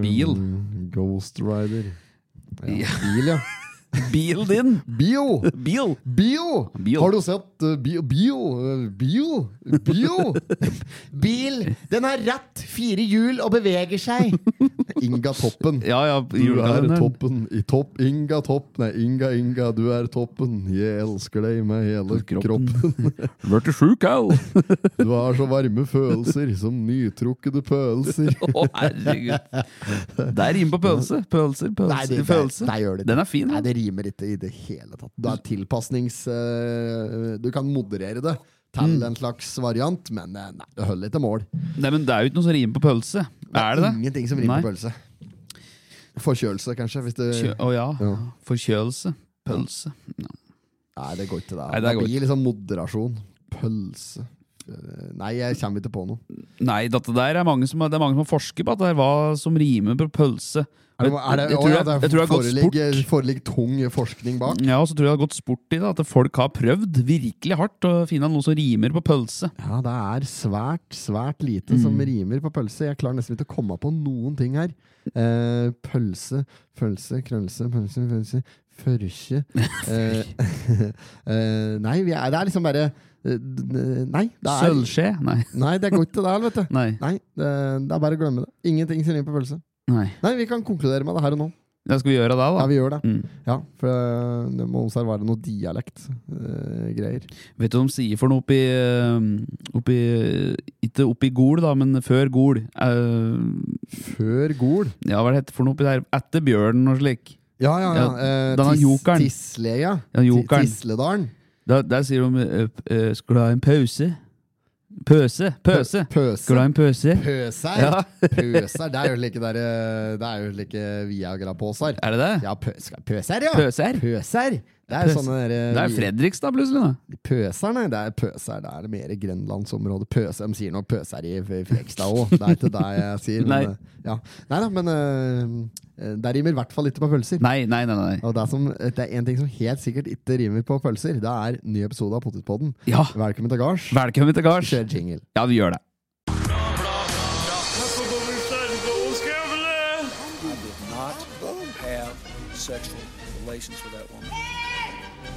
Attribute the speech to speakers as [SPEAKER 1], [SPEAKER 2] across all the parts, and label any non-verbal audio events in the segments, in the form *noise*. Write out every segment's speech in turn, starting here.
[SPEAKER 1] Bil.
[SPEAKER 2] Ghost Rider.
[SPEAKER 1] Ja.
[SPEAKER 2] Ja, bil, ja.
[SPEAKER 1] Bil din!
[SPEAKER 2] Bio!
[SPEAKER 1] Bil!
[SPEAKER 2] Bio!
[SPEAKER 1] Bio.
[SPEAKER 2] Har du sett eh, Bio? Bio! eh, Bio! Bio!
[SPEAKER 3] Bil, den har ratt, fire hjul og beveger seg.
[SPEAKER 2] Inga Toppen.
[SPEAKER 1] Ja, ja.
[SPEAKER 2] Du er
[SPEAKER 1] julekalenderen.
[SPEAKER 2] toppen i topp. Inga Topp. Nei, Inga, Inga, du er toppen. Jeg elsker deg med hele
[SPEAKER 1] Kroppen.
[SPEAKER 2] kroppen.
[SPEAKER 1] Vart du sjuk, *laughs* au? Å,
[SPEAKER 2] Du har så varme følelser som nytrukkede pølser.
[SPEAKER 1] herregud. Det er rim på pølse. Pølser, pølser,
[SPEAKER 2] Nei, det-
[SPEAKER 1] pølse.
[SPEAKER 3] Nei, gjør det.
[SPEAKER 1] Den er fin.
[SPEAKER 2] Nei, det rimer ikke i det hele tatt. Du er tilpasnings... eh, du kan moderere det til
[SPEAKER 1] Mm.
[SPEAKER 2] en slags variant, men eh, nei, det holder ikke mål.
[SPEAKER 1] Nei, men det er jo ikke noe som rimer på pølse. Er det det?
[SPEAKER 2] Ingenting som rimer
[SPEAKER 1] Nei.
[SPEAKER 2] på pølse. Forkjølelse, kanskje. Hvis det,
[SPEAKER 1] Kjø- Å ja.
[SPEAKER 2] Ja.
[SPEAKER 1] Forkjølelse. Pølse.
[SPEAKER 2] nei, det går ikke. Da.
[SPEAKER 1] Nei, det
[SPEAKER 2] det
[SPEAKER 1] går
[SPEAKER 2] blir liksom moderasjon. Pølse Eh, Nei, jeg kommer ikke på noe.
[SPEAKER 1] Nei, dette der er mange som, det er mange som har forsket på at det er hva som rimer på pølse.
[SPEAKER 2] Er det,
[SPEAKER 1] Jeg-
[SPEAKER 2] er det,
[SPEAKER 1] jeg
[SPEAKER 2] å,
[SPEAKER 1] tror
[SPEAKER 2] ja,
[SPEAKER 1] det er-
[SPEAKER 2] det
[SPEAKER 1] jeg tror det er godt
[SPEAKER 2] foreligger,
[SPEAKER 1] sport.
[SPEAKER 2] foreligger tung forskning bak.
[SPEAKER 1] Ja, og så tror jeg det har gått sport i det, at folk har prøvd virkelig hardt å finne noe som rimer på pølse.
[SPEAKER 2] Ja, det er svært, svært lite som
[SPEAKER 1] Mm.
[SPEAKER 2] rimer på pølse. Jeg klarer nesten ikke å komme på noen ting her. Eh, pølse, pølse, krølse, pølse, pølse,
[SPEAKER 1] *laughs*
[SPEAKER 2] førkje eh, *laughs* eh, Nei, vi er, det er liksom bare eh, d- d- Nei, det er,
[SPEAKER 1] Sølvskje? Nei.
[SPEAKER 2] nei, det går ikke der, vet du.
[SPEAKER 1] Nei.
[SPEAKER 2] Nei, det, det er bare å glemme det. Ingenting som rimer på pølse.
[SPEAKER 1] Nei.
[SPEAKER 2] Nei, vi kan konkludere med det her og nå.
[SPEAKER 1] Ja, skal vi gjøre det da?
[SPEAKER 2] Ja, vi gjør det.
[SPEAKER 1] Mm.
[SPEAKER 2] Ja, For eh, det må observere noe eh, dialekt-greier.
[SPEAKER 1] Vet du hva de sier for noe oppi, eh, oppi Ikke oppi Gol, da, men før Gol. Eh,
[SPEAKER 2] Før gol.
[SPEAKER 1] ja, hva er det heter for noe oppi der? Etter bjørnen og slik.
[SPEAKER 2] Ja, ja, ja. Eh,
[SPEAKER 1] den er
[SPEAKER 2] tis-
[SPEAKER 1] jokeren.
[SPEAKER 2] Tisle, ja.
[SPEAKER 1] Ja, jokeren.
[SPEAKER 2] Ti- Tisledalen.
[SPEAKER 1] Der, der sier de eh, p- eh, 'skal du ha en pause'? Pøse? Pøse? Skal du
[SPEAKER 2] Pøser.
[SPEAKER 1] ha en pøse?
[SPEAKER 2] Pøser.
[SPEAKER 1] Ja.
[SPEAKER 2] pøser. Det er jo slike der, eh, Det er jo slike Viagra-påser.
[SPEAKER 1] Er det det?
[SPEAKER 2] Ja, pø skal- pøser, ja.
[SPEAKER 1] Pøser?
[SPEAKER 2] Pøser. Det er jo
[SPEAKER 1] Pøs-
[SPEAKER 2] sånne der,
[SPEAKER 1] Det
[SPEAKER 2] eh,
[SPEAKER 1] er Fredrikstad, plutselig. da
[SPEAKER 2] vi- Pøser, nei. Det er pøser. Det er det mer Grenlandsområdet. Pøser. De sier nok pøser i F- Frekstad òg. Det er ikke det jeg sier. Men,
[SPEAKER 1] Nei.
[SPEAKER 2] eh, ja. Nei da, men eh, eh, det rimer i hvert fall ikke på pølser.
[SPEAKER 1] Nei, nei, nei. nei.
[SPEAKER 2] Og det er, som, eh, det er en ting som helt sikkert ikke rimer på pølser. Det er ny episode av Potetpodden.
[SPEAKER 1] Ja,
[SPEAKER 2] Velkommen til gards.
[SPEAKER 1] velkommen til gards.
[SPEAKER 2] Kjør jingle.
[SPEAKER 1] Ja, vi gjør det.
[SPEAKER 4] not have sexual relations with that woman.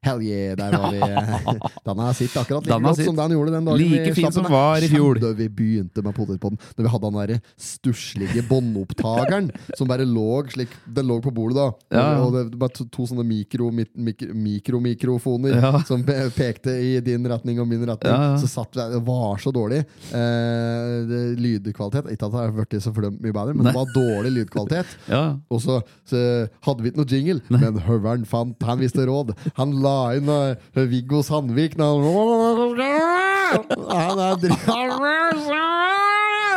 [SPEAKER 2] Hell yeah, der var
[SPEAKER 1] *laughs*
[SPEAKER 2] vi. Den har sitt akkurat like
[SPEAKER 1] Den har
[SPEAKER 2] godt
[SPEAKER 1] sitt.
[SPEAKER 2] som den gjorde den dagen
[SPEAKER 1] Like
[SPEAKER 2] vi
[SPEAKER 1] fin
[SPEAKER 2] slapp
[SPEAKER 1] som
[SPEAKER 2] den.
[SPEAKER 1] var i fjor.
[SPEAKER 2] Kjempe Da vi begynte med potetpodden, når vi hadde den der stusslige båndopptakeren som bare lå slik Den lå på bordet, da.
[SPEAKER 1] Ja.
[SPEAKER 2] Og det var bare to, to sånne mikro, mik, mik, mikromikrofoner
[SPEAKER 1] Ja.
[SPEAKER 2] som pe- pekte i din retning og min retning.
[SPEAKER 1] Ja, ja.
[SPEAKER 2] Så satt vi der. Det var så dårlig. Eh, det, lydkvalitet Ikke at det har blitt så fordømt mye bedre, men det var dårlig lydkvalitet.
[SPEAKER 1] *laughs* Ja.
[SPEAKER 2] Og så, så hadde vi ikke noe jingle, men høveren fant Han visste råd. Han la inn eh, Viggo Sandvik når han Han er dri-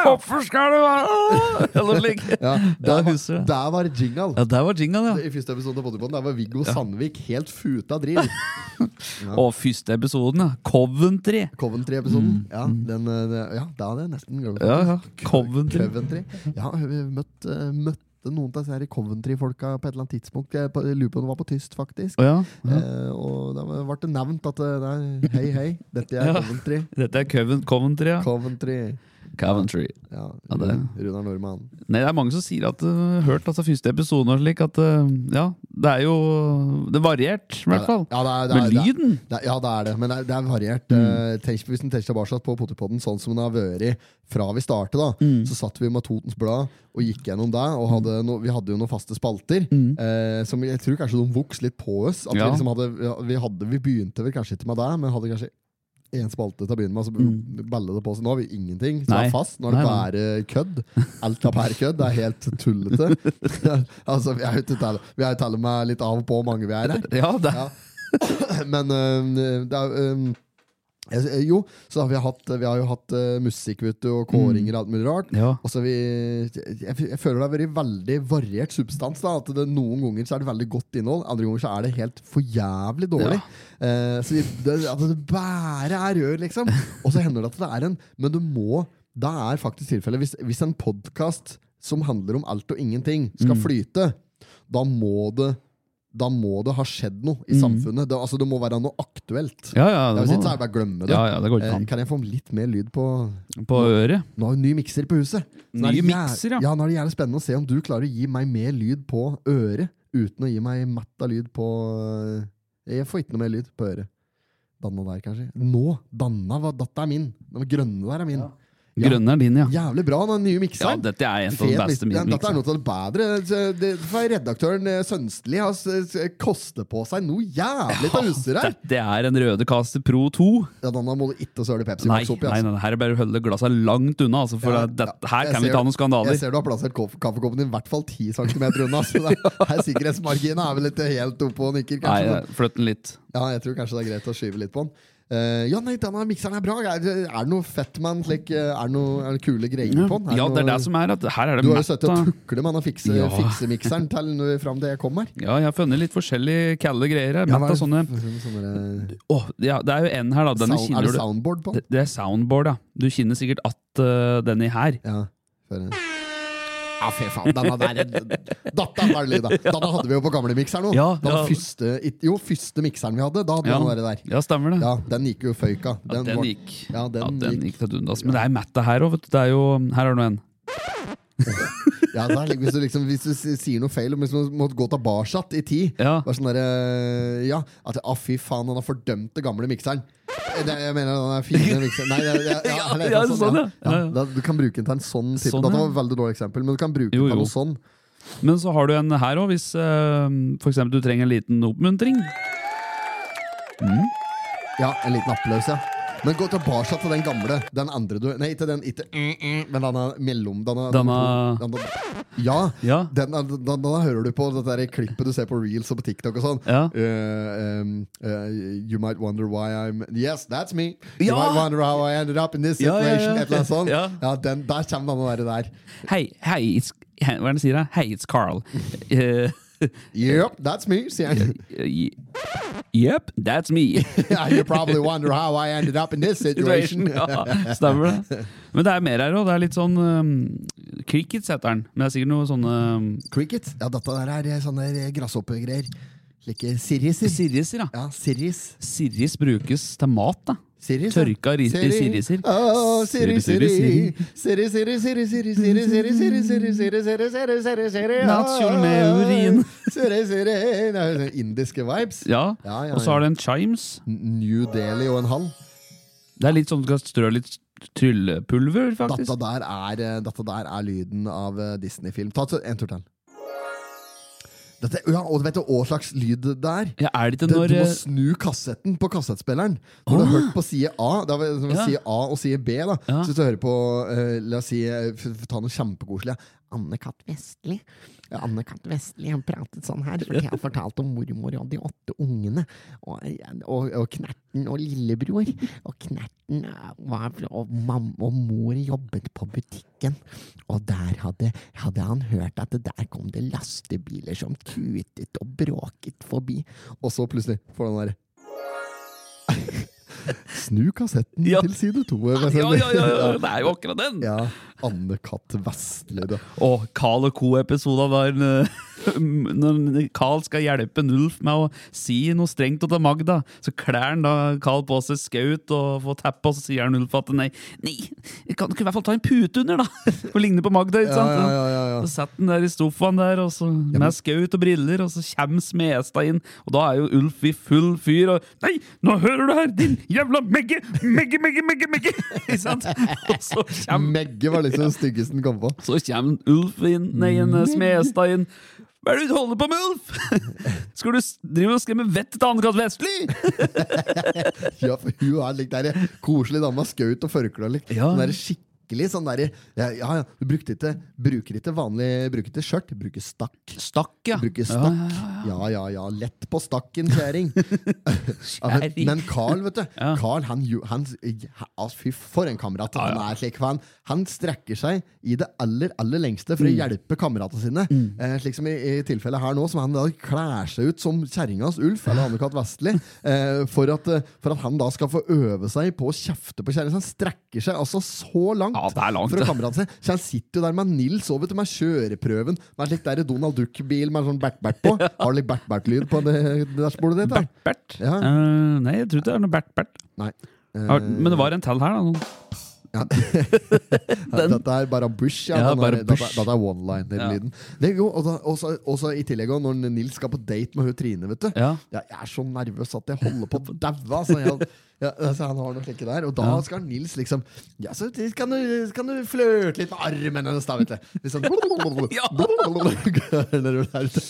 [SPEAKER 1] Hvorfor skal du være *laughs* Eller slik.
[SPEAKER 2] ja,
[SPEAKER 1] *laughs* Ja,
[SPEAKER 2] der,
[SPEAKER 1] jeg husker
[SPEAKER 2] var,
[SPEAKER 1] det.
[SPEAKER 2] der var jingle.
[SPEAKER 1] Ja, der var jinglen, ja.
[SPEAKER 2] I første episode av Bodypodden Der var Viggo Sandvik helt futa
[SPEAKER 1] *laughs*
[SPEAKER 2] drill.
[SPEAKER 1] Og første episoden, ja. Coventry.
[SPEAKER 2] Coventry-episoden. Ja, den, eh, ja, da hadde jeg nesten glemt
[SPEAKER 1] Mm, Ja, ja.
[SPEAKER 2] faktisk.
[SPEAKER 1] Coventry.
[SPEAKER 2] Coventry. Ja, vi møtt, eh, møtte noen av disse her Coventry-folka på et eller annet tidspunkt. Jeg på- jeg lurer på om det var på tyst, faktisk.
[SPEAKER 1] Å ja. ja.
[SPEAKER 2] Eh, og da ble det nevnt at eh, det er hei, hei, dette er
[SPEAKER 1] *laughs* Ja.
[SPEAKER 2] Coventry.
[SPEAKER 1] Dette er Coven Coventry, ja.
[SPEAKER 2] Coventry.
[SPEAKER 1] Coventry.
[SPEAKER 2] Ja,
[SPEAKER 1] Ja, det er-
[SPEAKER 2] Runar Nordmann.
[SPEAKER 1] Nei, det er mange som sier at uh, hørt altså, første episode og slik at uh, Ja, det er jo Det er variert, i hvert fall.
[SPEAKER 2] Ja, det er, det
[SPEAKER 1] Men
[SPEAKER 2] er, det er,
[SPEAKER 1] lyden
[SPEAKER 2] det er, ja, det er det, men det er, det er variert.
[SPEAKER 1] Mm.
[SPEAKER 2] Eh, tenk, hvis en tenker tilbake på Potterpodden sånn som den har vært fra vi startet, da,
[SPEAKER 1] Mm.
[SPEAKER 2] så satt vi med Totens Blad og gikk gjennom det. Og hadde no, vi hadde jo noen faste spalter eh, som jeg tror kanskje de vokste litt på oss. At
[SPEAKER 1] Mm. Ja.
[SPEAKER 2] vi, liksom hadde, vi, hadde, vi begynte vel kanskje ikke med det, men hadde kanskje én spalte til å begynne med. Så balla det på seg. Nå har vi ingenting. Så det
[SPEAKER 1] Mm. Nei.
[SPEAKER 2] er fast. Nå er det
[SPEAKER 1] Nei,
[SPEAKER 2] bare kødd. Alt er bare kødd. Det er helt tullete.
[SPEAKER 1] *laughs*
[SPEAKER 2] *laughs* altså, vi er jo til tale- vi er jo til og med litt av og på hvor mange vi er her. *coughs*
[SPEAKER 1] Ja, det
[SPEAKER 2] Ja. Men øhm, det er, øhm, Jeg- eh, Jo, så har vi hatt Vi har jo hatt eh, musikk vet du, og kåringer og alt mulig rart.
[SPEAKER 1] Ja.
[SPEAKER 2] Og så har Altså, vi, jeg, jeg føler det har vært veldig variert substans. da At det Noen ganger så er det veldig godt innhold, andre ganger så er det helt for jævlig dårlig. Eh, så vi, det, at det bare er rør, liksom. Og så hender det at det er en Men du må Da er faktisk tilfellet Hvis, hvis en podkast som handler om alt og ingenting, skal
[SPEAKER 1] Mm.
[SPEAKER 2] flyte, da må det da må det ha skjedd noe i samfunnet. Det, altså, det må være noe aktuelt.
[SPEAKER 1] Mm. Ja, ja,
[SPEAKER 2] Ja,
[SPEAKER 1] det
[SPEAKER 2] hvis
[SPEAKER 1] må,
[SPEAKER 2] ikke så er det bare å glemme det.
[SPEAKER 1] ja, ja, det går ikke
[SPEAKER 2] Eh,
[SPEAKER 1] an.
[SPEAKER 2] Kan jeg få litt mer lyd på Eh,
[SPEAKER 1] På øret.
[SPEAKER 2] Nå har vi ny mikser på huset. Så nå er
[SPEAKER 1] Ny
[SPEAKER 2] det jæ-
[SPEAKER 1] mikser, ja.
[SPEAKER 2] ja. Nå er det gjerne spennende å se om du klarer å gi meg mer lyd på øret uten å gi meg matta lyd på eh, Jeg får ikke noe mer lyd på øret. Danna der, kanskje. Nå! Danna var datta er min. Den grønne der er min. Ja.
[SPEAKER 1] Grønne er din, ja.
[SPEAKER 2] Jævlig bra, den nye
[SPEAKER 1] Ja,
[SPEAKER 2] mikseren.
[SPEAKER 1] dette er en av de
[SPEAKER 2] Fet
[SPEAKER 1] beste
[SPEAKER 2] miks- Ja, Dette er
[SPEAKER 1] miksene.
[SPEAKER 2] noe av det bedre. Så det- for Redaktøren eh, Sønstli har s- s- koster på seg noe jævlig av utstyr her.
[SPEAKER 1] Dette er en Røde Caster Pro 2.
[SPEAKER 2] Ja, Danna må du ikke søle Pepsi
[SPEAKER 1] Nei,
[SPEAKER 2] Max opp i.
[SPEAKER 1] nei,
[SPEAKER 2] altså.
[SPEAKER 1] nei, her er bare å holde glassa langt unna, altså, for
[SPEAKER 2] Ja,
[SPEAKER 1] det, det,
[SPEAKER 2] ja.
[SPEAKER 1] her
[SPEAKER 2] Jeg
[SPEAKER 1] kan vi
[SPEAKER 2] ser-
[SPEAKER 1] ta noen
[SPEAKER 2] Jeg
[SPEAKER 1] skandaler.
[SPEAKER 2] ser du har plassert koff- kaffekoppen din i hvert fall 10 cm unna. Så det er, her sikkerhetsmarginen er vel ikke helt oppe og nikker,
[SPEAKER 1] Nei,
[SPEAKER 2] kanskje. men-
[SPEAKER 1] flytt den litt.
[SPEAKER 2] ja, jeg tror kanskje det er greit å skyve litt på den. Eh, ja, nei, denne mikseren er bra. Er, det- er det noe fett med den? slik, eh, Er det noe er det kule greier på den?
[SPEAKER 1] Ja, det er det
[SPEAKER 2] noe-
[SPEAKER 1] som er at her er det
[SPEAKER 2] Du har jo
[SPEAKER 1] mett
[SPEAKER 2] sittet og
[SPEAKER 1] av
[SPEAKER 2] tuklet med den fikse,
[SPEAKER 1] Ja.
[SPEAKER 2] fiksemikseren til nå- fram til jeg kom her.
[SPEAKER 1] Ja, jeg har funnet litt forskjellige kalde greier her.
[SPEAKER 2] Ja,
[SPEAKER 1] Mett
[SPEAKER 2] hva er
[SPEAKER 1] av sånne
[SPEAKER 2] det for- sånne der-
[SPEAKER 1] Åh, ja, det er jo en her, da. Denne
[SPEAKER 2] sound, er
[SPEAKER 1] kjenner
[SPEAKER 2] det
[SPEAKER 1] du
[SPEAKER 2] soundboard på den?
[SPEAKER 1] det, det er soundboard, ja. Du kjenner sikkert at eh, denne her
[SPEAKER 2] Ja. Før, ja, fy faen. Denne der Datta var
[SPEAKER 1] *laughs*
[SPEAKER 2] det lyd, da. Denne hadde vi jo på gamle mikseren nå.
[SPEAKER 1] Ja,
[SPEAKER 2] Den
[SPEAKER 1] ja.
[SPEAKER 2] Første, it- jo, første mikseren vi hadde, da hadde vi
[SPEAKER 1] Ja,
[SPEAKER 2] den der. der.
[SPEAKER 1] ja stemmer det.
[SPEAKER 2] Ja, den gikk jo føyka.
[SPEAKER 1] Ja, den,
[SPEAKER 2] var-
[SPEAKER 1] gikk.
[SPEAKER 2] Ja, den
[SPEAKER 1] ja, den
[SPEAKER 2] gikk.
[SPEAKER 1] gikk til dundas. Men det er metta her òg, vet du. Det er jo, her er det en.
[SPEAKER 2] Ja, der, hvis, du liksom, hvis du s- sier noe feil, hvis du måtte gå tilbake i tid
[SPEAKER 1] Ja.
[SPEAKER 2] Bare sånn der, eh, ja, at ah, fy faen, han har fordømt det gamle mikseren. Eh, Det, jeg mener den er fine mikseren. Nei, det, ja, ja,
[SPEAKER 1] Ja,
[SPEAKER 2] eller
[SPEAKER 1] *laughs* ja,
[SPEAKER 2] noe
[SPEAKER 1] sånn, ja.
[SPEAKER 2] ja.
[SPEAKER 1] Ja, ja.
[SPEAKER 2] Da, du kan bruke den til en sånn type.
[SPEAKER 1] Sånn,
[SPEAKER 2] Dette
[SPEAKER 1] ja.
[SPEAKER 2] var et veldig dårlig eksempel, men du kan bruke
[SPEAKER 1] Jo,
[SPEAKER 2] den til
[SPEAKER 1] jo.
[SPEAKER 2] noe sånn.
[SPEAKER 1] Men så har du en her òg, hvis eh, for eksempel du trenger en liten oppmuntring.
[SPEAKER 2] Ja, en liten applaus, ja. Men gå tilbake til den gamle. Den andre du Nei, ikke den ikke, mm, mm, Men denne mellom denne,
[SPEAKER 1] Denne-
[SPEAKER 2] denne, denne Ja.
[SPEAKER 1] Ja.
[SPEAKER 2] Den, er- den, den, den hører du på det der klippet du ser på reels og på TikTok og sånn.
[SPEAKER 1] Ja.
[SPEAKER 2] Eh, um, eh, you might wonder why I'm Yes, that's me. You
[SPEAKER 1] Ja.
[SPEAKER 2] might wonder how I ended up in this
[SPEAKER 1] Ja, ja, ja.
[SPEAKER 2] situation. Et eller annet sånt.
[SPEAKER 1] Ja.
[SPEAKER 2] den, der kommer denne derre der.
[SPEAKER 1] Hei, hei, it's, hei, hva er det han sier? da? Hei, it's Carl. *laughs* Eh,
[SPEAKER 2] Yep, that's me, sier
[SPEAKER 1] *laughs*
[SPEAKER 2] han.
[SPEAKER 1] eh, Yep, that's me.
[SPEAKER 2] *laughs* Yeah, you probably wonder how I ended up in this situation.
[SPEAKER 1] *laughs* Ja, stemmer det. Men det er mer her òg. Det er litt sånn eh, Cricket heter den. Men det er sikkert noe sånne um,
[SPEAKER 2] Cricket? Ja, dette der er eh, sånne grasshoppergreier. Slike siriser.
[SPEAKER 1] Sirriser, ja.
[SPEAKER 2] Ja, siris.
[SPEAKER 1] Sirris brukes til mat, da.
[SPEAKER 2] Siris, ja.
[SPEAKER 1] Tørka ris
[SPEAKER 2] Siri.
[SPEAKER 1] sirriser.
[SPEAKER 2] Å, siri, siri, siri, siri, siri, siri, siri, siri, siri, siri, siri, siri, siri, siri, siri, siri,
[SPEAKER 1] Natt skjul med urin.
[SPEAKER 2] *laughs* Siri, siri. Det er jo sånne Indiske vibes.
[SPEAKER 1] Ja.
[SPEAKER 2] Ja, ja,
[SPEAKER 1] Og så har du en chimes.
[SPEAKER 2] New Delhi og en halv.
[SPEAKER 1] Det er litt sånn du skal strø litt tryllepulver, faktisk.
[SPEAKER 2] Dette der er, eh, dette der er lyden av eh, Disney-film. Ta et- en tur til. Dette, ja, og vet du hva slags lyd det er?
[SPEAKER 1] Ja, er det ikke
[SPEAKER 2] Det,
[SPEAKER 1] når
[SPEAKER 2] du må
[SPEAKER 1] eh, Ah.
[SPEAKER 2] snu kassetten på kassettspilleren. Når du har hørt på side A da, var- som
[SPEAKER 1] Ja.
[SPEAKER 2] side A og side B, da,
[SPEAKER 1] Ja.
[SPEAKER 2] så hvis du hører på eh, La oss si eh, f- f- Ta noe kjempekoselig.
[SPEAKER 3] Anne-Kat. Vestli. Ja, Anne-Kat. Vestli hun pratet sånn her, for jeg har fortalt om mormor og de åtte ungene. Og, og, og Knerten og lillebror. Og Knerten eh, var Og mamma og mor jobbet på butikken. Og der hadde, hadde han hørt at det der kom det lastebiler som tutet og bråket forbi.
[SPEAKER 2] Og så plutselig får du den
[SPEAKER 3] *laughs*
[SPEAKER 2] der Snu kassetten
[SPEAKER 1] Ja.
[SPEAKER 2] til side to. eh,
[SPEAKER 1] ja, ja, ja, ja,
[SPEAKER 2] Ja.
[SPEAKER 1] det er jo akkurat den!
[SPEAKER 2] Ja, Anne-Kat. Vestli, da.
[SPEAKER 1] Og Carl og co-episoden var eh, *laughs* Når Carl skal hjelpe Nulf med å si noe strengt til Magda, så klær han da Carl på seg skaut og får teppe, og så sier han Nulf at nei, nei, vi kan ikke i hvert fall ta en pute under, da! *laughs* Og ligner på Magda, ikke
[SPEAKER 2] Ja,
[SPEAKER 1] sant?
[SPEAKER 2] ja, ja, ja, ja.
[SPEAKER 1] Så setter han der i sofaen der, og så med skaut og briller, og så kommer Smestad inn, og da er jo Ulf i full fyr, og Nei, nå hører du her, din jævla megge! Megge, megge, megge, megge! *laughs* Ikke sant? Og så kommer,
[SPEAKER 2] Megge var liksom det styggeste den kom på.
[SPEAKER 1] så kommer Ulf inn, nei, en eh, Smestad inn. Hva er det du holder på med, Ulf? *laughs* Skal du s- drive og skremme vettet til Anne-Kat. Vestli?
[SPEAKER 2] Ja, for hun er litt der eh, koselig dame med skaut og forkle. Like.
[SPEAKER 1] Ja.
[SPEAKER 2] Den der skikkelig skikkelig sånn derre ja, ja, ja, du brukte ikke, bruker ikke vanlig Bruker ikke skjørt, bruker stakk.
[SPEAKER 1] Stakk, ja.
[SPEAKER 2] Bruker stakk. Ja, ja, ja. Lett på stakken, kjerring.
[SPEAKER 1] *laughs*
[SPEAKER 2] Ja, men-
[SPEAKER 1] Kjerring.
[SPEAKER 2] Men Carl, vet du.
[SPEAKER 1] Ja.
[SPEAKER 2] Carl, han, jo- han, han altså, Fy, for en kamerat han er. slik for han, han strekker seg i det aller aller lengste
[SPEAKER 1] Mm.
[SPEAKER 2] for å hjelpe kameratene sine. Eh, slik som i, i tilfellet her nå, som han da klær seg ut som kjerringas Ulf,
[SPEAKER 1] Ah.
[SPEAKER 2] eller Anne-Kat. Vestli, eh, for, at, eh, for at han da skal få øve seg på å kjefte på kjerringa. Han strekker seg altså så langt.
[SPEAKER 1] Ja, det er langt,
[SPEAKER 2] for
[SPEAKER 1] det.
[SPEAKER 2] å kameratene sine. Så han sitter jo der med Nils over til meg kjøreprøven, med slik der Donald Duck-bil med sånn bert-bert
[SPEAKER 1] *laughs*
[SPEAKER 2] på. Har du litt bert-bert-lyd på det dashbordet ditt? da?
[SPEAKER 1] Bert-Bert?
[SPEAKER 2] Ja. Eh.
[SPEAKER 1] Eh, nei, jeg tror ikke det er noe Bert-Bert.
[SPEAKER 2] Nei.
[SPEAKER 1] Har- Men det var en til her, da.
[SPEAKER 2] *laughs* Dette er bare Bush. Ja,
[SPEAKER 1] Ja,
[SPEAKER 2] Den
[SPEAKER 1] bare
[SPEAKER 2] er,
[SPEAKER 1] Bush.
[SPEAKER 2] Dette, dette er one-liner-lyden. Det er jo, og da- også, også i tillegg også når Nils skal på date med hun Trine, vet du.
[SPEAKER 1] Ja.
[SPEAKER 2] Jeg, jeg er så nervøs at jeg holder på å daue. Altså, Jeg- ja, altså, han har noe slike der. Og da skal Nils liksom Ja, så kan du, kan du flørte litt med armen hennes, da, vet du. Litt *laughs* sånn
[SPEAKER 1] *laughs* Ja.
[SPEAKER 2] Når hun er ute.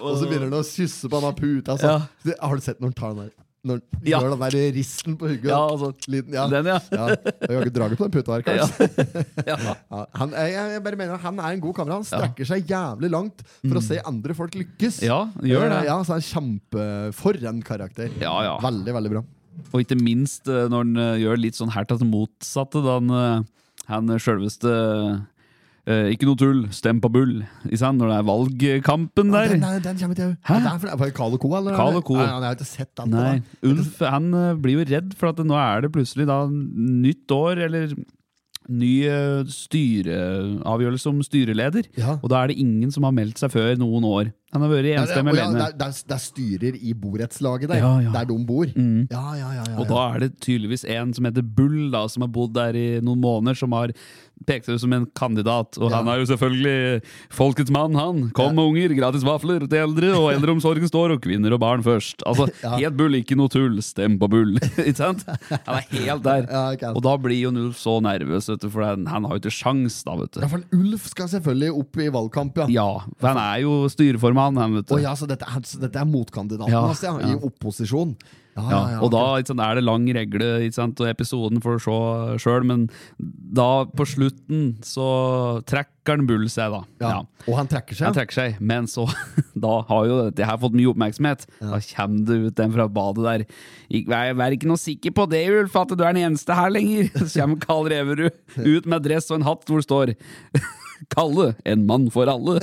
[SPEAKER 2] Og så begynner han å kysse på han av puta. Altså. Har du sett når han tar den der? Når han
[SPEAKER 1] Ja.
[SPEAKER 2] gjør den der risten på hugget?
[SPEAKER 1] Ja, altså,
[SPEAKER 2] Lyden, ja.
[SPEAKER 1] Den, ja. *laughs*
[SPEAKER 2] Ja, jeg har ikke draget på den puta her,
[SPEAKER 1] Ja.
[SPEAKER 2] kanskje.
[SPEAKER 1] ja.
[SPEAKER 2] Ja, han, jeg, jeg bare mener at han er en god kamerat. Han strekker seg jævlig langt for å se andre folk lykkes.
[SPEAKER 1] Mm. Ja, gjør det.
[SPEAKER 2] Eh, Ja, så han er kjempe For en karakter.
[SPEAKER 1] Ja, ja.
[SPEAKER 2] Veldig, veldig bra.
[SPEAKER 1] Og ikke minst eh, når han eh, gjør litt sånn her til det motsatte, da han, eh, han sjølveste eh, Ikke noe tull, stem på Bull. Ikke sant? Når det er valgkampen
[SPEAKER 2] Ja,
[SPEAKER 1] der.
[SPEAKER 2] Den, den, den kommer ikke jeg
[SPEAKER 1] Hæ?
[SPEAKER 2] Det er for- er det Carl og Co., eller?
[SPEAKER 1] Carl og Co.
[SPEAKER 2] Nei, jeg har ikke sett den.
[SPEAKER 1] Nei,
[SPEAKER 2] da.
[SPEAKER 1] Ulf han eh, blir jo redd, for at nå er det plutselig da nytt år, eller ny eh, styreavgjørelse om styreleder.
[SPEAKER 2] Ja.
[SPEAKER 1] Og da er det ingen som har meldt seg før noen år. Han har vært
[SPEAKER 2] Ja, det, og
[SPEAKER 1] enstemmig
[SPEAKER 2] ja,
[SPEAKER 1] alene.
[SPEAKER 2] det, er- det, er- det er styrer i borettslaget der,
[SPEAKER 1] Ja, ja. Mm.
[SPEAKER 2] der de bor. Ja, ja, ja, ja,
[SPEAKER 1] Og
[SPEAKER 2] ja.
[SPEAKER 1] da er det tydeligvis en som heter Bull, da, som har bodd der i noen måneder, som har pekt seg ut som en kandidat. Og han er jo selvfølgelig folkets mann, han. Kom med unger, gratis vafler til eldre,
[SPEAKER 2] *laughs*
[SPEAKER 1] og eldreomsorgen står, og kvinner og barn først. Altså, helt Bull, ikke noe tull. Stem på Bull. *laughs* ikke sant? Han er helt der.
[SPEAKER 2] Ja, ikke sant.
[SPEAKER 1] og da blir jo Nulf så nervøs, vet du, for han han har jo ikke sjans, da, vet
[SPEAKER 2] Ja,
[SPEAKER 1] du.
[SPEAKER 2] for Ulf skal selvfølgelig opp i valgkamp, ja.
[SPEAKER 1] Ja, for han er jo styreformann, han, vet du.
[SPEAKER 2] Å ja, så dette, er- så dette er motkandidaten
[SPEAKER 1] Ja,
[SPEAKER 2] hans, ja. I
[SPEAKER 1] ja.
[SPEAKER 2] opposisjon. Ja,
[SPEAKER 1] Ja,
[SPEAKER 2] ja, ja,
[SPEAKER 1] og da ikke sant, er det lang regle, ikke sant, og episoden får du se sjøl, men da på slutten så trekker han Bull seg, da.
[SPEAKER 2] ja.
[SPEAKER 1] Ja.
[SPEAKER 2] Og han trekker seg?
[SPEAKER 1] Han trekker seg, men så *laughs* Da har jo dette her fått mye oppmerksomhet. Da kommer det ut en fra badet der. Ik- Vær, vær ikke noe sikker på det, Ulf, at du er den eneste her lenger. *laughs* Så kommer Karl Reverud ut med dress og en hatt hvor det står *laughs* Kalle, en mann for alle.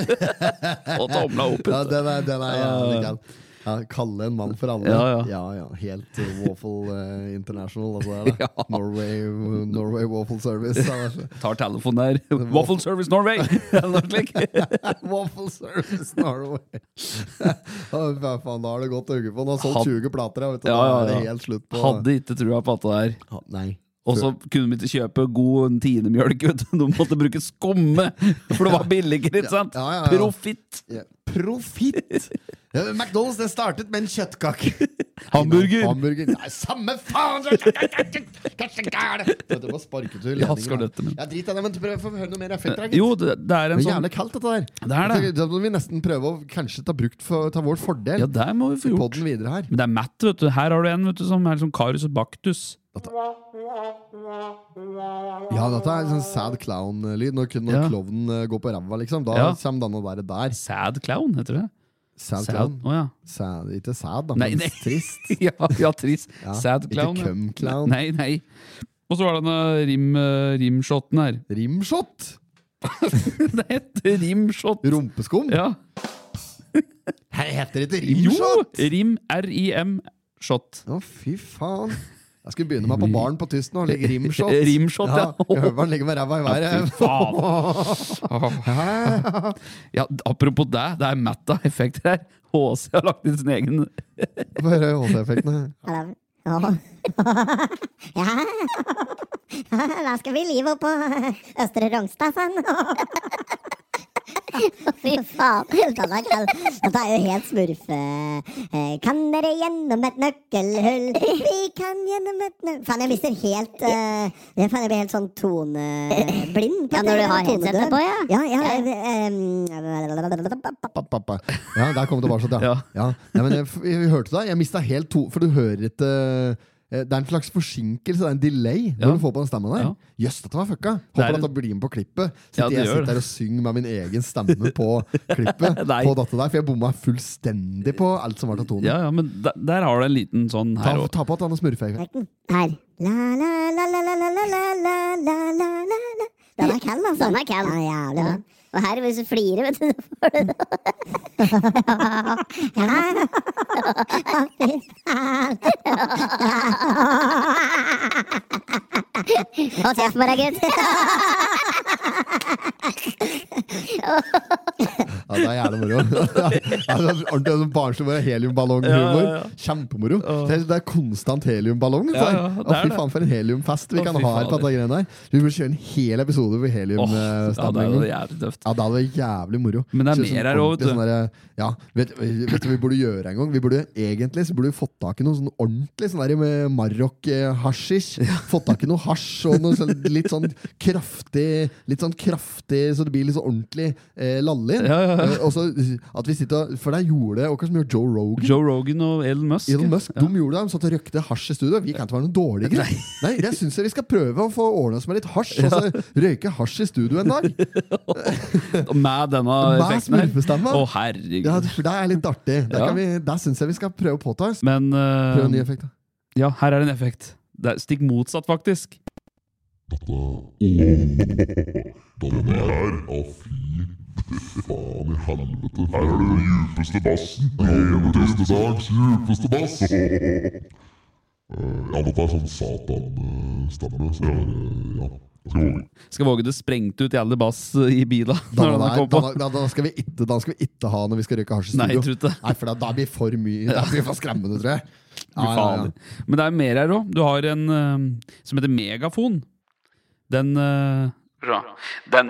[SPEAKER 1] *laughs* og tomla
[SPEAKER 2] *laughs*
[SPEAKER 1] opp.
[SPEAKER 2] Ja,
[SPEAKER 1] vet du.
[SPEAKER 2] den er, den er jævlig gal. Ja, kalle en mann for alle.
[SPEAKER 1] Ja, ja.
[SPEAKER 2] ja. Helt eh, Waffle eh, International. Altså, det er det.
[SPEAKER 1] *laughs* Ja.
[SPEAKER 2] Norway, Norway Waffle Service. altså. Ja,
[SPEAKER 1] *laughs*
[SPEAKER 2] det
[SPEAKER 1] Tar telefonen der. Waffle Service Norway! *laughs* Eller noe slikt.
[SPEAKER 2] er- *laughs* waffle Service Norway! *laughs* Ja, Hva faen, da har det gått uke på. Han har solgt
[SPEAKER 1] Had-
[SPEAKER 2] 20 plater. ja, Vet du.
[SPEAKER 1] Ja, ja,
[SPEAKER 2] Da er det
[SPEAKER 1] ja.
[SPEAKER 2] helt slutt *laughs* på
[SPEAKER 1] Hadde ikke trua på at det der.
[SPEAKER 2] Ja, Nei.
[SPEAKER 1] Og så kunne de ikke kjøpe god tiendemjølk. vet du. *laughs* De måtte bruke skumme, for det var billigere. ikke sant?
[SPEAKER 2] Ja, ja, ja, ja.
[SPEAKER 1] Profitt!
[SPEAKER 2] Ja, Profitt! *laughs* Ja, men McDonald's det startet med en kjøttkake.
[SPEAKER 1] *laughs* Hamburger!
[SPEAKER 2] Hamburger. Nei, samme
[SPEAKER 1] *laughs*
[SPEAKER 2] faen! Dette var sparket til
[SPEAKER 1] Ja,
[SPEAKER 2] ledningen,
[SPEAKER 1] skal
[SPEAKER 2] da.
[SPEAKER 1] dette, men-
[SPEAKER 2] Ja, drit i det, men prøv å få høre noe mer. effekt, da, gitt.
[SPEAKER 1] Jo, det, det er
[SPEAKER 2] Det
[SPEAKER 1] en
[SPEAKER 2] er
[SPEAKER 1] sånn
[SPEAKER 2] jævlig kaldt, dette her.
[SPEAKER 1] Det er det.
[SPEAKER 2] Da må vi nesten prøve å kanskje ta brukt for ta vår fordel
[SPEAKER 1] Ja, det må vi
[SPEAKER 2] i
[SPEAKER 1] få gjort.
[SPEAKER 2] podden videre her.
[SPEAKER 1] Men det er matt, vet du. Her har du en vet du, som er som Karius og Baktus.
[SPEAKER 2] Ja, dette er sånn sad clown-lyd. Når, kun- når
[SPEAKER 1] Ja.
[SPEAKER 2] klovnen eh, går på ræva, liksom. Da
[SPEAKER 1] Ja.
[SPEAKER 2] kommer denne der der.
[SPEAKER 1] Sad clown, heter det.
[SPEAKER 2] Sad,
[SPEAKER 1] Sad,
[SPEAKER 2] clown.
[SPEAKER 1] Å ja.
[SPEAKER 2] Sad, ikke sad, da,
[SPEAKER 1] Nei,
[SPEAKER 2] men
[SPEAKER 1] nei.
[SPEAKER 2] trist.
[SPEAKER 1] ja. Ja, *laughs* trist.
[SPEAKER 2] *laughs* Ja,
[SPEAKER 1] Sad
[SPEAKER 2] ikke
[SPEAKER 1] clown. ja.
[SPEAKER 2] cum clown.
[SPEAKER 1] Nei, nei. Og så var det denne rim, eh, rimshoten her. *laughs*
[SPEAKER 2] Rimshot!
[SPEAKER 1] Det heter rimshot!
[SPEAKER 2] Rumpeskum?
[SPEAKER 1] Ja.
[SPEAKER 2] Her heter det ikke
[SPEAKER 1] Jo!
[SPEAKER 2] rimshot!
[SPEAKER 1] Rim, R-I-M, shot.
[SPEAKER 2] Å, fy faen. Jeg skulle begynne meg på baren på tyst nå. Legge rimshot.
[SPEAKER 1] *laughs* Rimshot, ja.
[SPEAKER 2] Jeg hører han ligger med ræva i *laughs*
[SPEAKER 1] Fy
[SPEAKER 2] været.
[SPEAKER 1] faen. Ja, apropos det, det er meta-effekter her. HC har lagt inn sin egen
[SPEAKER 2] Få høre HD-effektene.
[SPEAKER 5] *laughs* Da skal vi live opp på Østre Rognstad, sa han. *laughs* Fy faen, den er kald. Dette er jo helt smurfe. Eh, Kan dere gjennom et nøkkelhull? Vi kan gjennom et nøkkelhull Faen, jeg mister helt eh, jeg, faen, jeg blir helt sånn toneblind. Ja, når du har headsetet på, ja. Ja, eh, ja. eh, em,
[SPEAKER 2] Papp, papp, papp. Ja, der kom det bare sånn, ja.
[SPEAKER 1] Ja.
[SPEAKER 2] ja. Nei, men jeg, jeg, hørte deg. Jeg mista helt to For du hører ikke eh, det er en slags forsinkelse, det er en delay,
[SPEAKER 1] Ja.
[SPEAKER 2] når du får på den stemma der.
[SPEAKER 1] Ja.
[SPEAKER 2] Jøss, dette var fucka!
[SPEAKER 1] Det er
[SPEAKER 2] Håper
[SPEAKER 1] en-
[SPEAKER 2] dette blir med på klippet. Sitter
[SPEAKER 1] Ja, det
[SPEAKER 2] jeg
[SPEAKER 1] gjør
[SPEAKER 2] sitter
[SPEAKER 1] det.
[SPEAKER 2] her og synger med min egen stemme på klippet,
[SPEAKER 1] *laughs* Nei.
[SPEAKER 2] på dette der, for jeg bomma fullstendig på alt som var av tonen.
[SPEAKER 1] Ja, ja, men der, der har du en liten sånn
[SPEAKER 2] Ta,
[SPEAKER 1] her òg.
[SPEAKER 2] ta på at han har smurfeøyne.
[SPEAKER 5] Her. La, la, la, la, la, la, la, la, la, la, la, la, la. Den er kald, altså. Den er kald. Ja, jævlig bra.
[SPEAKER 6] Og her, hvis du flirer, vet du så får
[SPEAKER 5] *laughs*
[SPEAKER 6] du
[SPEAKER 5] Hold kjeft på deg, gutt.
[SPEAKER 2] Ja, det er jævlig moro. *laughs* Ja, det er Ordentlig sånn barnslig bare heliumballonghumor.
[SPEAKER 1] Ja, ja, ja.
[SPEAKER 2] Kjempemoro. Det er, det er konstant heliumballong.
[SPEAKER 1] Ja, ja,
[SPEAKER 2] så-
[SPEAKER 1] det
[SPEAKER 2] Å,
[SPEAKER 1] er
[SPEAKER 2] fy
[SPEAKER 1] det.
[SPEAKER 2] faen, for en heliumfest vi
[SPEAKER 1] Å,
[SPEAKER 2] kan
[SPEAKER 1] fy
[SPEAKER 2] ha her. på
[SPEAKER 1] fader.
[SPEAKER 2] dette greiene der Vi burde kjøre en hel episode eh, hvor
[SPEAKER 1] Åh, ja, det er jo
[SPEAKER 2] heliumstemning
[SPEAKER 1] jævlig tøft.
[SPEAKER 2] ja, det hadde vært jævlig moro.
[SPEAKER 1] Men det er
[SPEAKER 2] Kjøre
[SPEAKER 1] mer her også,
[SPEAKER 2] ordentlig
[SPEAKER 1] vet du.
[SPEAKER 2] sånn derre- ja, vet, vet du hva vi burde gjøre en gang? Vi burde Egentlig så burde vi fått tak i noe sånn ordentlig sånn der med marokk-hasjisj. Fått tak i noe hasj og noe sånn, litt sånn kraftig, Litt sånn kraftig så det blir litt sånn ordentlig eh, lallig.
[SPEAKER 1] Ja, ja, ja.
[SPEAKER 2] Eh, og så at vi sitter og For det gjorde det, og hva som gjorde Joe Rogan?
[SPEAKER 1] Joe Rogan og Elon Musk.
[SPEAKER 2] Elon Musk, de gjorde det, de satt og røkte hasj i studio. Vi kan ikke være noen dårligere. Nei, jeg syns vi skal prøve å få ordna oss med litt hasj, og så røyke hasj i studio en dag.
[SPEAKER 1] Med denne
[SPEAKER 2] Med
[SPEAKER 1] effekten her.
[SPEAKER 2] smurfestemma.
[SPEAKER 1] Å,
[SPEAKER 2] Ja,
[SPEAKER 1] herregud.
[SPEAKER 2] for det er litt artig. Det,
[SPEAKER 1] Ja.
[SPEAKER 2] kan vi, det syns jeg vi skal prøve å påta oss.
[SPEAKER 1] Men eh,
[SPEAKER 2] Prøve en ny effekt, da.
[SPEAKER 1] ja, her er det en effekt. Det er stikk motsatt, faktisk.
[SPEAKER 7] *laughs* Den her, å fy faen i helvete. Her er det den djupeste bassen. Eneste dags djupeste bass. *laughs* Eh, Ja, dette er sånn satan-stemme, så jeg, eh, ja, jeg skal våge.
[SPEAKER 1] Skal våge det sprengte ut jævlig bass eh, i bila.
[SPEAKER 2] Da,
[SPEAKER 1] *laughs* når den
[SPEAKER 2] da,
[SPEAKER 1] kom
[SPEAKER 2] da,
[SPEAKER 1] på.
[SPEAKER 2] da, da, skal vi ikke, da skal vi ikke ha når vi skal røyke hasj i
[SPEAKER 1] Nei, jeg
[SPEAKER 2] studio.
[SPEAKER 1] tror ikke det.
[SPEAKER 2] Nei, for da, da blir for mye. Da blir for skremmende, tror jeg.
[SPEAKER 1] Fy fader. Men det er mer her òg. Du har en eh, som heter megafon. Den eh, Den,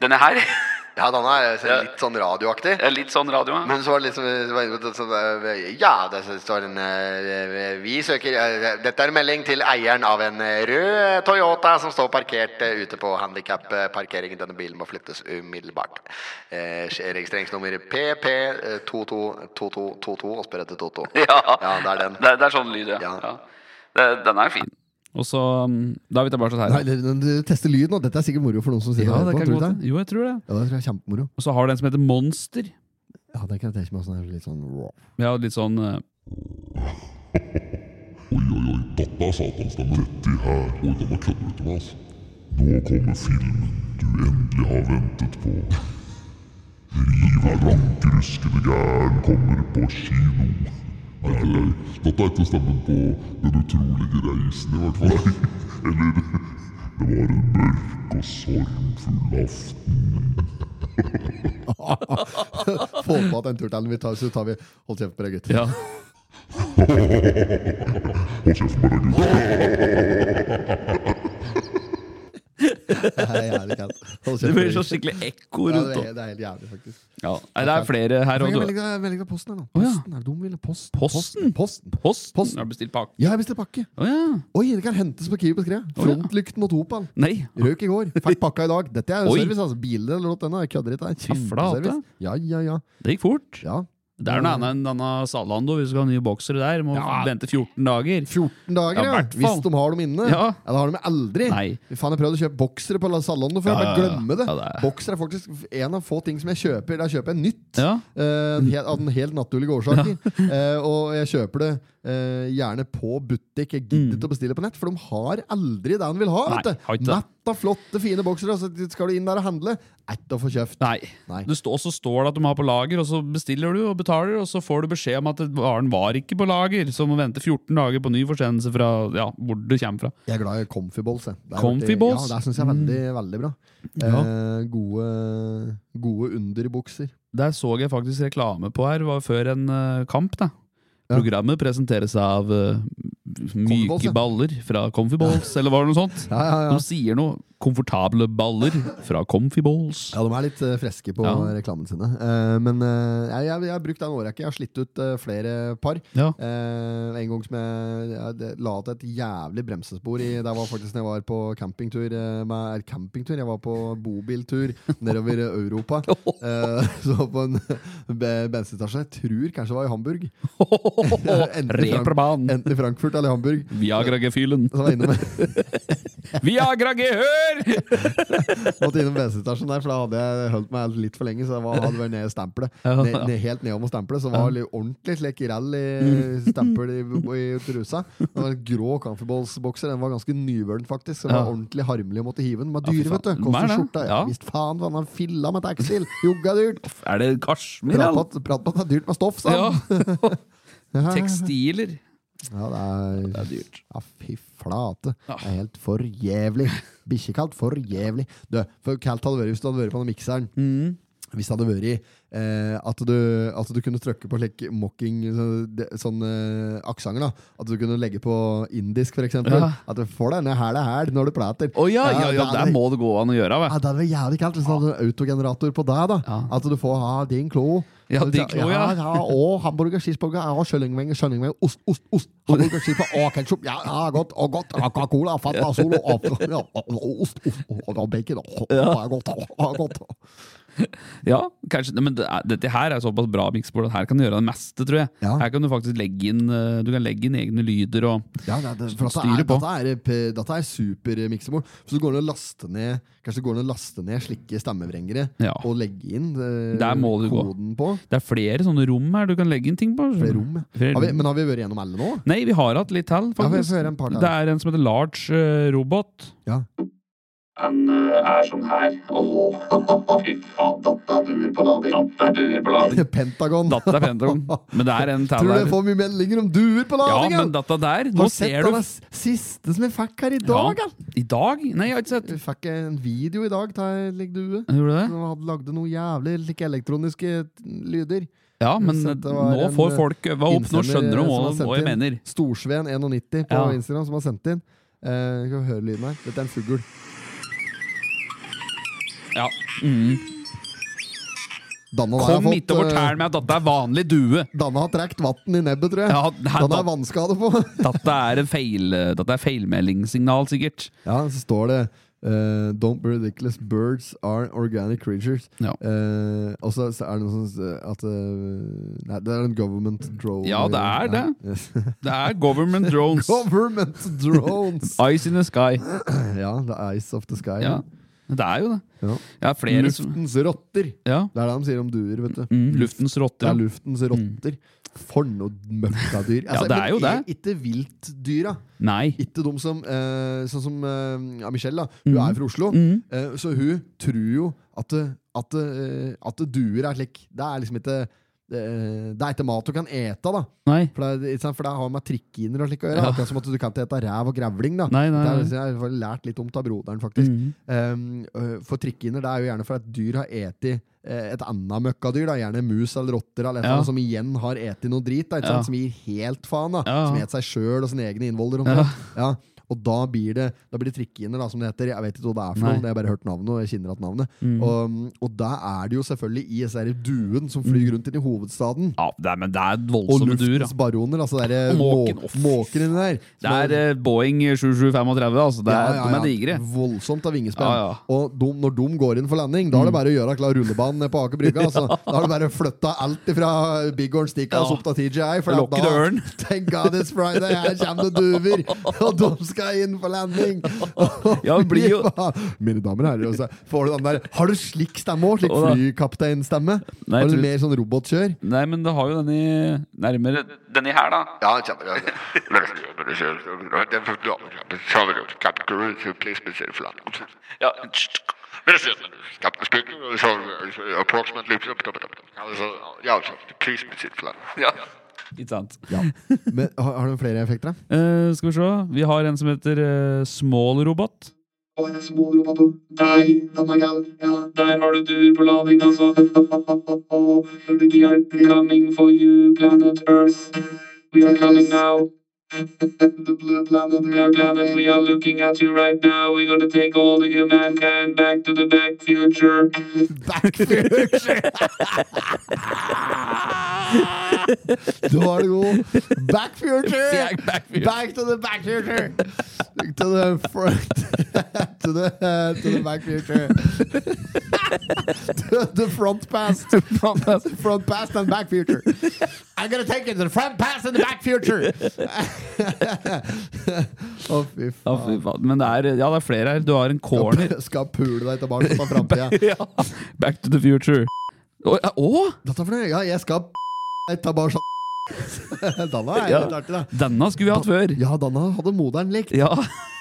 [SPEAKER 1] denne her *laughs*
[SPEAKER 2] Ja, den er litt sånn radioaktig.
[SPEAKER 1] er litt sånn radio.
[SPEAKER 2] Men så var det liksom så var det litt sånn, eh, Ja, det står en eh, Vi søker eh, Dette er en melding til eieren av en eh, rød Toyota som står parkert eh, ute på handikapparkeringen. Denne bilen må flyttes umiddelbart. Eh, Registreringsnummer eh, PP222222 og spør etter
[SPEAKER 1] *laughs*
[SPEAKER 2] Toto. Ja, det er den.
[SPEAKER 1] Det, er sånn lyd,
[SPEAKER 2] Ja. Ja.
[SPEAKER 1] den er fin. Og så um, Da er vi tilbake til her.
[SPEAKER 2] du tester lyd nå. Dette er sikkert moro for noen som
[SPEAKER 1] ja, det kan godt hende. Jo, jeg tror det.
[SPEAKER 2] Ja, det tror jeg er kjempemoro.
[SPEAKER 1] Og så har du en som heter Monster.
[SPEAKER 2] Ja, det kan jeg tenke meg sånn litt sånn raw.
[SPEAKER 1] Ja, litt sånn eh,
[SPEAKER 7] Oi, oi, oi, dette er satan-stemme. Dette her, oi, den har køddet med, altså. Nå kommer filmen du endelig har ventet på. Riv er rankruskende gæren kommer på kino. Nei, nei, nei, dette er ikke stemmen på Den utrolige reisen, i hvert fall. Eller Det var en mørk og sorgfull aften.
[SPEAKER 2] Få på at en tur til vi tar, så tar vi Hold kjeft på deg, gutt. *laughs*
[SPEAKER 1] *laughs* Ja.
[SPEAKER 7] Hold kjeft på deg, gutt.
[SPEAKER 2] Det er jævlig kaldt. Hold
[SPEAKER 1] Det
[SPEAKER 2] kjeft på
[SPEAKER 1] blir
[SPEAKER 2] deg,
[SPEAKER 1] så
[SPEAKER 2] gutt.
[SPEAKER 1] skikkelig ekko
[SPEAKER 2] Ja,
[SPEAKER 1] rundt
[SPEAKER 2] det,
[SPEAKER 1] om.
[SPEAKER 2] er, det er helt jævlig, faktisk.
[SPEAKER 1] Ja. Nei, det er flere her.
[SPEAKER 2] Jeg
[SPEAKER 1] Og
[SPEAKER 2] fikk en
[SPEAKER 1] du,
[SPEAKER 2] melding fra- melding fra Posten her nå.
[SPEAKER 1] Å, ja.
[SPEAKER 2] Posten, er det dum, eller? Posten.
[SPEAKER 1] Posten?
[SPEAKER 2] Posten.
[SPEAKER 1] posten.
[SPEAKER 2] Posten.
[SPEAKER 1] Har du bestilt pakke?
[SPEAKER 2] Ja, jeg bestilte pakke.
[SPEAKER 1] Å ja.
[SPEAKER 2] Oi, det kan hentes på Kiwi på skrevet.
[SPEAKER 1] Å, ja.
[SPEAKER 2] Frontlykt mot Opal.
[SPEAKER 1] Nei.
[SPEAKER 2] Røk i går, fikk pakka i dag. Dette er jo
[SPEAKER 1] Oi.
[SPEAKER 2] service, altså. Biler.no. Jeg kødder ikke. Det er
[SPEAKER 1] Fy flate.
[SPEAKER 2] Kjempeservice. Ja, ja, ja.
[SPEAKER 1] Det gikk fort.
[SPEAKER 2] ja.
[SPEAKER 1] Det er noe annet enn denne Salando. Hvis du skal ha nye boksere der, må
[SPEAKER 2] Ja.
[SPEAKER 1] vente 14 dager.
[SPEAKER 2] 14 dager,
[SPEAKER 1] Ja,
[SPEAKER 2] ja.
[SPEAKER 1] hvert fall.
[SPEAKER 2] Hvis de har dem inne.
[SPEAKER 1] Ja.
[SPEAKER 2] det har de aldri.
[SPEAKER 1] Nei.
[SPEAKER 2] Fy Faen, jeg prøvde å kjøpe boksere på Salando før.
[SPEAKER 1] Ja,
[SPEAKER 2] Bare
[SPEAKER 1] ja, ja.
[SPEAKER 2] glemme det.
[SPEAKER 1] Ja, det er-
[SPEAKER 2] Bokser er faktisk en av få ting som jeg kjøper. Da kjøper jeg nytt.
[SPEAKER 1] Ja.
[SPEAKER 2] Eh,
[SPEAKER 1] Mm.
[SPEAKER 2] en helt, av den helt naturlige årsaker.
[SPEAKER 1] *laughs*
[SPEAKER 2] Eh, og jeg kjøper det eh, gjerne på butikk. Jeg gidder ikke å bestille på nett, for de har aldri det de vil ha.
[SPEAKER 1] Mm. Nei,
[SPEAKER 2] vet
[SPEAKER 1] har ikke
[SPEAKER 2] du.
[SPEAKER 1] det.
[SPEAKER 2] Mett av flotte, fine boksere, og så skal du inn der og handle. Ett å få kjøpt.
[SPEAKER 1] Nei.
[SPEAKER 2] Nei.
[SPEAKER 1] Det står- også står det at de har på lager, og så bestiller du og betaler, og så får du beskjed om at varen var ikke på lager, så må vente 14 dager på ny forsendelse fra ja, hvor det kommer fra.
[SPEAKER 2] Jeg er glad i comfy balls. jeg. Det er
[SPEAKER 1] Comfy
[SPEAKER 2] veldig-
[SPEAKER 1] balls? Mm.
[SPEAKER 2] Ja, det syns jeg er veldig, veldig bra.
[SPEAKER 1] Ja.
[SPEAKER 2] Eh, gode, gode underbukser.
[SPEAKER 1] Der så jeg faktisk reklame på her, var før en eh, kamp, da.
[SPEAKER 2] Ja.
[SPEAKER 1] Programmet presenteres av eh, myke
[SPEAKER 2] Balls, ja.
[SPEAKER 1] baller fra Comfy Balls, eller var det noe sånt?
[SPEAKER 2] Ja, ja, ja.
[SPEAKER 1] De sier noe komfortable baller fra Comfy Balls.
[SPEAKER 2] Ja, *laughs* de er litt eh, freske på
[SPEAKER 1] Ja.
[SPEAKER 2] reklamene sine. Eh, men eh, jeg, jeg, jeg har brukt det en årrekke. Jeg har slitt ut eh, flere par.
[SPEAKER 1] Ja.
[SPEAKER 2] Eh, en gang som jeg, jeg det- la til et jævlig bremsespor i Det var faktisk når jeg var på campingtur. eh, Med, er campingtur Jeg var på bobiltur nedover Europa.
[SPEAKER 1] *laughs*
[SPEAKER 2] Eh, så på en be- bensinstasjon Jeg tror kanskje det var i Hamburg. Endelig Frank-
[SPEAKER 1] Reperbanen.
[SPEAKER 2] Enten i Frankfurt eller i Hamburg.
[SPEAKER 1] Viagra-gefühlen.
[SPEAKER 2] Så var jeg innom,
[SPEAKER 1] Viagra-gehør!
[SPEAKER 2] måtte innom bensinstasjonen der, for da hadde jeg holdt meg litt for lenge. Så jeg var, hadde vært nede i stempelet.
[SPEAKER 1] Ja.
[SPEAKER 2] Ned, ned, helt nedom og stempelet, så var det litt ordentlig slik rally
[SPEAKER 1] Mm.
[SPEAKER 2] stempel i, i trusa. Det var en grå Comfyballs-bokser. Den var ganske nyvølen, faktisk. Så det var
[SPEAKER 1] Ja.
[SPEAKER 2] ordentlig harmelig å måtte hive den. Den var
[SPEAKER 1] Ja, fy
[SPEAKER 2] dyr, vet
[SPEAKER 1] faen.
[SPEAKER 2] du.
[SPEAKER 1] Den
[SPEAKER 2] Kostet
[SPEAKER 1] er det.
[SPEAKER 2] skjorta. Ja.
[SPEAKER 1] Ja.
[SPEAKER 2] Visst faen, var den filla med tekstil! Jogga dyrt!
[SPEAKER 1] Er det kasjmir?
[SPEAKER 2] Prat på
[SPEAKER 1] eller?
[SPEAKER 2] at- prat på at det er dyrt med stoff, sa *laughs*
[SPEAKER 1] Ja.
[SPEAKER 2] han! Ja.
[SPEAKER 1] Tekstiler.
[SPEAKER 2] Ja, det er,
[SPEAKER 1] Det er dyrt.
[SPEAKER 2] Ja, fy flate. Det er helt for jævlig. Bikkjekaldt, for jævlig. Du, for kaldt hadde det vært hvis du hadde vært på den mikseren.
[SPEAKER 1] Mm.
[SPEAKER 2] Hvis det hadde vært eh, at, du, at du kunne trykke på slik mocking så- det- sånn eh, aksenter, da. At du kunne legge på indisk, for eksempel.
[SPEAKER 1] Ja.
[SPEAKER 2] At du får denne hæla hæl når du prater.
[SPEAKER 1] Å ja, ja, ja,
[SPEAKER 2] det
[SPEAKER 1] der
[SPEAKER 2] er-
[SPEAKER 1] må det gå an å gjøre.
[SPEAKER 2] ja,
[SPEAKER 1] Vet.
[SPEAKER 2] det hadde vært jævlig kaldt hvis du hadde en autogenerator på deg. da
[SPEAKER 1] Ja.
[SPEAKER 2] At du får ha din klo.
[SPEAKER 1] Ja, din klo, ja.
[SPEAKER 2] ja, og hamburger, cheeseburger, ja, kyllingvinger, kyllingvinger, ost, ost, ost. Hamburger, cheeseburger, og ketsjup. Ja, ja, godt, og godt. Coca-Cola, Fanta Solo, og, ja, og ost, ost, og og bacon. Og, ja, godt, og, godt.
[SPEAKER 1] Ja, kanskje, men det er, Dette her er såpass bra miksbord at her kan du gjøre det meste, tror jeg.
[SPEAKER 2] Ja.
[SPEAKER 1] Her kan du faktisk legge inn eh, Du kan legge inn egne lyder og
[SPEAKER 2] Ja, det, det, for dette
[SPEAKER 1] Styrer
[SPEAKER 2] er,
[SPEAKER 1] på.
[SPEAKER 2] dette er, p- dette er supermiksebord. Så du går ned og laster ned Kanskje du går ned og laster ned slike stemmevrengere
[SPEAKER 1] Ja.
[SPEAKER 2] og legger inn eh,
[SPEAKER 1] Der må du gå.
[SPEAKER 2] koden på.
[SPEAKER 1] Det er flere sånne rom her du kan legge inn ting på.
[SPEAKER 2] Flere rom.
[SPEAKER 1] Flere
[SPEAKER 2] Har vi,
[SPEAKER 1] rom.
[SPEAKER 2] men har vi vært gjennom alle nå?
[SPEAKER 1] Nei, vi har hatt litt
[SPEAKER 2] Ja,
[SPEAKER 1] til,
[SPEAKER 2] vi
[SPEAKER 1] faktisk.
[SPEAKER 2] får høre en par til.
[SPEAKER 1] det er en som heter Large eh, Robot.
[SPEAKER 2] Ja.
[SPEAKER 7] Den er sånn her. Åh, fy faen, datta duer på lader. Datta duer på lader.
[SPEAKER 2] *laughs* Pentagon.
[SPEAKER 1] Datta er Pentagon. Men det er en
[SPEAKER 2] *laughs*
[SPEAKER 1] til
[SPEAKER 2] Tror du jeg
[SPEAKER 1] der.
[SPEAKER 2] får mye meldinger om duer på
[SPEAKER 1] Ja,
[SPEAKER 2] ladingen?
[SPEAKER 1] men dette
[SPEAKER 2] Har
[SPEAKER 1] der Nå
[SPEAKER 2] du sett
[SPEAKER 1] ser du
[SPEAKER 2] den siste som jeg fikk her i dag?
[SPEAKER 1] Ja.
[SPEAKER 2] Ja.
[SPEAKER 1] I dag? Nei, jeg har ikke sett.
[SPEAKER 2] Jeg fikk en video i dag av ei lik due.
[SPEAKER 1] Gjorde du det?
[SPEAKER 2] Som hadde lagd noen jævlig like, elektroniske eh, lyder.
[SPEAKER 1] Ja, men
[SPEAKER 2] Så det var
[SPEAKER 1] nå
[SPEAKER 2] en,
[SPEAKER 1] får
[SPEAKER 2] eh,
[SPEAKER 1] folk øva opp. Nå
[SPEAKER 2] Innsender eh,
[SPEAKER 1] skjønner de
[SPEAKER 2] som
[SPEAKER 1] hva,
[SPEAKER 2] har sendt
[SPEAKER 1] hva jeg
[SPEAKER 2] inn.
[SPEAKER 1] mener.
[SPEAKER 2] Storsveen91 på
[SPEAKER 1] Ja.
[SPEAKER 2] Instagram som har sendt inn. Eh, skal vi høre lyden her? Dette er en fugl.
[SPEAKER 1] Ja. Mm.
[SPEAKER 2] Danne har
[SPEAKER 1] Kom
[SPEAKER 2] fått,
[SPEAKER 1] ikke og
[SPEAKER 2] eh,
[SPEAKER 1] fortell meg at dette er vanlig due.
[SPEAKER 2] Danne har trukket vann i nebbet, tror jeg.
[SPEAKER 1] Ja, her,
[SPEAKER 2] Danne
[SPEAKER 1] da,
[SPEAKER 2] er vannskade på.
[SPEAKER 1] dette er en feil, dette er feilmeldingssignal, sikkert.
[SPEAKER 2] Ja, så står det eh, Don't be ridiculous, birds are organic creatures.
[SPEAKER 1] Ja.
[SPEAKER 2] Eh, og så så er det noe sånn at eh, Nei, det er en government drone.
[SPEAKER 1] Ja, det er
[SPEAKER 2] Ja,
[SPEAKER 1] det.
[SPEAKER 2] yes. *laughs*
[SPEAKER 1] Det er *laughs* government drones.
[SPEAKER 2] government
[SPEAKER 1] *laughs*
[SPEAKER 2] drones!
[SPEAKER 1] Ice in the sky.
[SPEAKER 2] ja, The Ice of the Sky.
[SPEAKER 1] Ja, det er jo det.
[SPEAKER 2] Ja.
[SPEAKER 1] Ja, flere som
[SPEAKER 2] Luftens rotter!
[SPEAKER 1] ja.
[SPEAKER 2] Det er det de sier om duer. vet du
[SPEAKER 1] mm, Luftens
[SPEAKER 2] Det er
[SPEAKER 1] rotter.
[SPEAKER 2] luftens rotter. For noe møkkadyr.
[SPEAKER 1] Ja, det er jo
[SPEAKER 2] men
[SPEAKER 1] det.
[SPEAKER 2] Ikke viltdyra.
[SPEAKER 1] Nei.
[SPEAKER 2] Ikke de som eh, Sånn som eh, ja, Michelle, da. Hun er fra Oslo.
[SPEAKER 1] Mhm.
[SPEAKER 2] Eh, så hun tror jo at, at, eh, at duer er slik Det er liksom ikke eh, Det er ikke mat du kan ete, da.
[SPEAKER 1] Nei.
[SPEAKER 2] For det, er- ikke sant? for det har med trikkiner og slik å gjøre.
[SPEAKER 1] Ja.
[SPEAKER 2] Akkurat som at du kan ikke ete ræv og grevling. da
[SPEAKER 1] Nei, nei,
[SPEAKER 2] Det er,
[SPEAKER 1] nei.
[SPEAKER 2] liksom- Jeg har lært litt om det av broderen, faktisk.
[SPEAKER 1] Mhm.
[SPEAKER 2] Um, øh, for trikkiner det er jo gjerne for at dyr har eti eh, et annet møkkadyr. Da. Gjerne mus eller rotter eller et
[SPEAKER 1] Ja.
[SPEAKER 2] eller annet som igjen har eti noe drit. Da, ikke
[SPEAKER 1] Ja.
[SPEAKER 2] sant? Som gir helt faen. Da.
[SPEAKER 1] Ja.
[SPEAKER 2] Som et seg sjøl og sine egne innvoller. og
[SPEAKER 1] Ja.
[SPEAKER 2] sånt. Ja. Og da blir det Da blir det trikkiner, da, som det heter. Jeg vet ikke hva det er for
[SPEAKER 1] Nei. Mhm.
[SPEAKER 2] noe. men Jeg har bare hørt navnet, og jeg kjenner igjen navnet. Og, og da er det jo selvfølgelig i disse her duen som
[SPEAKER 1] Mhm.
[SPEAKER 2] flyr rundt inn i hovedstaden.
[SPEAKER 1] Ja, det er, men det er
[SPEAKER 2] Og
[SPEAKER 1] voldsomme duer. da.
[SPEAKER 2] luftens baroner, altså det er
[SPEAKER 1] Og måken, å,
[SPEAKER 2] måken,
[SPEAKER 1] fy
[SPEAKER 2] måken inni der.
[SPEAKER 1] Det er eh, Boeing 7735, altså. Det er, De er digre.
[SPEAKER 2] Voldsomt av vingespenn.
[SPEAKER 1] Ja, Mm. ja.
[SPEAKER 2] Og de, når de går inn for landing, da er det bare å gjøre klar rullebanen ned på Aker
[SPEAKER 1] *laughs*
[SPEAKER 2] Brygge. Altså. Da er det bare å flytte alt ifra Big Horn Stickas
[SPEAKER 1] Ja.
[SPEAKER 2] opp til TGI. For
[SPEAKER 1] Lokk i
[SPEAKER 2] da-
[SPEAKER 1] døren.
[SPEAKER 2] *laughs* Thank God it's Friday, her kommer det duver! Og de skal inn for landing!
[SPEAKER 1] *laughs* Ja, det blir jo-
[SPEAKER 2] *laughs* Mine damer og herrer, og så får du den der Har du slik stemme òg? Slik
[SPEAKER 1] Å, da.
[SPEAKER 2] flykapteinstemme?
[SPEAKER 1] Nei,
[SPEAKER 2] Har
[SPEAKER 1] jeg
[SPEAKER 2] du
[SPEAKER 1] tror-
[SPEAKER 2] mer sånn robotkjør?
[SPEAKER 1] Nei, men det har jo denne i- nærmere Denne her, da.
[SPEAKER 7] Ja, det stemmer. Ja.
[SPEAKER 1] Ja.
[SPEAKER 7] Ja.
[SPEAKER 1] Ikke sant.
[SPEAKER 2] Men Har, har du flere effekter, da?
[SPEAKER 1] Eh, skal vi se. Vi har en som heter eh, Small Robot.
[SPEAKER 8] We are coming now.
[SPEAKER 9] The blue planet we are galaxy are looking at you right now. We're gonna take all the humankind back to the back future.
[SPEAKER 2] Back future! Da var det god. Back future!
[SPEAKER 1] Back future.
[SPEAKER 2] Back to the back future! To the front To the, to the back future. to the front past. Front past. and back future. I'm gonna take it to the front past and the back future! Å, fy faen.
[SPEAKER 1] *laughs* Ja, fy faen. Men det er, ja, det er flere her. Du har en corner.
[SPEAKER 2] Skal pule deg tilbake på framtida. *laughs*
[SPEAKER 1] Ja. Back to the future. Å? ja, å?
[SPEAKER 2] Dette for noe? Ja, jeg skal p- tilbake. Danna er
[SPEAKER 1] Ja.
[SPEAKER 2] litt artig, da.
[SPEAKER 1] Denne skulle vi hatt før.
[SPEAKER 2] Ja, Danna hadde moderen likt
[SPEAKER 1] Ja,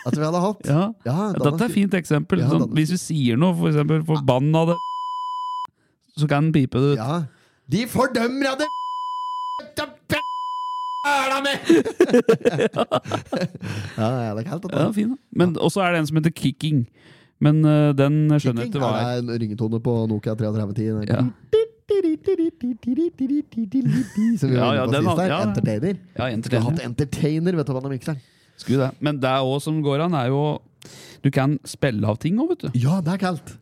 [SPEAKER 2] at vi hadde hatt.
[SPEAKER 1] ja.
[SPEAKER 2] Ja, Danna
[SPEAKER 1] Dette er
[SPEAKER 2] skulle-
[SPEAKER 1] et fint eksempel.
[SPEAKER 2] Ja,
[SPEAKER 1] Sånn,
[SPEAKER 2] Danne-
[SPEAKER 1] hvis du sier noe, for eksempel forbannede så kan den pipe det ut.
[SPEAKER 2] Ja. De fordømmer av det Æla mi! Ja, det er kaldt.
[SPEAKER 1] Ja, fin. da. Men også er det en som heter kicking. Men øh, den skjønner jeg ikke hva
[SPEAKER 2] det
[SPEAKER 1] er.
[SPEAKER 2] er en ringetone på Nokia 3310.
[SPEAKER 1] Ja.
[SPEAKER 2] Som vi
[SPEAKER 1] Ja,
[SPEAKER 2] var
[SPEAKER 1] ja,
[SPEAKER 2] inne på
[SPEAKER 1] den
[SPEAKER 2] sist
[SPEAKER 1] hadde-
[SPEAKER 2] her.
[SPEAKER 1] ja, ja.
[SPEAKER 2] Entertainer.
[SPEAKER 1] Ja,
[SPEAKER 2] Vi har
[SPEAKER 1] entertainment.
[SPEAKER 2] hatt entertainer, vet du hva den mikseren
[SPEAKER 1] Skulle det. Men det òg som går an, er jo Du kan spille av ting òg, vet du.
[SPEAKER 2] Ja, det er kaldt.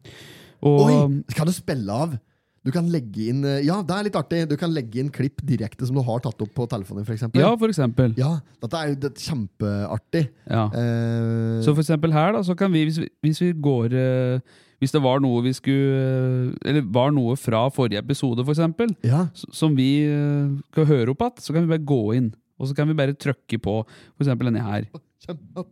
[SPEAKER 1] Og
[SPEAKER 2] Oi, kan du spille av? Du kan legge inn eh, Ja, det er litt artig. Du kan legge inn klipp direkte som du har tatt opp på telefonen. For eksempel.
[SPEAKER 1] Ja, for eksempel.
[SPEAKER 2] ja, dette er jo det, kjempeartig.
[SPEAKER 1] Ja.
[SPEAKER 2] Eh,
[SPEAKER 1] Så for eksempel her, da, så kan vi, hvis vi, hvis vi går eh, Hvis det var noe vi skulle eh, Eller var noe fra forrige episode, for eksempel,
[SPEAKER 2] ja,
[SPEAKER 1] s- som vi eh, skal høre opp igjen, så kan vi bare gå inn. Og så kan vi bare trykke på for eksempel denne her.
[SPEAKER 2] kjempe-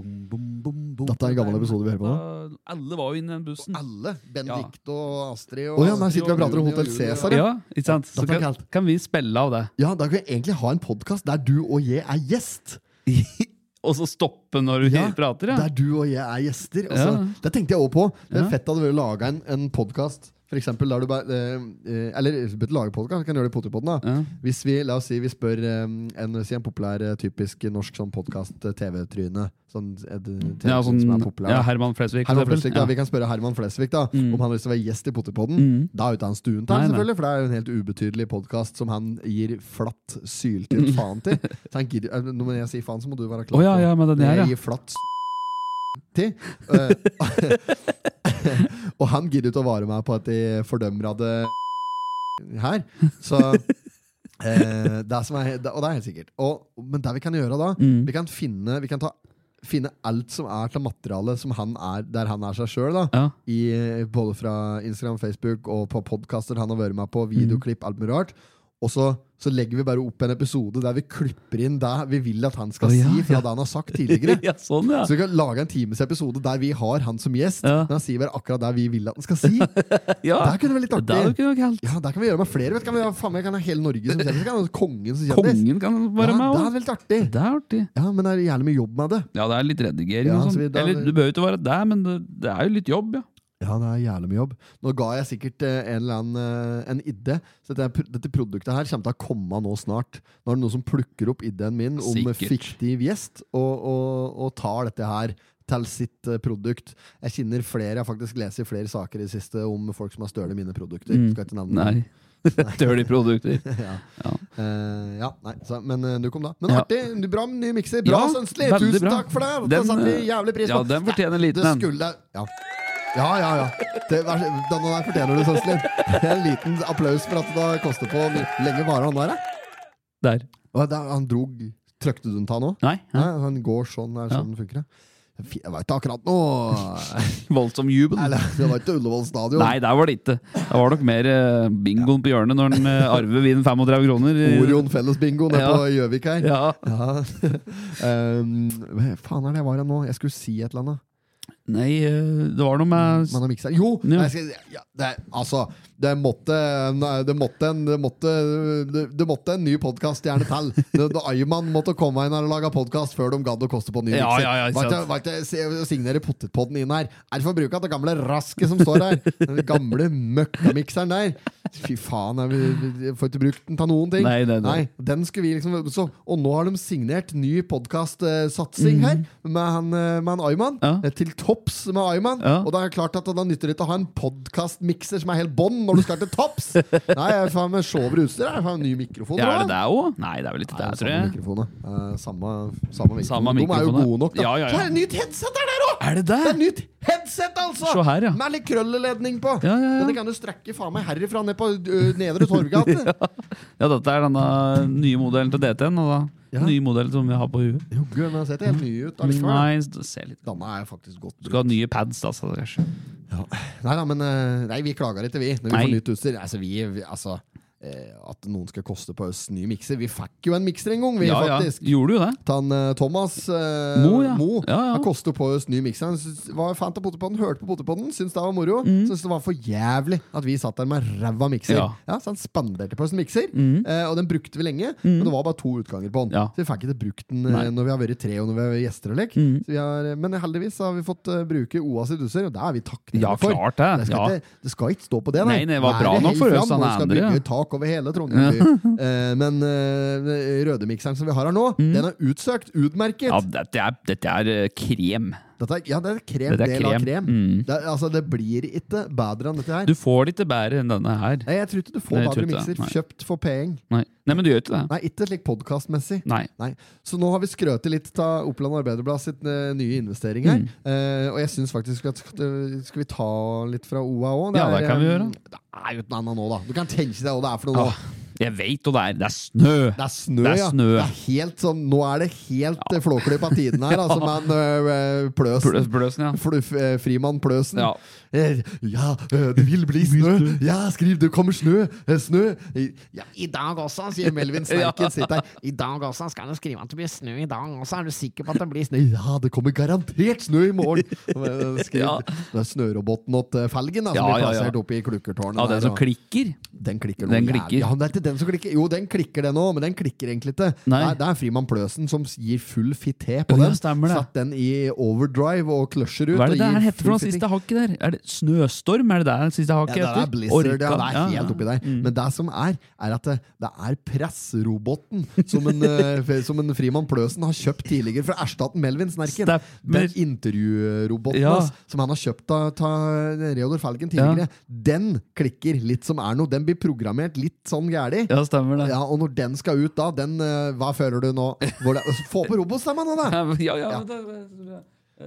[SPEAKER 2] Dette er en gammel episode vi hører på nå.
[SPEAKER 1] Da- Alle var jo inne i den bussen.
[SPEAKER 2] Alle. Benedikt og Astrid Å og ja, der sitter vi og prater om Juni og Hotell Julie og- Cæsar. Ja.
[SPEAKER 1] Ja, ikke sant? Så
[SPEAKER 2] Dette er
[SPEAKER 1] kan,
[SPEAKER 2] kaldt.
[SPEAKER 1] kan vi spille av det.
[SPEAKER 2] ja, da kan vi egentlig ha en podkast der du og jeg er gjest.
[SPEAKER 1] Og så stoppe når vi
[SPEAKER 2] Ja,
[SPEAKER 1] prater, ja.
[SPEAKER 2] Der du og jeg er gjester. Og så,
[SPEAKER 1] Ja.
[SPEAKER 2] Det tenkte jeg òg på. Det
[SPEAKER 1] Ja.
[SPEAKER 2] er fett hadde vært å lage en, en podkast. For eksempel, der du bare, eh, eh, eller du bør ikke lage podcast, du kan gjøre det i Potipodden. da.
[SPEAKER 1] Ja.
[SPEAKER 2] Hvis vi la oss si, vi spør eh, en, si en populær, eh, typisk norsk sånn podkast-TV-tryne sånn, eh, TV
[SPEAKER 1] Ja, sånn,
[SPEAKER 2] som er populær.
[SPEAKER 1] ja,
[SPEAKER 2] da.
[SPEAKER 1] Herman Flesvig. for
[SPEAKER 2] Herman
[SPEAKER 1] eksempel. Mm.
[SPEAKER 2] Flesvig, da, Vi kan spørre Herman Flesvig da, om han har lyst til å være gjest i Potipodden. Da er jo ikke han stuen til,
[SPEAKER 1] Nei,
[SPEAKER 2] han,
[SPEAKER 1] nei.
[SPEAKER 2] selvfølgelig, for det er jo en helt ubetydelig podkast som han gir flatt, syltynt faen
[SPEAKER 1] *laughs*
[SPEAKER 2] til. Så han gidder, eh, når jeg sier faen, så må du være
[SPEAKER 1] Å
[SPEAKER 2] klar.
[SPEAKER 1] ja,
[SPEAKER 2] på-
[SPEAKER 1] ja, med den her,
[SPEAKER 2] jeg
[SPEAKER 1] ja.
[SPEAKER 2] gir flatt s- til. Eh, *laughs* og han gidder ikke å vare meg på at de fordømmer av det her. Så eh, det som er, Og det er helt sikkert. Og, men det vi kan gjøre da,
[SPEAKER 1] Mm.
[SPEAKER 2] vi kan finne, vi kan ta, finne alt som er til materialet som han er, der han er seg sjøl.
[SPEAKER 1] Ja.
[SPEAKER 2] Både fra Instagram, Facebook og på podkaster han har vært med på,
[SPEAKER 1] Mm.
[SPEAKER 2] videoklipp, alt mulig rart. Og så, så legger vi bare opp en episode der vi klipper inn det vi vil at han skal
[SPEAKER 1] Å, ja,
[SPEAKER 2] si fra
[SPEAKER 1] ja.
[SPEAKER 2] det han har sagt tidligere.
[SPEAKER 1] *laughs* ja, sånn, ja.
[SPEAKER 2] Så vi kan lage en times episode der vi har han som gjest,
[SPEAKER 1] Ja.
[SPEAKER 2] men han sier bare akkurat det vi vil at han skal si.
[SPEAKER 1] *laughs* ja.
[SPEAKER 2] Der kunne det vært litt
[SPEAKER 1] Det er jo
[SPEAKER 2] artig.
[SPEAKER 1] ikke noe galt.
[SPEAKER 2] Ja, der kan vi gjøre med flere. Vet du, kan vi, ha- faen, meg, kan ha hele Norge som kjendis. Kan ha kongen som kjendis.
[SPEAKER 1] Kongen kan være
[SPEAKER 2] ja,
[SPEAKER 1] med
[SPEAKER 2] det
[SPEAKER 1] òg.
[SPEAKER 2] er veldig artig.
[SPEAKER 1] Det er artig.
[SPEAKER 2] Ja, men det er gjerne mye jobb med det.
[SPEAKER 1] Ja, det er litt redigering
[SPEAKER 2] Ja,
[SPEAKER 1] og
[SPEAKER 2] så vi-
[SPEAKER 1] sånn.
[SPEAKER 2] da-
[SPEAKER 1] Eller du behøver jo ikke være der, men det, det er jo litt jobb, ja.
[SPEAKER 2] Ja, det er jævlig mye jobb. Nå ga jeg sikkert eh, en eller annen eh, en idé. Så dette, pr- dette produktet her kommer til å komme nå snart. Nå er det noen som plukker opp ideen min om
[SPEAKER 1] Sikkert.
[SPEAKER 2] fiktiv gjest, og, og, og tar dette her til sitt eh, produkt. Jeg kjenner flere, jeg har faktisk lest i flere saker i det siste om folk som har stjålet mine produkter.
[SPEAKER 1] Mm.
[SPEAKER 2] Skal ikke nevne
[SPEAKER 1] Nei. *laughs*
[SPEAKER 2] det.
[SPEAKER 1] Dirty
[SPEAKER 2] *laughs*
[SPEAKER 1] produkter.
[SPEAKER 2] ja.
[SPEAKER 1] Ja.
[SPEAKER 2] Eh, ja, nei, så, men eh, nok om det. Men
[SPEAKER 1] Ja.
[SPEAKER 2] artig! Bra ny mikser. Bra,
[SPEAKER 1] Ja,
[SPEAKER 2] Sønsli!
[SPEAKER 1] veldig
[SPEAKER 2] Tusen
[SPEAKER 1] bra.
[SPEAKER 2] takk for det! Det
[SPEAKER 1] Den,
[SPEAKER 2] satte vi
[SPEAKER 1] eh,
[SPEAKER 2] jævlig pris på.
[SPEAKER 1] Ja, den fortjener en
[SPEAKER 2] sånn- Det
[SPEAKER 1] liten en.
[SPEAKER 2] skulle Ja, ja, ja. ja. Det, vær, så- denne der fortjener du, Sønsli. En liten applaus for at det da koster på Hvor lenge varer han der? da?
[SPEAKER 1] Der.
[SPEAKER 2] Å, der, Han drog Trøkte du den ta nå?
[SPEAKER 1] Nei.
[SPEAKER 2] Nei,
[SPEAKER 1] Ja.
[SPEAKER 2] han går sånn, er
[SPEAKER 1] Ja.
[SPEAKER 2] sånn funker det. Fy, Jeg veit ikke akkurat
[SPEAKER 1] *laughs*
[SPEAKER 2] nå!
[SPEAKER 1] Voldsom jubel.
[SPEAKER 2] Eller, det var ikke Ullevål stadion.
[SPEAKER 1] Nei, der var det ikke. Det var nok mer eh, bingoen på hjørnet når den eh, arver vinner 35 kroner.
[SPEAKER 2] *laughs* Orion fellesbingo nede
[SPEAKER 1] Ja.
[SPEAKER 2] på Gjøvik her.
[SPEAKER 1] Ja.
[SPEAKER 2] Ja. *laughs* um, hva faen er det jeg var her nå? Jeg skulle si et eller annet.
[SPEAKER 1] Nei, eh, det var noe med
[SPEAKER 2] Man har mikset. Jo!
[SPEAKER 1] Ja.
[SPEAKER 2] Jeg skal, ja, det, er- altså, det måtte nei, det måtte en, det måtte, det, det måtte en ny podkaststjerne til. Det- det- Ayman måtte komme inn her og lage podkast før de gadd å koste på en ny
[SPEAKER 1] Ja,
[SPEAKER 2] mikser.
[SPEAKER 1] ja, ja, ikke
[SPEAKER 2] Var ikke-
[SPEAKER 1] sant.
[SPEAKER 2] var ikke- se- Signere potetpodden inn her. Er det for bruk av det gamle rasket som står her? Den gamle møkkamikseren der. Fy faen, jeg, vi- vi får ikke brukt den til noen ting.
[SPEAKER 1] Nei, nei, nei.
[SPEAKER 2] den skulle vi liksom så, Og nå har de signert ny podkastsatsing her, med han, eh, med han Ayman.
[SPEAKER 1] Mhm. Ja.
[SPEAKER 2] Eh, Til topps med Ayman.
[SPEAKER 1] Ja.
[SPEAKER 2] Og da er det klart at da nytter det ikke å ha en podkastmikser som er helt bånn når du skal til
[SPEAKER 1] *laughs*
[SPEAKER 2] topps! nei, jeg er faen med sjovere utstyr. Jeg er faen med ny mikrofon.
[SPEAKER 1] Ja, er
[SPEAKER 2] tror jeg.
[SPEAKER 1] det det òg? Nei, det er vel ikke
[SPEAKER 2] Nei,
[SPEAKER 1] det, tror
[SPEAKER 2] samme
[SPEAKER 1] jeg.
[SPEAKER 2] mikrofon, da. Eh, Samme, samme mikrofon.
[SPEAKER 1] Samme
[SPEAKER 2] De er
[SPEAKER 1] mikrofon,
[SPEAKER 2] jo
[SPEAKER 1] ja.
[SPEAKER 2] gode nok, da.
[SPEAKER 1] Ja, ja, ja.
[SPEAKER 2] Så er det nytt headset der, der òg!
[SPEAKER 1] Er det
[SPEAKER 2] Det er
[SPEAKER 1] det?
[SPEAKER 2] nytt headset, altså!
[SPEAKER 1] Se her, ja.
[SPEAKER 2] Med litt krølleledning på.
[SPEAKER 1] Ja, ja, ja.
[SPEAKER 2] Denne kan du strekke faen meg herifra ned på ø, Nedre Torvgate.
[SPEAKER 1] *laughs* Ja, dette er denne nye modellen til DT-en. og da-
[SPEAKER 2] Ja.
[SPEAKER 1] Nye modell som vi har på huet.
[SPEAKER 2] Jo, gud, men den ser ikke helt ny ut allikevel.
[SPEAKER 1] Nei, s- se litt.
[SPEAKER 2] Denne er faktisk godt
[SPEAKER 1] Du skal ha nye pads, altså, kanskje.
[SPEAKER 2] Nei da, men eh, nei, vi klager ikke, vi. Når vi
[SPEAKER 1] Nei.
[SPEAKER 2] får nytt utstyr. Altså, vi, vi altså eh, At noen skal koste på oss ny mikser. Vi fikk jo en mikser en gang, vi,
[SPEAKER 1] Ja, ja.
[SPEAKER 2] faktisk.
[SPEAKER 1] Gjorde du det?
[SPEAKER 2] Tan eh, Thomas eh,
[SPEAKER 1] Mo, ja.
[SPEAKER 2] Mo
[SPEAKER 1] Ja, ja.
[SPEAKER 2] Han kostet på oss ny mikser. Han syntes- var fan av potepodden, hørte på potepodden, syntes det var moro. Syntes det var for jævlig at vi satt der med ræva mikser. Ja.
[SPEAKER 1] Mm. Ja. Mm.
[SPEAKER 2] så han spanderte på oss en mikser, eh, og den brukte vi lenge. Men det var bare to utganger på den,
[SPEAKER 1] Ja.
[SPEAKER 2] så vi fikk ikke brukt den eh, når vi har vært tre og når vi har vært gjester. og lek.
[SPEAKER 1] Mm.
[SPEAKER 2] Så vi har, eh, men heldigvis har vi fått eh, bruke OA sitt utstyr, og det er vi takknemlige
[SPEAKER 1] Ja,
[SPEAKER 2] for.
[SPEAKER 1] klart det.
[SPEAKER 2] Det skal,
[SPEAKER 1] Ja.
[SPEAKER 2] ikke, det skal ikke stå på det,
[SPEAKER 1] Nei, det var
[SPEAKER 2] Været
[SPEAKER 1] bra nok
[SPEAKER 2] helt
[SPEAKER 1] for oss,
[SPEAKER 2] fram, og
[SPEAKER 1] han
[SPEAKER 2] skal
[SPEAKER 1] andre,
[SPEAKER 2] bygge
[SPEAKER 1] ja.
[SPEAKER 2] tak over hele
[SPEAKER 1] *laughs*
[SPEAKER 2] Trondheim by. Eh, men eh, rødemikseren som vi har her nå, den er utsøkt, utmerket.
[SPEAKER 1] Mm. Ja, dette er, dette er eh, krem.
[SPEAKER 2] Dette er, ja, det er krem,
[SPEAKER 1] Dette er
[SPEAKER 2] del av
[SPEAKER 1] krem.
[SPEAKER 2] krem.
[SPEAKER 1] Mm.
[SPEAKER 2] Det, er- altså, det blir ikke bedre enn dette her.
[SPEAKER 1] Du får det ikke bedre enn denne her.
[SPEAKER 2] Nei, jeg tror ikke du får
[SPEAKER 1] Nei, jeg
[SPEAKER 2] bedre
[SPEAKER 1] tror ikke det,
[SPEAKER 2] mikser
[SPEAKER 1] nei.
[SPEAKER 2] kjøpt for penger.
[SPEAKER 1] Nei, Nei men du gjør ikke det.
[SPEAKER 2] Nei, ikke slik podkastmessig.
[SPEAKER 1] Nei.
[SPEAKER 2] Nei. Så nå har vi skrøtet litt av Oppland Arbeiderblad sitt eh, nye investering
[SPEAKER 1] Mm.
[SPEAKER 2] her. Eh, og jeg syns faktisk at eh, Skal vi ta litt fra OA òg?
[SPEAKER 1] Ja, det kan vi gjøre.
[SPEAKER 2] Det er jo ikke noe annet nå, da. Du kan tenke deg hva det er for noe nå.
[SPEAKER 1] Åh, jeg veit hva det er. Det er snø!
[SPEAKER 2] Det er snø,
[SPEAKER 1] Det er snø.
[SPEAKER 2] ja. Det er helt sånn, nå er det helt ja. flåklypa tiden her, *laughs* altså, men eh, Pløsen
[SPEAKER 1] Blø- Bløsen, ja.
[SPEAKER 2] Fluff, eh, Frimann Pløsen.
[SPEAKER 1] Ja.
[SPEAKER 2] Eh, ja, eh, det vil bli snø! Ja, skriv, det kommer snø! Eh, Snø! I- Ja,
[SPEAKER 3] I dag også, sier
[SPEAKER 2] *laughs*
[SPEAKER 3] Melvin Snerken. Sitt her. I dag også skal du skrive at det blir snø i dag også. Er du sikker på at det blir snø?
[SPEAKER 2] *laughs* ja, det kommer garantert snø i *laughs* morgen! Eh, Skriv.
[SPEAKER 1] Ja.
[SPEAKER 2] Det er snøroboten til Felgen da, som
[SPEAKER 1] Ja,
[SPEAKER 2] blir
[SPEAKER 1] ja, ja.
[SPEAKER 2] plassert oppe i klukkertårnet.
[SPEAKER 1] Ja,
[SPEAKER 2] der,
[SPEAKER 1] den som
[SPEAKER 2] og-
[SPEAKER 1] klikker.
[SPEAKER 2] Den klikker nå.
[SPEAKER 1] Den
[SPEAKER 2] jævlig.
[SPEAKER 1] klikker.
[SPEAKER 2] Ja, men det er ikke den som klikker. Jo, den klikker den òg, men den klikker egentlig ikke.
[SPEAKER 1] Nei.
[SPEAKER 2] Det er- Det er Frimann Pløsen som gir full fité på
[SPEAKER 1] Ja,
[SPEAKER 2] den.
[SPEAKER 1] stemmer det.
[SPEAKER 2] Satt den i overdrive og klusjer ut.
[SPEAKER 1] Hva er
[SPEAKER 2] og
[SPEAKER 1] det det
[SPEAKER 2] gir
[SPEAKER 1] her heter for
[SPEAKER 2] full
[SPEAKER 1] noe
[SPEAKER 2] fitting.
[SPEAKER 1] siste hakket der? Er det Snøstorm? Er det det siste
[SPEAKER 2] Ja,
[SPEAKER 1] hakket
[SPEAKER 2] det er
[SPEAKER 1] heter?
[SPEAKER 2] Blizzard, ja, det
[SPEAKER 1] Orkan,
[SPEAKER 2] er helt oppi der.
[SPEAKER 1] Mm.
[SPEAKER 2] Men det som er, er at det, det er pressroboten som en, eh, *laughs* som en Frimann Pløsen har kjøpt tidligere fra erstatten Melvin Snerken.
[SPEAKER 1] Stemmer.
[SPEAKER 2] Den intervjuroboten
[SPEAKER 1] Ja.
[SPEAKER 2] hans, som han har kjøpt av av Reodor Felgen tidligere, den klikker litt som er noe. Den blir programmert litt sånn gæli.
[SPEAKER 1] Ja, stemmer det.
[SPEAKER 2] Ja, og når den skal ut, da den, eh, Hva føler du nå? Hvor det, få på robostemma nå, da!
[SPEAKER 1] Ja, *laughs* ja, ja,
[SPEAKER 2] Ja.
[SPEAKER 1] det, det, eh,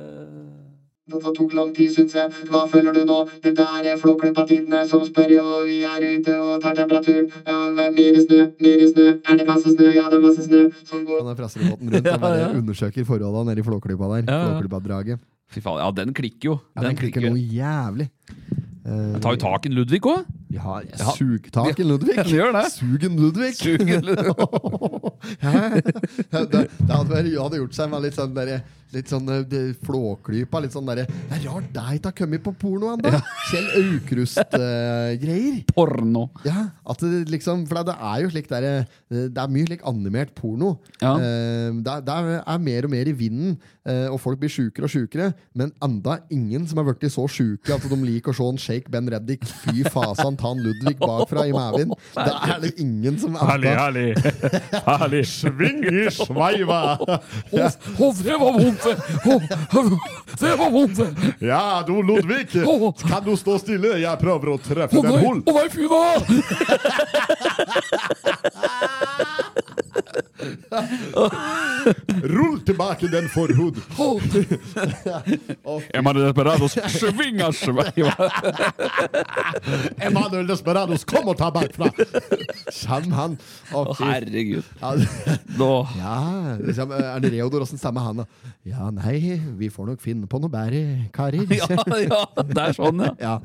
[SPEAKER 9] Det tok lang tid, syns jeg. Hva føler du nå? Det der er flåklypatidene som spør, og vi er ute og tar temperaturen. Ja, men mer snø, mer snø. Er det masse snø? Ja, det er masse snø. Som går
[SPEAKER 2] Den der pressroboten rundt og bare
[SPEAKER 1] Ja, ja.
[SPEAKER 2] undersøker forholdene nede i Flåklypa der.
[SPEAKER 1] Ja, ja.
[SPEAKER 2] Flåklypa-draget.
[SPEAKER 1] Fy faen, ja, den klikker jo.
[SPEAKER 2] Ja, den klikker noe jævlig. Eh,
[SPEAKER 1] Tar jo tak i en Ludvig òg.
[SPEAKER 2] Ja, jeg
[SPEAKER 1] Ja.
[SPEAKER 2] sug taken Ludvig.
[SPEAKER 1] *laughs* Ja, det gjør det.
[SPEAKER 2] Sugen Ludvig.
[SPEAKER 1] Sugen Ludvig.
[SPEAKER 2] *laughs* Hæ? det, det hadde, vært, det hadde gjort seg med litt sånn, derre- litt sånn eh, det- flåklypa. Litt sånn derre Det er rart deg ikke har kommet på porno ennå! Kjell eh, Aukrust-greier.
[SPEAKER 1] *laughs* Porno.
[SPEAKER 2] ja, at det liksom For det er jo slik der, eh, Det er mye slik animert porno.
[SPEAKER 1] Ja.
[SPEAKER 2] Eh, Det, er- det er mer og mer i vinden, eh, og folk blir sjukere og sjukere. Men enda ingen som har blitt så sjuke at de liker å se en Shake Ben Reddik fy fasan ta en Ludvig bakfra i maven. Det er det ingen som enda-
[SPEAKER 1] herlig.
[SPEAKER 2] *laughs*
[SPEAKER 1] Herlig. Sving i sveiva. Det var vondt! Det var vondt!
[SPEAKER 2] Ja, du Ludvig! Kan du stå stille? Jeg prøver å treffe
[SPEAKER 1] nei, fy da!
[SPEAKER 2] *laughs* Rull tilbake den forhud!
[SPEAKER 1] Emanuel Desperados svinga sveiva.
[SPEAKER 2] Emanuel Desperados, kom og ta bakfra! Kjem han. Å, fy-
[SPEAKER 1] Herregud.
[SPEAKER 2] Ja,
[SPEAKER 1] Nå.
[SPEAKER 2] Ja, liksom, er det Reodor? Åssen stemmer han, da? Ja, nei, vi får nok finne på noe bedre, karer.
[SPEAKER 1] *laughs* *laughs* Ja, ja, det er sånn, ja.
[SPEAKER 2] Ja,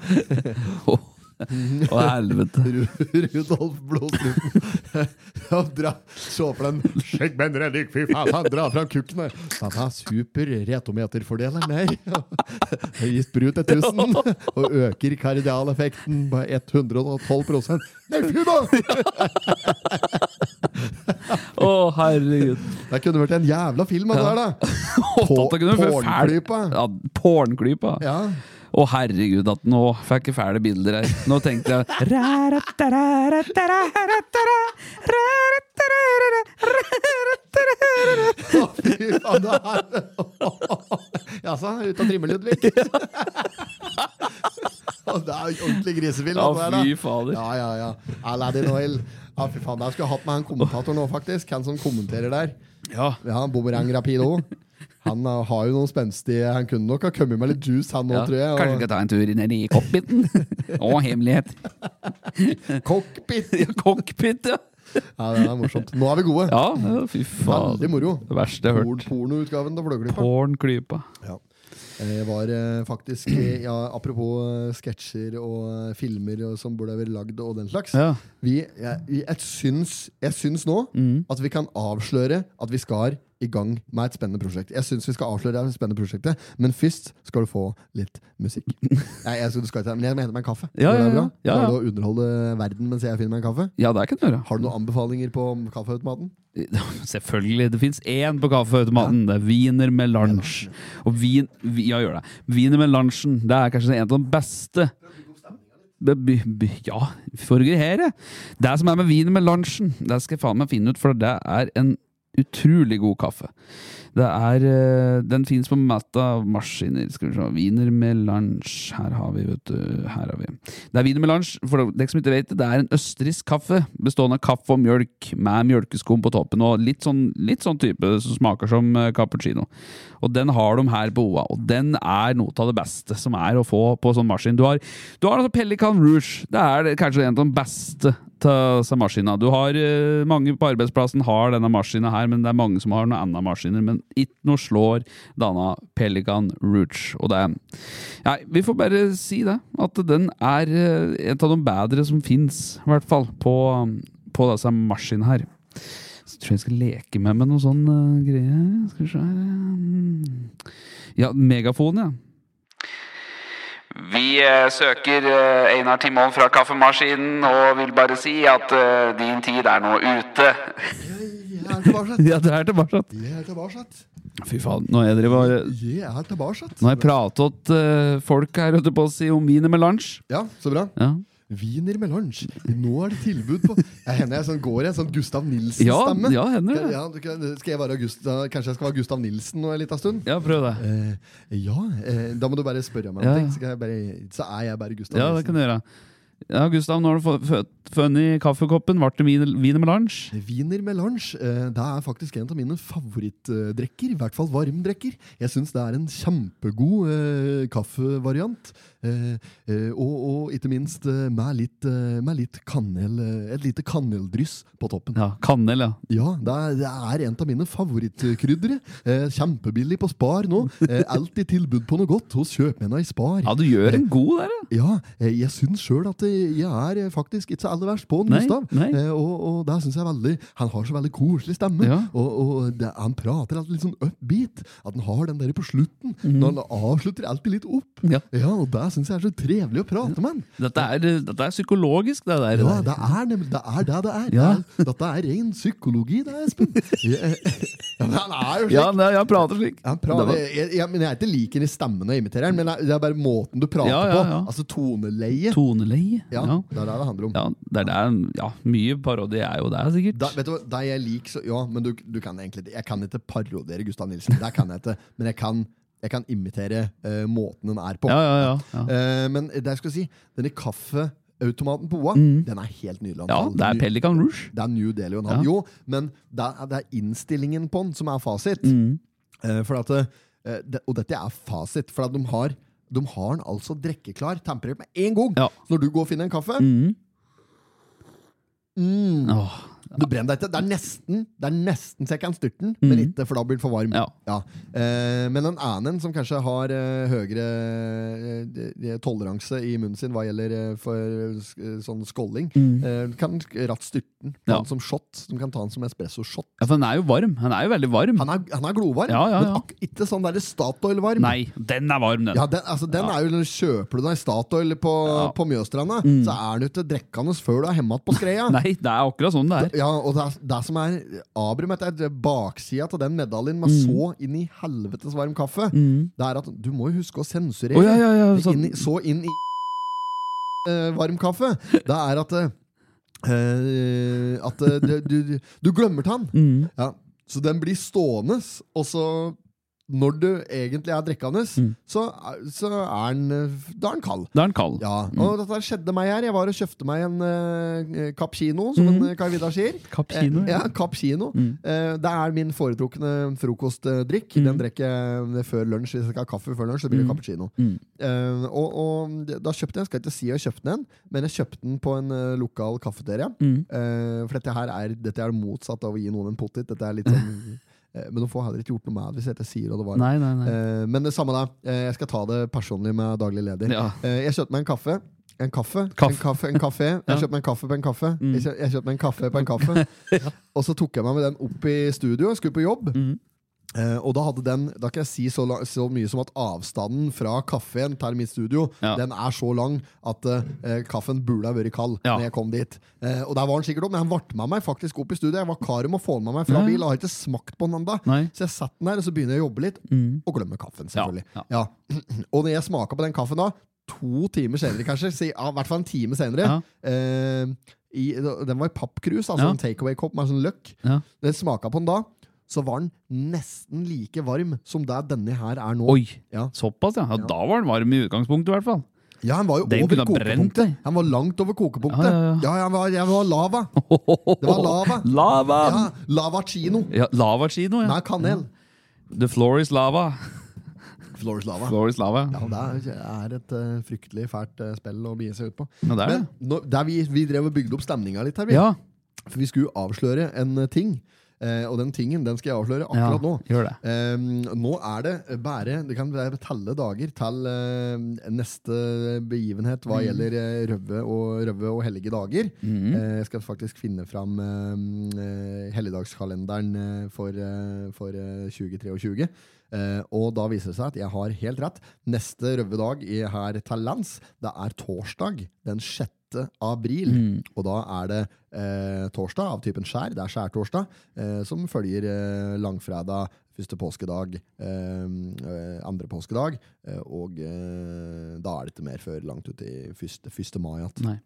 [SPEAKER 1] *laughs* Å, helvete.
[SPEAKER 2] Ru- Rudolf *laughs* Blåstrupen. Ja, dra, se for den Sjekk Ben Reddik, fy faen, han drar fram kukken her. Han har super retometerfordeler, nei. Høyest brut er 1000, og øker kardialeffekten med 112 Nei, fy da!
[SPEAKER 1] Å, herregud.
[SPEAKER 2] Det kunne vært en jævla film, av det her, da.
[SPEAKER 1] Å, dette kunne du få fæl-
[SPEAKER 2] Pornklypa.
[SPEAKER 1] Ja, pornklypa.
[SPEAKER 2] Ja.
[SPEAKER 1] Å, herregud, at nå fikk jeg fæle bilder her. Nå tenkte jeg
[SPEAKER 2] Å, fy faen, det er *laughs* Jaså, ut og trimme, Ludvig? Å, det er jo ordentlig grisefilm.
[SPEAKER 1] Ja,
[SPEAKER 2] dette her, da.
[SPEAKER 1] fy fader.
[SPEAKER 2] Ja, ja, ja. Aladdin Oil. Ja, fy faen, Jeg skulle hatt med han kommentatoren nå, faktisk. Han som kommenterer der.
[SPEAKER 1] Ja.
[SPEAKER 2] Ja, Boomerang Rapido. Han eh, har jo noen spenstige Han kunne nok ha kommet med litt juice, han *laughs* nå,
[SPEAKER 1] Ja,
[SPEAKER 2] tror
[SPEAKER 1] Kanskje vi
[SPEAKER 2] jeg.
[SPEAKER 1] skal ta en tur ned i cockpiten?
[SPEAKER 2] *laughs*
[SPEAKER 1] Å, hemmelighet.
[SPEAKER 2] Og cockpit!
[SPEAKER 1] Ja, cockpit, ja.
[SPEAKER 2] Ja, det er morsomt. Nå er vi gode.
[SPEAKER 1] Ja, ja, fy
[SPEAKER 2] Veldig
[SPEAKER 1] faen.
[SPEAKER 2] moro.
[SPEAKER 1] Det verste jeg har
[SPEAKER 2] Porn-
[SPEAKER 1] hørt.
[SPEAKER 2] Pornoutgaven av Blåklypa.
[SPEAKER 1] Pornklypa.
[SPEAKER 2] Ja. Jeg var eh, faktisk eh, ja, Apropos eh, sketsjer og eh, filmer og, som burde vært lagd og den slags.
[SPEAKER 1] Ja.
[SPEAKER 2] Vi, jeg, vi- jeg, syns, jeg syns nå
[SPEAKER 1] Mm.
[SPEAKER 2] at vi kan avsløre at vi skal i gang med et spennende prosjekt. Jeg syns vi skal avsløre det spennende prosjektet, men først skal du få litt
[SPEAKER 1] *laughs*
[SPEAKER 2] musikk. Nei, jeg skal, du skal ikke, men jeg må hente meg en kaffe.
[SPEAKER 1] Ja,
[SPEAKER 2] Går det
[SPEAKER 1] ja,
[SPEAKER 2] bra?
[SPEAKER 1] ja. Ja, ja.
[SPEAKER 2] Klarer du å underholde verden mens jeg finner meg en kaffe?
[SPEAKER 1] Ja, det kan du gjøre.
[SPEAKER 2] Har du noen anbefalinger på kaffeautomaten?
[SPEAKER 1] Selvfølgelig. Det fins én på kaffeautomaten. Det er wiener med lunsj. Og vin, vi- ja, gjør det. Wiener med lunsjen det er kanskje en av de beste Be- by- by- Ja, forgrehere. Det som er med wiener med lunsjen, det skal jeg faen meg finne ut, for det er en utrolig god kaffe. Det er, eh, den fins på Mata Maskiner. Skal vi se. Wiener med lunsj. Her har vi, vet du. Her har vi. Det er vin med lunsj. For dere som ikke vet det, det er en østerriksk kaffe bestående av kaffe og mjølk med mjølkeskum på toppen. Og litt sånn, litt sånn type som smaker som eh, cappuccino. Og den har de her på OA, og den er noe av det beste som er å få på sånn maskin. Du har, du har altså Pelican Rouge. Det er det- kanskje en av de beste av disse maskinene. Du har eh, mange på arbeidsplassen har denne maskinen her, men det er mange som har noen andre maskiner. Men ikke noe slår denne Pelican Rouge. Og det er Nei, vi får bare si det. At den er eh, et av de bedre som fins, i hvert fall, på, på disse maskinene her. Så tror jeg jeg skal leke med med noe sånn eh, greie her. Skal vi se her eh, mm. Ja, megafon, ja. Vi eh, søker eh, Einar Timon fra Kaffemaskinen og vil bare si at eh, din tid er nå ute.
[SPEAKER 2] Jeg er tilbake.
[SPEAKER 1] *laughs* Ja, det er tilbake.
[SPEAKER 2] Jeg er tilbake.
[SPEAKER 1] Fy faen, nå er dere bare
[SPEAKER 2] Jeg er tilbake.
[SPEAKER 1] Nå har jeg pratet eh, folk her ute på å si om wiener med lunsj.
[SPEAKER 2] Ja, så bra.
[SPEAKER 1] Ja.
[SPEAKER 2] Wiener med lunsj. Nå er det tilbud på Jeg hender jeg sånn, går jeg sånn Gustav
[SPEAKER 1] Ja,
[SPEAKER 2] Nilsen-stemme.
[SPEAKER 1] ja, hender det.
[SPEAKER 2] Ja, du kan- skal jeg være Gustav, kanskje jeg skal være Gustav Nilsen nå en liten stund?
[SPEAKER 1] ja, prøv det.
[SPEAKER 2] Eh, ja, eh, da må du bare spørre meg om
[SPEAKER 1] Ja,
[SPEAKER 2] ting,
[SPEAKER 1] ja.
[SPEAKER 2] så, kan jeg bare, så er jeg bare Gustav
[SPEAKER 1] Ja, det
[SPEAKER 2] Nilsen.
[SPEAKER 1] kan du gjøre. Ja, Gustav, nå har du få- fø- funnet kaffekoppen. Ble det wiener wiener med lunsj?
[SPEAKER 2] Wiener med lunsj eh, det er faktisk en av mine favorittdrekker. I hvert fall varmdrekker. Jeg syns det er en kjempegod eh, kaffevariant. Eh, eh, og, og ikke minst eh, med litt, eh, med litt kanel, eh, et lite kaneldryss på toppen.
[SPEAKER 1] Ja, Kanel, ja.
[SPEAKER 2] Ja, det er, det er en av mine favorittkryddere. Eh, kjempebillig på Spar nå. Eh, alltid tilbud på noe godt hos kjøpmennene i Spar.
[SPEAKER 1] Ja, du gjør en god der, ja.
[SPEAKER 2] Ja, eh, jeg syns sjøl at eh, jeg er eh, faktisk ikke så aller verst på den,
[SPEAKER 1] Nei,
[SPEAKER 2] Gustav.
[SPEAKER 1] nei.
[SPEAKER 2] Eh, Og, og det syns jeg er veldig Han har så veldig koselig stemme,
[SPEAKER 1] Ja.
[SPEAKER 2] og, og det, han prater alltid litt sånn upbeat. At han har den der på slutten, når han avslutter alltid litt opp.
[SPEAKER 1] Mhm. Ja.
[SPEAKER 2] og det syns jeg er så trevelig å prate med han.
[SPEAKER 1] Dette er, dette er psykologisk, det der.
[SPEAKER 2] Ja, det er nemlig det er det det er.
[SPEAKER 1] Ja.
[SPEAKER 2] Det er- Dette er ren psykologi, det,
[SPEAKER 1] *laughs*
[SPEAKER 2] Espen. Ja, men han er jo slik.
[SPEAKER 1] Ja, nei, jeg prater slik.
[SPEAKER 2] Han
[SPEAKER 1] Det
[SPEAKER 2] prater,
[SPEAKER 1] var-
[SPEAKER 2] jeg, jeg, men jeg er ikke lik ham i stemmen og imiterer han, men det er bare måten du prater
[SPEAKER 1] Ja, ja,
[SPEAKER 2] på.
[SPEAKER 1] ja.
[SPEAKER 2] Altså toneleie.
[SPEAKER 1] Toneleie.
[SPEAKER 2] Ja,
[SPEAKER 1] Ja.
[SPEAKER 2] det er det det handler om.
[SPEAKER 1] Ja, det er det, ja, mye parodi er jo der, sikkert.
[SPEAKER 2] Da, vet du hva, da jeg lik, så, ja, men du, du kan egentlig ikke- Jeg kan ikke parodiere Gustav Nilsen, det kan jeg ikke. Men jeg kan, jeg kan imitere eh, måten den er på.
[SPEAKER 1] ja, ja, ja, ja.
[SPEAKER 2] Eh, men det jeg skulle si, denne kaffeautomaten på Oa, den er helt nydelig.
[SPEAKER 1] Mm. ja, det er Pelican Rouge.
[SPEAKER 2] Det er New Delhi og en
[SPEAKER 1] Ja.
[SPEAKER 2] halv. Jo, men det er, det er innstillingen på den som er fasit.
[SPEAKER 1] Mm.
[SPEAKER 2] Eh, for at, eh, det, og dette er fasit, for at de har, de har den altså drikkeklar, temperert med én gang.
[SPEAKER 1] Ja. Mm.
[SPEAKER 2] Så når du går og finner en kaffe Mm.
[SPEAKER 1] Åh,
[SPEAKER 2] Du brenner deg ikke. Det er nesten Det er nesten så jeg kan styrte den, men ikke, for da blir den for varm.
[SPEAKER 1] Mm. Ja.
[SPEAKER 2] Eh, men en annen som kanskje har eh, høyere eh, de- de- toleranse i munnen sin hva gjelder eh, for, eh, sk- eh, sånn skåling, eh, kan ratt styrte den. Ta
[SPEAKER 1] Mm. Ja.
[SPEAKER 2] den som shot. De kan ta den som espresso-shot.
[SPEAKER 1] ja, for den er jo varm. Den er jo veldig varm.
[SPEAKER 2] Han er, han er glovarm,
[SPEAKER 1] Ja, ja, ja.
[SPEAKER 2] men ak ikke sånn der Statoil-varm.
[SPEAKER 1] Nei, den er varm, den.
[SPEAKER 2] Ja, den, altså, den er jo, når du Kjøper du deg
[SPEAKER 1] Mm.
[SPEAKER 2] Statoil på, på Mjøstranda, så er den jo ikke drikkende før du er hjemme igjen på skreia.
[SPEAKER 1] *laughs* Nei, det er akkurat sånn det er.
[SPEAKER 2] Ja, og det, er- det som er Abrum, vet du, det er baksida til den medaljen
[SPEAKER 1] Mm.
[SPEAKER 2] med så inn i helvetes varm kaffe, det er at du må jo huske å sensurere.
[SPEAKER 1] Å, ja, ja, ja,
[SPEAKER 2] Det er
[SPEAKER 1] sånn.
[SPEAKER 2] inn i, så inn i *laughs* eh, varm kaffe. Det er at eh, At eh, du, du, du glemmer tann.
[SPEAKER 1] Mm.
[SPEAKER 2] Ja. Så den blir stående, og så når du egentlig er drikkende, så, er- så er den eh, Da er den kald.
[SPEAKER 1] Da er den kald.
[SPEAKER 2] Ja, og dette skjedde meg her. Jeg var og kjøpte meg en uh, cappuccino, som en eh, Kai Vidar sier.
[SPEAKER 1] Cappuccino,
[SPEAKER 2] Eh, ja, cappuccino. Eh, det er min foretrukne frokostdrikk. Den drikker jeg eh, før lunsj. Hvis jeg ikke har kaffe før lunsj, så blir det cappuccino. Eh, og, og da kjøpte jeg, skal ikke si jeg kjøpte den, men jeg kjøpte den på en eh, lokal kafeteria. Eh, for dette her er, dette er motsatt av å gi noen en pottit. Dette er litt sånn... eh, Men nå får jeg heller ikke gjort noe med det hvis jeg ikke sier hva det var.
[SPEAKER 1] Nei, nei, nei.
[SPEAKER 2] Eh, men det samme da. Eh, jeg skal ta det personlig med daglig leder.
[SPEAKER 1] Ja.
[SPEAKER 2] Eh, jeg kjøpte meg en kaffe. En kaffe,
[SPEAKER 1] Kaff.
[SPEAKER 2] en kaffe, en
[SPEAKER 1] *laughs*
[SPEAKER 2] kaffe. Jeg
[SPEAKER 1] Ja. Mm.
[SPEAKER 2] kjøpte meg en kaffe på en kaffe. Jeg kjø- Jeg kjøpte meg en kaffe på en
[SPEAKER 1] *laughs*
[SPEAKER 2] kaffe. Og så tok jeg meg med den opp i studio, skulle på jobb.
[SPEAKER 1] Mm.
[SPEAKER 2] Eh, og da hadde den, da kan jeg si så, la- så mye som at avstanden fra kaffen til mitt studio
[SPEAKER 1] Ja.
[SPEAKER 2] Den er så lang at eh, kaffen burde ha vært kald
[SPEAKER 1] Ja.
[SPEAKER 2] Når jeg kom dit. Eh, og der var den sikkert opp, men han ble med meg faktisk opp i studio. Jeg var kar om å få den med meg fra
[SPEAKER 1] Ja.
[SPEAKER 2] bil, og har ikke smakt på den ennå.
[SPEAKER 1] Nei. Mm.
[SPEAKER 2] Så jeg satt den der, og så begynner jeg å jobbe litt, og glemmer kaffen, selvfølgelig.
[SPEAKER 1] Ja,
[SPEAKER 2] Ja. *clears throat* Og når jeg smaker på den kaffen da, to timer senere kanskje, si, ja, i hvert fall en time senere, eh, i, den var i pappkrus, altså
[SPEAKER 1] Ja.
[SPEAKER 2] en takeaway-kopp med sånn løkk.
[SPEAKER 1] Ja.
[SPEAKER 2] Når jeg smaket på den da, så var den nesten like varm som det denne her er nå.
[SPEAKER 1] Oi,
[SPEAKER 2] Ja.
[SPEAKER 1] såpass, ja. ja. Da var den varm i utgangspunktet, i hvert fall.
[SPEAKER 2] Ja, han var jo
[SPEAKER 1] Den
[SPEAKER 2] over
[SPEAKER 1] kunne ha brent
[SPEAKER 2] kokepunktet.
[SPEAKER 1] deg.
[SPEAKER 2] Han var langt over kokepunktet. Ja,
[SPEAKER 1] Ja, ja, ja.
[SPEAKER 2] jeg, var, jeg var lava.
[SPEAKER 1] *laughs*
[SPEAKER 2] Det var lava.
[SPEAKER 1] Lava!
[SPEAKER 2] Ja, lava chino.
[SPEAKER 1] Ja, Lavakino, ja.
[SPEAKER 2] Nei, kanel.
[SPEAKER 1] The floor is
[SPEAKER 2] *laughs*
[SPEAKER 1] lava.
[SPEAKER 2] Flores lava.
[SPEAKER 1] Floor is lava.
[SPEAKER 2] Ja, og det er et eh, fryktelig fælt eh, spill å bie seg ut på.
[SPEAKER 1] Ja, det er
[SPEAKER 2] Men nå, der vi, vi drev og bygde opp stemninga litt her, vi.
[SPEAKER 1] Ja,
[SPEAKER 2] For vi skulle jo avsløre en eh, ting. Eh, og den tingen den skal jeg avsløre
[SPEAKER 1] ja.
[SPEAKER 2] akkurat nå.
[SPEAKER 1] gjør det.
[SPEAKER 2] Eh, nå er det bare Det kan være telle dager til eh, neste begivenhet hva
[SPEAKER 1] Mm.
[SPEAKER 2] gjelder eh, røve, og, røve og hellige dager. Eh, jeg skal faktisk finne fram eh, eh, helligdagskalenderen eh, for, eh, for eh, 2023. Eh, og da viser det seg at jeg har helt rett. Neste røvedag i, her til lands, det er torsdag den 6. april. Og da er det eh, torsdag av typen skjær, det er skjærtorsdag, eh, som følger eh, langfredag, første påskedag, eh, eh, andre påskedag, eh, og eh, da er det ikke mer før langt ut i første, første mai. igjen.
[SPEAKER 1] Nei.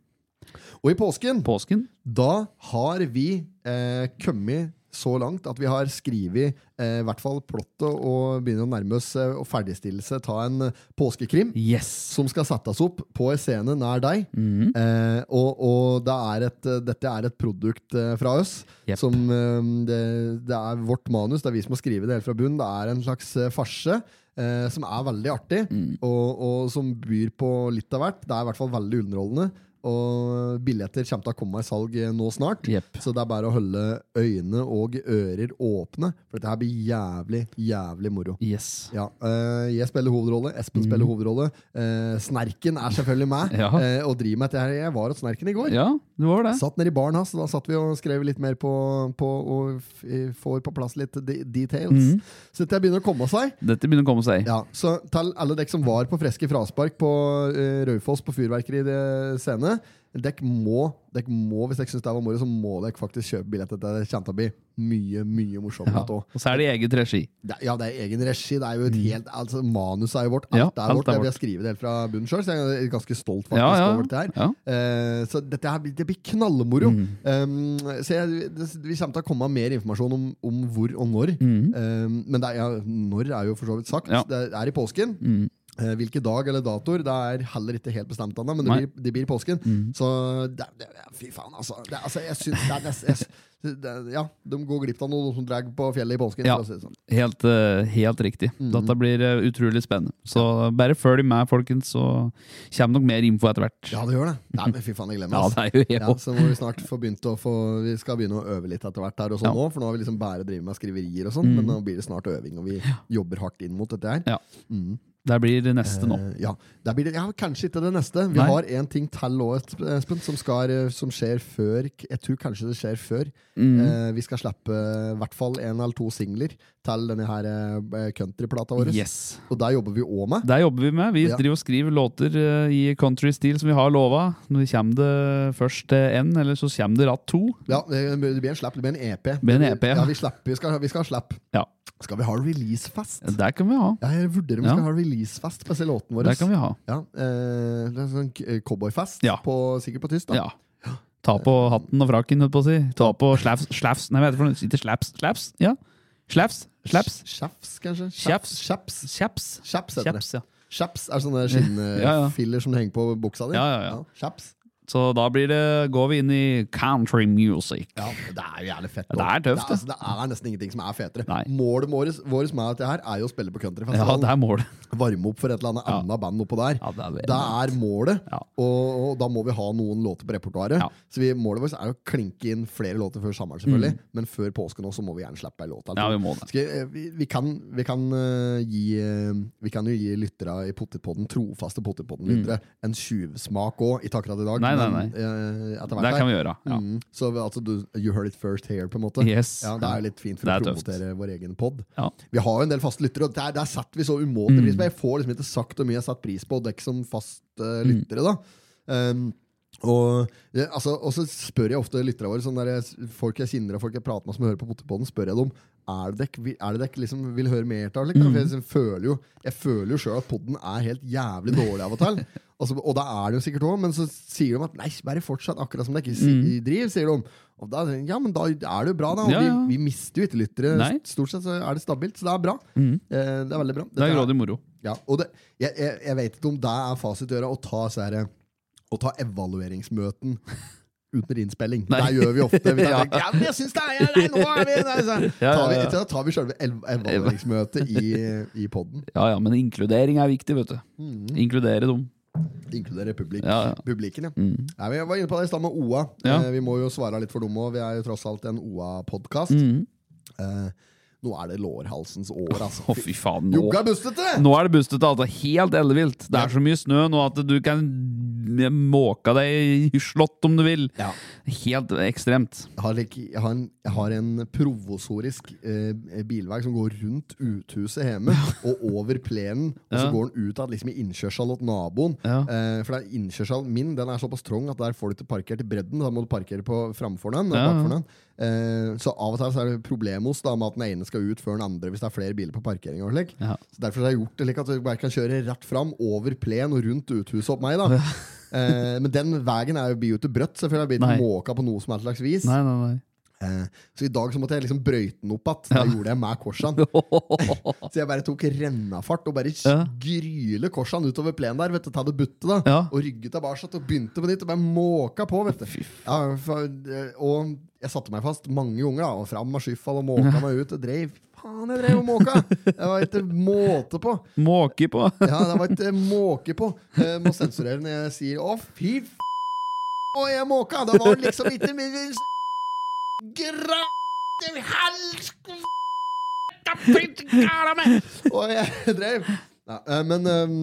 [SPEAKER 2] Og i påsken,
[SPEAKER 1] Påsken?
[SPEAKER 2] da har vi eh, kommet så langt at vi har skrevet eh, i hvert fall plottet og begynner å nærme oss eh, og ferdigstillelse ta en eh, påskekrim
[SPEAKER 1] Yes.
[SPEAKER 2] som skal settes opp på en scene nær deg. Eh, og og det er et, eh, dette er et produkt eh, fra oss.
[SPEAKER 1] Jepp.
[SPEAKER 2] Som, eh, det, det er vårt manus, det er vi som har skrevet det helt fra bunnen. Det er en slags eh, farse. Eh, som er veldig artig, og, og som byr på litt av hvert. Det er i hvert fall veldig underholdende. Og billetter kommer til å komme i salg eh, nå snart.
[SPEAKER 1] Jepp.
[SPEAKER 2] Så det er bare å holde øyne og ører åpne, for dette her blir jævlig, jævlig moro.
[SPEAKER 1] Yes. Mm.
[SPEAKER 2] Ja, øh, jeg spiller hovedrolle, Espen spiller hovedrolle. Eh, snerken er selvfølgelig meg,
[SPEAKER 1] Ja.
[SPEAKER 2] eh, og driver med dette her. Jeg var hos Snerken i går.
[SPEAKER 1] Ja, det var det.
[SPEAKER 2] Satt nede i baren hans, og da satt vi og skrev litt mer på, på og f- får på plass litt de details.
[SPEAKER 1] Mm.
[SPEAKER 2] Så dette begynner å komme seg.
[SPEAKER 1] Dette begynner å komme seg.
[SPEAKER 2] Ja, så til alle dere som var på Freske Fraspark på eh, Raufoss på Fyrverkeri eh, scene, dere må, dere må, hvis dere syns det var moro, så må dere faktisk kjøpe billetter til det. Kjente å bli mye, mye morsommere.
[SPEAKER 1] Ja.
[SPEAKER 2] Ja.
[SPEAKER 1] Og så er det i eget regi.
[SPEAKER 2] Det, ja, det er egen regi. Det er jo et helt, altså, manuset er jo vårt. Alt
[SPEAKER 1] Mm. Ja,
[SPEAKER 2] er vårt. Jeg vil skrive det helt fra bunnen sjøl, så jeg er ganske stolt faktisk
[SPEAKER 1] Ja, ja.
[SPEAKER 2] over dette her.
[SPEAKER 1] Ja. Mm.
[SPEAKER 2] Eh, så dette her blir, det blir knallmoro. Um, så jeg, det, vi kommer til å komme med mer informasjon om, om hvor og når. Um, men det er, ja, når er jo for så vidt sagt.
[SPEAKER 1] Mm. Ja. Mm.
[SPEAKER 2] Det er i påsken. Eh, Hvilke dag eller datoer det er heller ikke helt bestemt ennå, men det
[SPEAKER 1] Nei. Mm.
[SPEAKER 2] blir, det blir i påsken. Så det, det, fy faen, altså. Det, altså jeg syns det er nest, jeg, syns- det, Ja, de går glipp av noe som drar på fjellet i påsken.
[SPEAKER 1] Ja.
[SPEAKER 2] For å si det sånn.
[SPEAKER 1] Helt, eh, helt riktig.
[SPEAKER 2] Mm.
[SPEAKER 1] Dette blir eh, utrolig spennende. Så bare følg med, folkens, så kommer nok mer info etter hvert.
[SPEAKER 2] Ja, det gjør det. Nei, men fy faen, jeg glemmer
[SPEAKER 1] Ja,
[SPEAKER 2] altså.
[SPEAKER 1] det er jo jeg
[SPEAKER 2] Ja,
[SPEAKER 1] også.
[SPEAKER 2] så må vi snart få begynt å få Vi skal begynne å øve litt etter hvert her og sånn
[SPEAKER 1] Ja. Mm.
[SPEAKER 2] nå, for nå har vi liksom bare drevet med skriverier og sånn, men nå blir det snart øving, og vi jobber hardt inn mot dette her.
[SPEAKER 1] Ja.
[SPEAKER 2] Mm.
[SPEAKER 1] Der blir det neste nå.
[SPEAKER 2] Eh, ja. Der blir det, ja, kanskje ikke det neste. Vi
[SPEAKER 1] Nei.
[SPEAKER 2] har en ting til òg, Espen, som, skal, eh, som skjer før Jeg tror kanskje det skjer før.
[SPEAKER 1] Mhm.
[SPEAKER 2] Eh, vi skal slippe eh, i hvert fall en eller to singler til denne her eh, countryplata vår.
[SPEAKER 1] Yes.
[SPEAKER 2] Og der jobber vi òg med.
[SPEAKER 1] Der jobber vi med. Vi
[SPEAKER 2] Ja.
[SPEAKER 1] driver og skriver låter eh, i country-stil som vi har lova. Nå kommer det først til N, eller så kommer det ratt to.
[SPEAKER 2] Ja, det blir en slapp, det blir en EP.
[SPEAKER 1] blir en EP, ja.
[SPEAKER 2] ja. vi, slipper, vi, skal, vi skal ha slapp.
[SPEAKER 1] Ja.
[SPEAKER 2] Skal vi ha releasefest?
[SPEAKER 1] Der kan vi ha.
[SPEAKER 2] Ja, jeg vurderer om vi
[SPEAKER 1] Ja.
[SPEAKER 2] skal ha releasefest på disse låtene våre.
[SPEAKER 1] Der kan vi ha.
[SPEAKER 2] Ja, eh, det er en sånn k- cowboyfest,
[SPEAKER 1] Ja.
[SPEAKER 2] på, sikkert på tysk. da.
[SPEAKER 1] Ja. Ta på hatten og frakken, holdt på å si. Ta på slaps, slaps. Nei, hva heter det for noe? Ikke slaps, slaps? Ja. Slaps, slaps,
[SPEAKER 2] Kjaps, kanskje?
[SPEAKER 1] Kjaps.
[SPEAKER 2] Kjaps.
[SPEAKER 1] kjaps.
[SPEAKER 2] Kjaps heter
[SPEAKER 1] Kjaps, ja.
[SPEAKER 2] det. Kjaps er sånne
[SPEAKER 1] *laughs* Ja, ja.
[SPEAKER 2] skinnfiller som henger på buksa di.
[SPEAKER 1] Ja, ja, ja.
[SPEAKER 2] Kjaps.
[SPEAKER 1] Så da blir det, går vi inn i country music.
[SPEAKER 2] Ja, det er jo jævlig fett.
[SPEAKER 1] Det er tøft,
[SPEAKER 2] det. Altså, det er nesten ingenting som er fetere.
[SPEAKER 1] Nei.
[SPEAKER 2] Målet vårt vårt med dette her er jo å spille på
[SPEAKER 1] Ja,
[SPEAKER 2] countryfestivalen.
[SPEAKER 1] det er målet.
[SPEAKER 2] Varme opp for et eller annet
[SPEAKER 1] Ja.
[SPEAKER 2] annet band oppå der.
[SPEAKER 1] Ja, det er veldig
[SPEAKER 2] det er målet,
[SPEAKER 1] Ja.
[SPEAKER 2] og, og da må vi ha noen låter på repertoaret.
[SPEAKER 1] Ja.
[SPEAKER 2] Så vi, målet vårt er å klinke inn flere låter før sommeren, selvfølgelig. Men før påsken også må vi gjerne slippe ei låt. eller
[SPEAKER 1] Mm. Ja,
[SPEAKER 2] to.
[SPEAKER 1] vi må det.
[SPEAKER 2] Skal, jeg- eh, vi, vi, kan, vi, kan, eh, gi, eh, vi kan jo gi lyttere i Potetpodden, trofaste Potetpodden-lyttere, en tjuvsmak òg. Ikke akkurat i dag,
[SPEAKER 1] Mm. Nei, nei,
[SPEAKER 2] men eh, etter hvert.
[SPEAKER 1] Det
[SPEAKER 2] her.
[SPEAKER 1] kan vi gjøre. Ja.
[SPEAKER 2] Mm, så vi- altså, du, you heard it first here, på en måte.
[SPEAKER 1] Yes.
[SPEAKER 2] Ja, det er jo litt fint for
[SPEAKER 1] Det
[SPEAKER 2] å
[SPEAKER 1] er tøft.
[SPEAKER 2] promotere vår egen pod.
[SPEAKER 1] Ja. Mm.
[SPEAKER 2] Vi har jo en del faste lyttere, og der, der setter vi så umåtelig pris på. Jeg får liksom ikke sagt hvor mye jeg setter pris på dere som faste
[SPEAKER 1] Mm.
[SPEAKER 2] lyttere, da. Ehm, og, ja, altså, og så spør jeg ofte lytterne våre, sånn der jeg, folk jeg kjenner og folk jeg prater med som hører på Potipodden, spør jeg dem er det dere er det dere liksom vil høre mer av. Liksom?
[SPEAKER 1] Mm.
[SPEAKER 2] For jeg, liksom føler jo, jeg føler jo sjøl at podden er helt jævlig dårlig av og
[SPEAKER 1] *laughs*
[SPEAKER 2] til. Altså, og det er det jo sikkert òg, men så sier de at nei, bare fortsett akkurat som dere si, driver. sier de. Og da, tenker jeg, ja, men da er det jo bra, da. Og
[SPEAKER 1] Mm. Ja, ja.
[SPEAKER 2] Vi, vi mister jo ikke lyttere.
[SPEAKER 1] Nei. Mm.
[SPEAKER 2] Stort sett så er det stabilt, så det er bra. Eh, det er veldig bra.
[SPEAKER 1] Det er
[SPEAKER 2] Dette
[SPEAKER 1] grådig moro.
[SPEAKER 2] ja, og det, jeg, jeg, jeg vet ikke om det er fasit å gjøre, å ta, så her, å ta evalueringsmøten *laughs* under innspilling.
[SPEAKER 1] Nei.
[SPEAKER 2] Det gjør vi ofte. Vi tar,
[SPEAKER 1] *laughs* Ja.
[SPEAKER 2] ja. men jeg syns det er nei, nå er vi, nei, så.
[SPEAKER 1] *laughs* Ja,
[SPEAKER 2] Tar vi,
[SPEAKER 1] ja, ja.
[SPEAKER 2] Da tar vi selve ev- evalueringsmøtet i, i poden.
[SPEAKER 1] Ja, ja, men inkludering er viktig, vet du.
[SPEAKER 2] Mm.
[SPEAKER 1] Inkludere dem.
[SPEAKER 2] Inkludere publik,
[SPEAKER 1] Ja, ja.
[SPEAKER 2] publikken. Ja. Nei, men jeg var inne på det i stad med OA.
[SPEAKER 1] Ja.
[SPEAKER 2] Eh, vi må jo svare litt for dumme, og vi er jo tross alt en OA-podkast.
[SPEAKER 1] Mm.
[SPEAKER 2] Eh, nå er det lårhalsens år, altså.
[SPEAKER 1] Å, fy faen. Nå,
[SPEAKER 2] Jogga er bustete!
[SPEAKER 1] nå er det bustete. Altså. Helt ellevilt. Det
[SPEAKER 2] Ja.
[SPEAKER 1] er så mye snø nå at du kan måke deg i slott om du vil.
[SPEAKER 2] Ja.
[SPEAKER 1] Helt ekstremt.
[SPEAKER 2] Jeg har, like, jeg har, en, jeg har en provosorisk eh, bilvei som går rundt uthuset hjemme og over plenen. Og så
[SPEAKER 1] Ja.
[SPEAKER 2] går den ut av liksom, i innkjørselen til naboen.
[SPEAKER 1] Ja.
[SPEAKER 2] Eh, for det er innkjørselen min den er såpass trang at der får du ikke parkert i bredden. Da må du parkere på framfor den. og
[SPEAKER 1] Ja, ja.
[SPEAKER 2] bakfor den. Eh, så av og til så er det problemos da, med at den ene skal ut før den andre hvis det er flere biler på parkering. og slik.
[SPEAKER 1] Ja.
[SPEAKER 2] Så Derfor har jeg gjort det slik at jeg bare kan kjøre rett fram, over plen og rundt uthuset opp meg. da. Eh, men den veien er jo blir jo ikke brøtt, selvfølgelig. Jeg blir
[SPEAKER 1] Nei.
[SPEAKER 2] ikke måka på noe som helst slags vis.
[SPEAKER 1] Nei, nei, nei.
[SPEAKER 2] Eh, Så i dag så måtte jeg liksom brøyte den opp igjen. Det gjorde jeg med
[SPEAKER 1] *laughs*
[SPEAKER 2] korsene. Så jeg bare tok rennafart og bare
[SPEAKER 1] Ja.
[SPEAKER 2] gryle korsene utover plenen der. Vet du, ta det buttet da
[SPEAKER 1] Ja.
[SPEAKER 2] Og rygget tilbake og begynte på nytt. Og bare måka på, vet du. Ja, for, eh, og jeg satte meg fast mange ganger. da Og Fram med skyffal og måka meg ut. Og dreiv. Faen, jeg dreiv og måka! Det var ikke måte på.
[SPEAKER 1] Måke på.
[SPEAKER 2] *laughs* Ja, det var ikke måke på. Eh, må sensurere når jeg sier 'å, fy f***, og jeg måka'. Det var liksom ikke min s- gra- til helsk- Og jeg drev. Ja, eh, men ehm,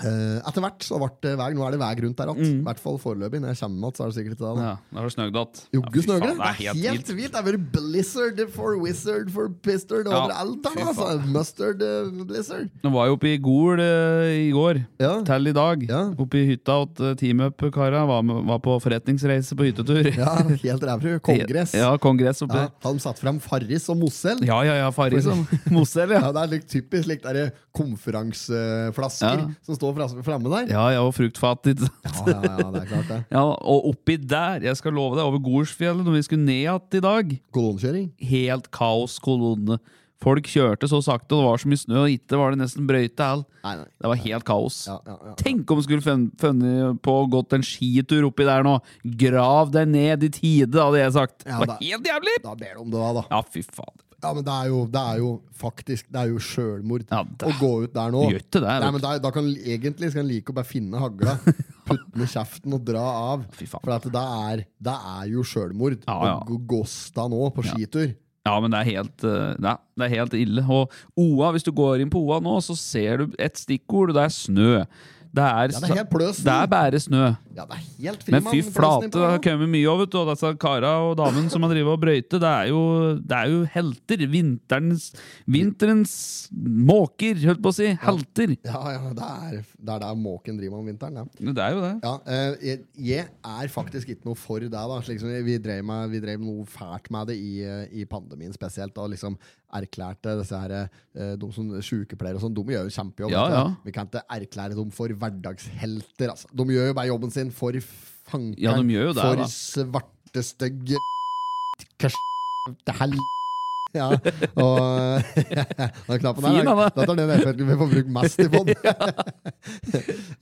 [SPEAKER 2] eh, etter hvert så ble det vei. Nå er det vei rundt der igjen. I hvert fall foreløpig. Når jeg kommer med igjen, så er det sikkert ikke det. da.
[SPEAKER 1] *laughs* Mm. Ja, da har du snøgdatt.
[SPEAKER 2] Jogge
[SPEAKER 1] Ja, fy
[SPEAKER 2] snøgle?
[SPEAKER 1] faen, Det er helt vilt.
[SPEAKER 2] vilt. Det har vært blizzard for wizard for pistard
[SPEAKER 1] Ja,
[SPEAKER 2] overalt. da,
[SPEAKER 1] fy
[SPEAKER 2] Altså.
[SPEAKER 1] faen.
[SPEAKER 2] Mustard eh, blizzard.
[SPEAKER 1] Nå var jeg oppe i Gol eh, i går,
[SPEAKER 2] Ja.
[SPEAKER 1] til i dag.
[SPEAKER 2] Ja.
[SPEAKER 1] Oppe i hytta til Team Up-kara. Var, med- var på forretningsreise på hyttetur.
[SPEAKER 2] Ja, helt rævru. Kongress.
[SPEAKER 1] *laughs* Ja, kongress oppe
[SPEAKER 2] Ja, han satt fram Farris og Mosell. Ja.
[SPEAKER 1] Ja, ja, ja, Farris og Mosell, ja.
[SPEAKER 2] det er litt typisk likt der konferanseflasker
[SPEAKER 1] Ja.
[SPEAKER 2] som står framme der.
[SPEAKER 1] Ja, ja, og fruktfat. ikke sant?
[SPEAKER 2] Ja, ja, ja, det er klart det.
[SPEAKER 1] Ja, og oppi der, jeg skal love deg, over Golsfjellet, når vi skulle ned igjen i dag,
[SPEAKER 2] Kolonnekjøring.
[SPEAKER 1] helt kaoskolonne. Folk kjørte så sakte, og det var så mye snø, og ikke var det nesten brøyte all.
[SPEAKER 2] Nei, nei.
[SPEAKER 1] Det var helt kaos.
[SPEAKER 2] Ja, ja, ja.
[SPEAKER 1] Tenk om du skulle fun- funnet på og gått en skitur oppi der nå. Grav deg ned i tide, hadde jeg sagt.
[SPEAKER 2] Ja,
[SPEAKER 1] det
[SPEAKER 2] da-
[SPEAKER 1] var helt jævlig!
[SPEAKER 2] Da ber du om det, da. da.
[SPEAKER 1] Ja, fy faen.
[SPEAKER 2] Ja, men det er jo, det er jo faktisk Det er jo sjølmord
[SPEAKER 1] Ja, det-
[SPEAKER 2] å gå ut der nå.
[SPEAKER 1] Gjør ikke det, vet
[SPEAKER 2] Nei,
[SPEAKER 1] du.
[SPEAKER 2] men da, da kan egentlig skal en like å bare finne
[SPEAKER 1] *laughs*
[SPEAKER 2] hagla, putte den i kjeften og dra av.
[SPEAKER 1] Fy faen.
[SPEAKER 2] For at det, er, det er jo sjølmord
[SPEAKER 1] Ja, ja.
[SPEAKER 2] å gå- gåsta nå på skitur.
[SPEAKER 1] Ja, men det er helt, eh, nei, det er helt ille. Og OA, hvis du går inn på OA nå, så ser du et stikkord, og det er snø. Det er,
[SPEAKER 2] Ja, det er helt pløs snø.
[SPEAKER 1] Det er bare snø.
[SPEAKER 2] Ja, det er helt fri,
[SPEAKER 1] Men fy
[SPEAKER 2] mann,
[SPEAKER 1] flate,
[SPEAKER 2] plassen
[SPEAKER 1] det har
[SPEAKER 2] innpå.
[SPEAKER 1] kommet mye òg, vet du. Og disse kara og damene som har drevet og brøyte, det er jo, det er jo helter. Vinterens, vinterens måker, holdt på å si. Helter.
[SPEAKER 2] Ja, ja, det er, det er der måken driver om vinteren. Ja.
[SPEAKER 1] Det er jo det.
[SPEAKER 2] Ja, eh, jeg, jeg er faktisk ikke noe for det. da slik som Vi drev, med, vi drev noe fælt med det i, eh, i pandemien spesielt. Og liksom erklærte disse her, eh, de som sykepleiere og sånn, de gjør jo kjempejobb.
[SPEAKER 1] Ja,
[SPEAKER 2] vet du.
[SPEAKER 1] ja.
[SPEAKER 2] Vi kan ikke erklære dem for hverdagshelter. Altså. De gjør jo bare jobben sin for fankeren.
[SPEAKER 1] Ja, de gjør jo det,
[SPEAKER 2] for
[SPEAKER 1] da.
[SPEAKER 2] svarte, stygge hel... Ja, *laughs* og Den knappen
[SPEAKER 1] Fin,
[SPEAKER 2] der,
[SPEAKER 1] da.
[SPEAKER 2] da tar den effekten vi får brukt mest i pod.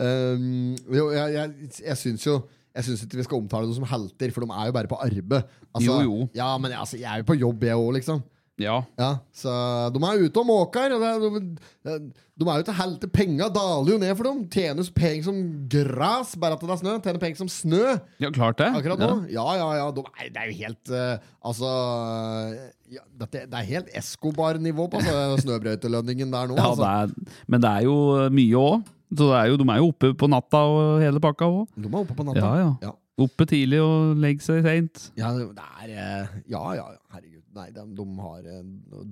[SPEAKER 2] Um, jo, jeg, jeg, jeg syns jo jeg syns ikke vi skal omtale dem som helter, for de er jo bare på arbeid. Altså,
[SPEAKER 1] Jo, jo.
[SPEAKER 2] Ja, men jeg- altså, jeg er jo på jobb, jeg òg, liksom.
[SPEAKER 1] Ja.
[SPEAKER 2] Ja, så De er ute og måker. og det er- De, de er jo til helter. Penga daler jo ned for dem. Tjenes penger som gras, bare at det er snø. Tjener penger som snø
[SPEAKER 1] ja, klart det.
[SPEAKER 2] akkurat
[SPEAKER 1] Ja.
[SPEAKER 2] nå. Ja, ja, ja. De, nei, det er jo helt eh, Altså ja, dette, Det er helt Escobar-nivå på altså,
[SPEAKER 1] *laughs*
[SPEAKER 2] snøbrøytelønningen der nå.
[SPEAKER 1] Ja,
[SPEAKER 2] altså.
[SPEAKER 1] det er, men det er jo mye òg. Så det er jo, de er jo oppe på natta og hele pakka òg.
[SPEAKER 2] De er oppe på natta.
[SPEAKER 1] Ja, ja.
[SPEAKER 2] Ja.
[SPEAKER 1] Oppe tidlig og legge seg seint.
[SPEAKER 2] Ja, det er eh, Ja, ja, ja, herregud. Nei, de, de har eh,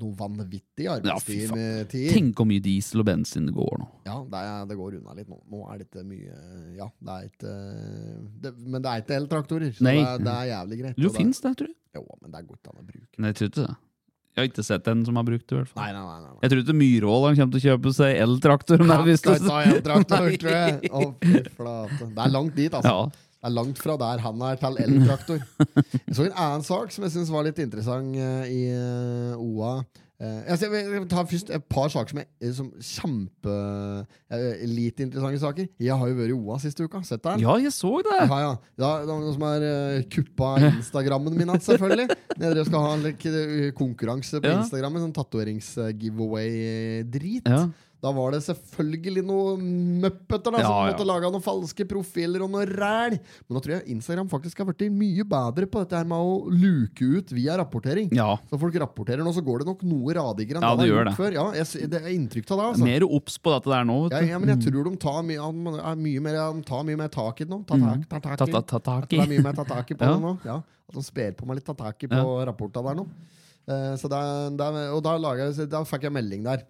[SPEAKER 2] noe vanvittig
[SPEAKER 1] Ja, fy faen.
[SPEAKER 2] arbeidstid. Ja,
[SPEAKER 1] Tenk hvor mye diesel og bensin det går nå.
[SPEAKER 2] ja det, er, det går unna litt nå. Nå er dette mye Ja, det er ikke eh, det, Men det er ikke eltraktorer, så det
[SPEAKER 1] Nei.
[SPEAKER 2] er, det er jævlig greit.
[SPEAKER 1] Jo,
[SPEAKER 2] og det,
[SPEAKER 1] fins det, tror jeg.
[SPEAKER 2] Jo, men det går ikke an å bruke.
[SPEAKER 1] Nei, jeg tror ikke det. Jeg har ikke sett en som har brukt det, i hvert fall.
[SPEAKER 2] Nei, nei, nei. nei, nei.
[SPEAKER 1] Jeg tror ikke Myhrvolderen kommer til å kjøpe seg eltraktor. om det er
[SPEAKER 2] Han
[SPEAKER 1] hvis
[SPEAKER 2] skal
[SPEAKER 1] du-
[SPEAKER 2] ikke ha eltraktor,
[SPEAKER 1] Nei.
[SPEAKER 2] tror jeg. Å, fy flate. Det er langt dit, altså.
[SPEAKER 1] Ja.
[SPEAKER 2] Det er langt fra der han er, til eltraktor. Jeg så en annen sak som jeg syns var litt interessant eh, i eh, OA. Eh, altså, jeg vil jeg vil ta først et par saker som er eh, som kjempe eh, lite interessante saker. Jeg har jo vært i OA siste uka. Sett deg.
[SPEAKER 1] ja, jeg så det!
[SPEAKER 2] Ja, ja. Da, det er noen som har eh, kuppa Instagrammen min, altså, selvfølgelig. Dere skal ha en like, eh, konkurranse på
[SPEAKER 1] Ja.
[SPEAKER 2] Instagram, en sånn tatoverings-giveaway-drit.
[SPEAKER 1] Ja.
[SPEAKER 2] Da var det selvfølgelig noe møppeter da, som
[SPEAKER 1] Ja, ja.
[SPEAKER 2] måtte lage noen falske profiler og noe ræl. Men nå tror jeg Instagram faktisk har blitt mye bedre på dette her med å luke ut via rapportering.
[SPEAKER 1] ja.
[SPEAKER 2] Så folk rapporterer nå, så går det nok noe radigere enn
[SPEAKER 1] Ja,
[SPEAKER 2] det
[SPEAKER 1] det
[SPEAKER 2] har
[SPEAKER 1] gjør
[SPEAKER 2] gjort før. Ja, jeg, sy- det er inntrykk av det, altså.
[SPEAKER 1] Mer obs på dette der nå.
[SPEAKER 2] Ja,
[SPEAKER 1] Vet du.
[SPEAKER 2] ja, men jeg tror de tar mye, han er mye, mer, han tar mye mer tak i det nå. Ta tak, ta tak i.
[SPEAKER 1] Mm. Ta- ta- ta tak i.
[SPEAKER 2] At det er mye mer ta tak i på
[SPEAKER 1] *laughs* Ja.
[SPEAKER 2] det nå. Ja, at de sper på meg litt ta tak i på rapporta der nå. Eh, så det er- det er- og da, laget, jeg- da fikk jeg melding der.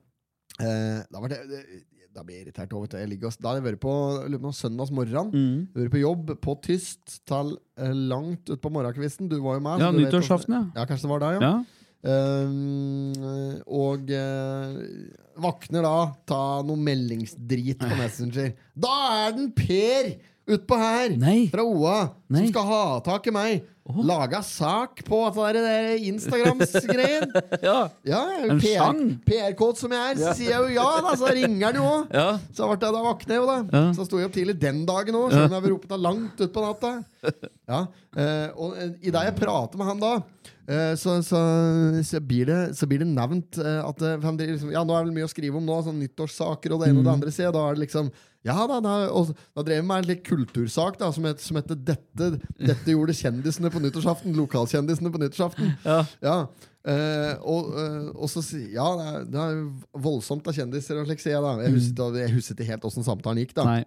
[SPEAKER 2] Eh, da, var det, det- da blir jeg irritert over at jeg ligger og Da har jeg vært på, jeg lurer på noen søndags morgen.
[SPEAKER 1] Mm.
[SPEAKER 2] Vært på jobb på tyst til eh, langt utpå morgenkvisten. Du var jo med.
[SPEAKER 1] Ja,
[SPEAKER 2] så du vet
[SPEAKER 1] nyttårsaften,
[SPEAKER 2] hvordan- Ja, kanskje det var da, ja.
[SPEAKER 1] Ja.
[SPEAKER 2] Um, og eh, våkner da, ta noe meldingsdrit på Messenger. Da er den Per utpå her,
[SPEAKER 1] Nei.
[SPEAKER 2] fra OA,
[SPEAKER 1] Nei.
[SPEAKER 2] som skal ha tak i meg. Laga sak på at det der der Instagrams-greien.
[SPEAKER 1] *laughs* Ja.
[SPEAKER 2] Ja, jeg er jo
[SPEAKER 1] En
[SPEAKER 2] PR,
[SPEAKER 1] sang.
[SPEAKER 2] PR-kåt som jeg er, så sier jeg jo ja, da, så ringer han jo òg.
[SPEAKER 1] *laughs* Ja.
[SPEAKER 2] Så ble jeg da våkne, jo da.
[SPEAKER 1] Ja.
[SPEAKER 2] Så sto jeg opp tidlig den dagen òg, selv om jeg var oppe til langt utpå natta. Ja. eh, og eh, i det jeg prater med han da, eh, så, så, så, blir det, så blir det nevnt eh, at eh, for han driver liksom, Ja, nå er det vel mye å skrive om nå, sånn nyttårssaker og det ene
[SPEAKER 1] Mm.
[SPEAKER 2] og det andre, sier jeg. Da er det liksom ja da, da, og da drev vi med en litt kultursak da, som, het, som heter dette, 'Dette gjorde kjendisene på nyttårsaften'. Lokalkjendisene på nyttårsaften.
[SPEAKER 1] Ja.
[SPEAKER 2] Ja. Eh, og, eh, og så si, Ja, det er, det er voldsomt av kjendiser og slik, sier jeg da. Jeg husker ikke- jeg husker ikke helt åssen samtalen gikk, da.
[SPEAKER 1] Mm. Nei.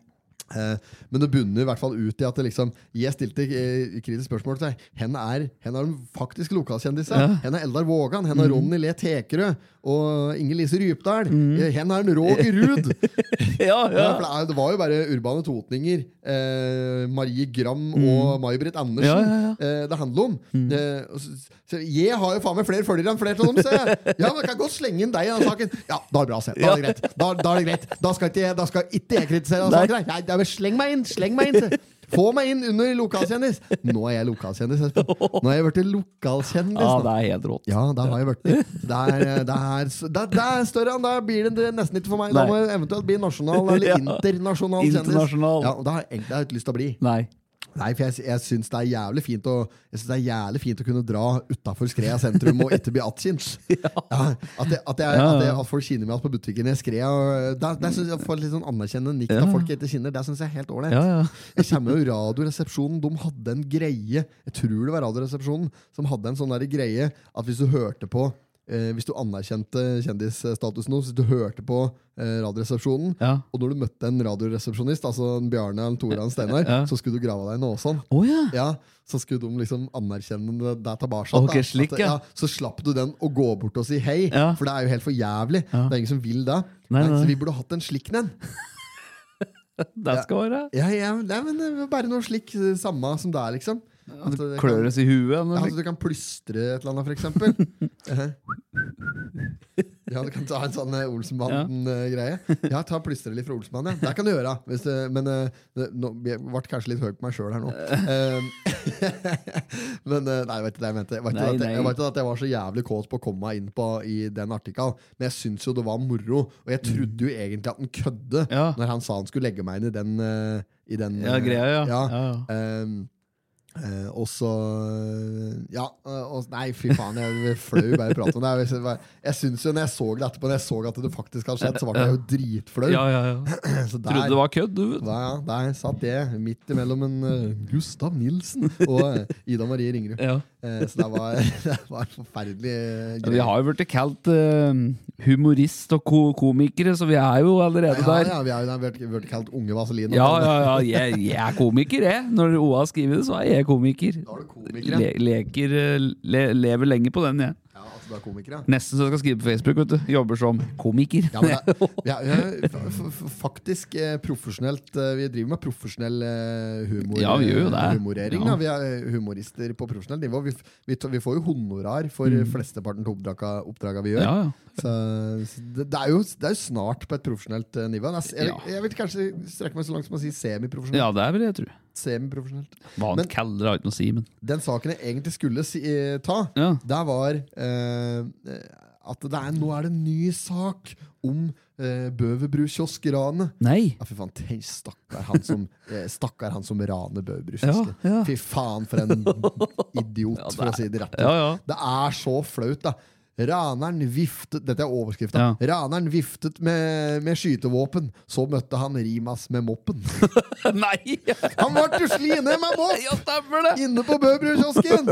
[SPEAKER 2] Eh, men det bunner i hvert fall ut i at det liksom, jeg stilte eh, kritisk spørsmål til deg. Hen er, hen er en faktisk lokalkjendis. Ja. Hen er Eldar Vågan, hen er
[SPEAKER 1] Mm.
[SPEAKER 2] Ronny Le Tekerød og Inger Lise Rypdal. Eh, Hen er en Roger Ruud.
[SPEAKER 1] *laughs* Ja,
[SPEAKER 2] Ja,
[SPEAKER 1] ja.
[SPEAKER 2] for det er- det var jo bare urbane totninger. Eh, Marie Gram og May-Britt Andersen
[SPEAKER 1] Mm. Ja, ja, Mm.
[SPEAKER 2] Eh, det handler om. Eh, og så, så jeg har jo faen meg flere følgere enn flere av dem, ser jeg. Ja, men jeg kan godt slenge inn deg i den saken. Ja, da er det bra, sett. Da er det greit. Da, da er det greit. Da skal ikke jeg, da skal ikke jeg kritisere den
[SPEAKER 1] Nei.
[SPEAKER 2] saken. her. Nei, da, men sleng meg inn! Sleng meg inn! se. Få meg inn under lokalkjendis! Nå er jeg lokalkjendis, Espen. Nå er jeg blitt lokalkjendis.
[SPEAKER 1] ja,
[SPEAKER 2] nå.
[SPEAKER 1] det er helt rått.
[SPEAKER 2] Ja, der har jeg vært det. er, det, er, det, er, det er større enn det blir det nesten ikke for meg. Da
[SPEAKER 1] Nei.
[SPEAKER 2] må jeg eventuelt bli nasjonal eller
[SPEAKER 1] Ja.
[SPEAKER 2] internasjonal kjendis.
[SPEAKER 1] Internasjonal.
[SPEAKER 2] Ja, og det har jeg egentlig ikke lyst til å bli.
[SPEAKER 1] Nei.
[SPEAKER 2] Nei, for jeg, jeg syns det er jævlig fint å, jeg synes det er jævlig fint å kunne dra utafor Skrea sentrum og ikke bli
[SPEAKER 1] *laughs*
[SPEAKER 2] attkjent. Ja, at, jeg- at, jeg- at, jeg- at folk kjenner meg igjen på butikken i Skrea. og Der, der synes jeg får litt sånn anerkjennende nikk av
[SPEAKER 1] Ja.
[SPEAKER 2] folk jeg ikke kjenner. Det syns jeg er helt ålreit.
[SPEAKER 1] Ja, ja.
[SPEAKER 2] *laughs* Jeg kommer jo Radioresepsjonen. De hadde en greie, jeg tror det var Radioresepsjonen, som hadde en sånn der greie at hvis du hørte på eh, hvis du anerkjente kjendisstatusen hos, hvis du hørte på eh, Radioresepsjonen,
[SPEAKER 1] Ja.
[SPEAKER 2] og når du møtte en radioresepsjonist, altså en Bjarne eller en Tore eller en Steinar,
[SPEAKER 1] *laughs* Ja.
[SPEAKER 2] så skulle du grave deg i nåsen.
[SPEAKER 1] Å ja.
[SPEAKER 2] Ja, så skulle de liksom anerkjenne deg tilbake.
[SPEAKER 1] Ok,
[SPEAKER 2] da.
[SPEAKER 1] slik,
[SPEAKER 2] At,
[SPEAKER 1] ja.
[SPEAKER 2] så slapp du den å gå bort og si hei,
[SPEAKER 1] Ja.
[SPEAKER 2] for det er jo helt for jævlig. Det
[SPEAKER 1] Ja.
[SPEAKER 2] er ingen som vil det.
[SPEAKER 1] Nei,
[SPEAKER 2] Nei,
[SPEAKER 1] nei.
[SPEAKER 2] Så vi burde hatt en slik en.
[SPEAKER 1] Det skal være.
[SPEAKER 2] Ja, ja, nei, men det er bare noe slik eh, samme som det er, liksom. At
[SPEAKER 1] At
[SPEAKER 2] det
[SPEAKER 1] det
[SPEAKER 2] kan-
[SPEAKER 1] kløres i huet.
[SPEAKER 2] Ja, altså-
[SPEAKER 1] eller
[SPEAKER 2] så du kan plystre et eller annet, for
[SPEAKER 1] *laughs*
[SPEAKER 2] eksempel. Eh, Ja, du kan ta en sånn eh, Olsenbanden-greie. Ja, ta plystre litt fra Olsenbanden. Ja. Det kan du gjøre. Hvis du, men eh, det- nå jeg ble kanskje litt høy på meg sjøl her nå. Eh, *laughs* men eh, nei, jeg vet ikke det jeg mente. Jeg vet
[SPEAKER 1] Nei,
[SPEAKER 2] ikke at jeg-
[SPEAKER 1] nei.
[SPEAKER 2] jeg vet ikke at jeg var så jævlig kåt på å komme meg inn på i den artikkelen, men jeg syns jo det var moro. Og jeg trodde jo egentlig at han kødde
[SPEAKER 1] Mm. Ja.
[SPEAKER 2] når han sa han skulle legge meg inn i den, eh, i den
[SPEAKER 1] Ja,
[SPEAKER 2] eh,
[SPEAKER 1] greia, ja.
[SPEAKER 2] ja.
[SPEAKER 1] Ja, ja.
[SPEAKER 2] Ehm, eh, og så Ja, eh, og, nei, fy faen, jeg blir flau bare å prate om det. Jeg, synes- jeg synes jo, når jeg så det etterpå, når jeg så at det faktisk hadde skjedd, så ble jeg jo dritflau.
[SPEAKER 1] Ja, ja, ja.
[SPEAKER 2] Så der,
[SPEAKER 1] Trodde det var kødd, du. vet.
[SPEAKER 2] der, der satt jeg midt imellom en eh, Gustav Nilsen og eh, Ida Marie Ringerud.
[SPEAKER 1] Ja.
[SPEAKER 2] Eh, så det var, *laughs* det var forferdelig eh,
[SPEAKER 1] Vi har jo blitt kalt eh, humorist og ko komikere, så vi er jo allerede
[SPEAKER 2] ja,
[SPEAKER 1] der.
[SPEAKER 2] ja, vi har jo vært, vært kalt Unge Vaselin. og
[SPEAKER 1] Ja,
[SPEAKER 2] sånn.
[SPEAKER 1] ja, ja. Jeg, jeg er komiker, jeg. Når OA skriver det, så er jeg komiker.
[SPEAKER 2] Da er du komiker.
[SPEAKER 1] Le leker, eh, le lever lenge på den, jeg.
[SPEAKER 2] Ja, altså, du er komiker, ja.
[SPEAKER 1] Nesten så jeg skal skrive på Facebook. vet du Jobber som komiker.
[SPEAKER 2] Ja, men det,
[SPEAKER 1] *laughs*
[SPEAKER 2] vi er, vi er f- f- faktisk eh, profesjonelt eh, Vi driver med profesjonell eh, humor,
[SPEAKER 1] Ja, vi gjør jo det.
[SPEAKER 2] humorering.
[SPEAKER 1] Ja.
[SPEAKER 2] Da. Vi er eh, humorister på profesjonelt nivå. Vi, f- vi, t- vi får jo honorar for flesteparten av oppdraga, oppdraga vi gjør.
[SPEAKER 1] Mm. ja, ja.
[SPEAKER 2] Så, så det, det, er jo, det er jo snart på et profesjonelt eh, nivå. Det er s- Jeg,
[SPEAKER 1] Ja.
[SPEAKER 2] jeg vil kanskje strekke meg så langt som å si semiprofesjonelt.
[SPEAKER 1] ja, det er vel det jeg tror.
[SPEAKER 2] Semiprofesjonelt.
[SPEAKER 1] Hva han
[SPEAKER 2] Men-
[SPEAKER 1] kaller det, har jeg ikke noe å si, men
[SPEAKER 2] Den saken jeg egentlig skulle si, eh, ta,
[SPEAKER 1] ja.
[SPEAKER 2] der var eh, at det er, nå er det en ny sak om eh, Bøverbru-kiosk-ranet.
[SPEAKER 1] Nei!
[SPEAKER 2] Ja, fy faen, tenk, stakkar han
[SPEAKER 1] *laughs*
[SPEAKER 2] som, eh, stakkar han som raner Bøverus.
[SPEAKER 1] Ja, ja.
[SPEAKER 2] Fy faen, for en idiot,
[SPEAKER 1] *laughs* Ja, det
[SPEAKER 2] for å
[SPEAKER 1] er-
[SPEAKER 2] si det rett. ut.
[SPEAKER 1] Ja, ja.
[SPEAKER 2] Det er så flaut, da. Raneren viftet Dette er overskrifta.
[SPEAKER 1] Ja.
[SPEAKER 2] Raneren viftet med, med skytevåpen. Så møtte han Rimas med
[SPEAKER 1] *laughs*
[SPEAKER 2] moppen.
[SPEAKER 1] *laughs* Nei! Ja,
[SPEAKER 2] Han ble jo slinet med mopp!
[SPEAKER 1] stemmer det!
[SPEAKER 2] Inne på Bøbrukiosken!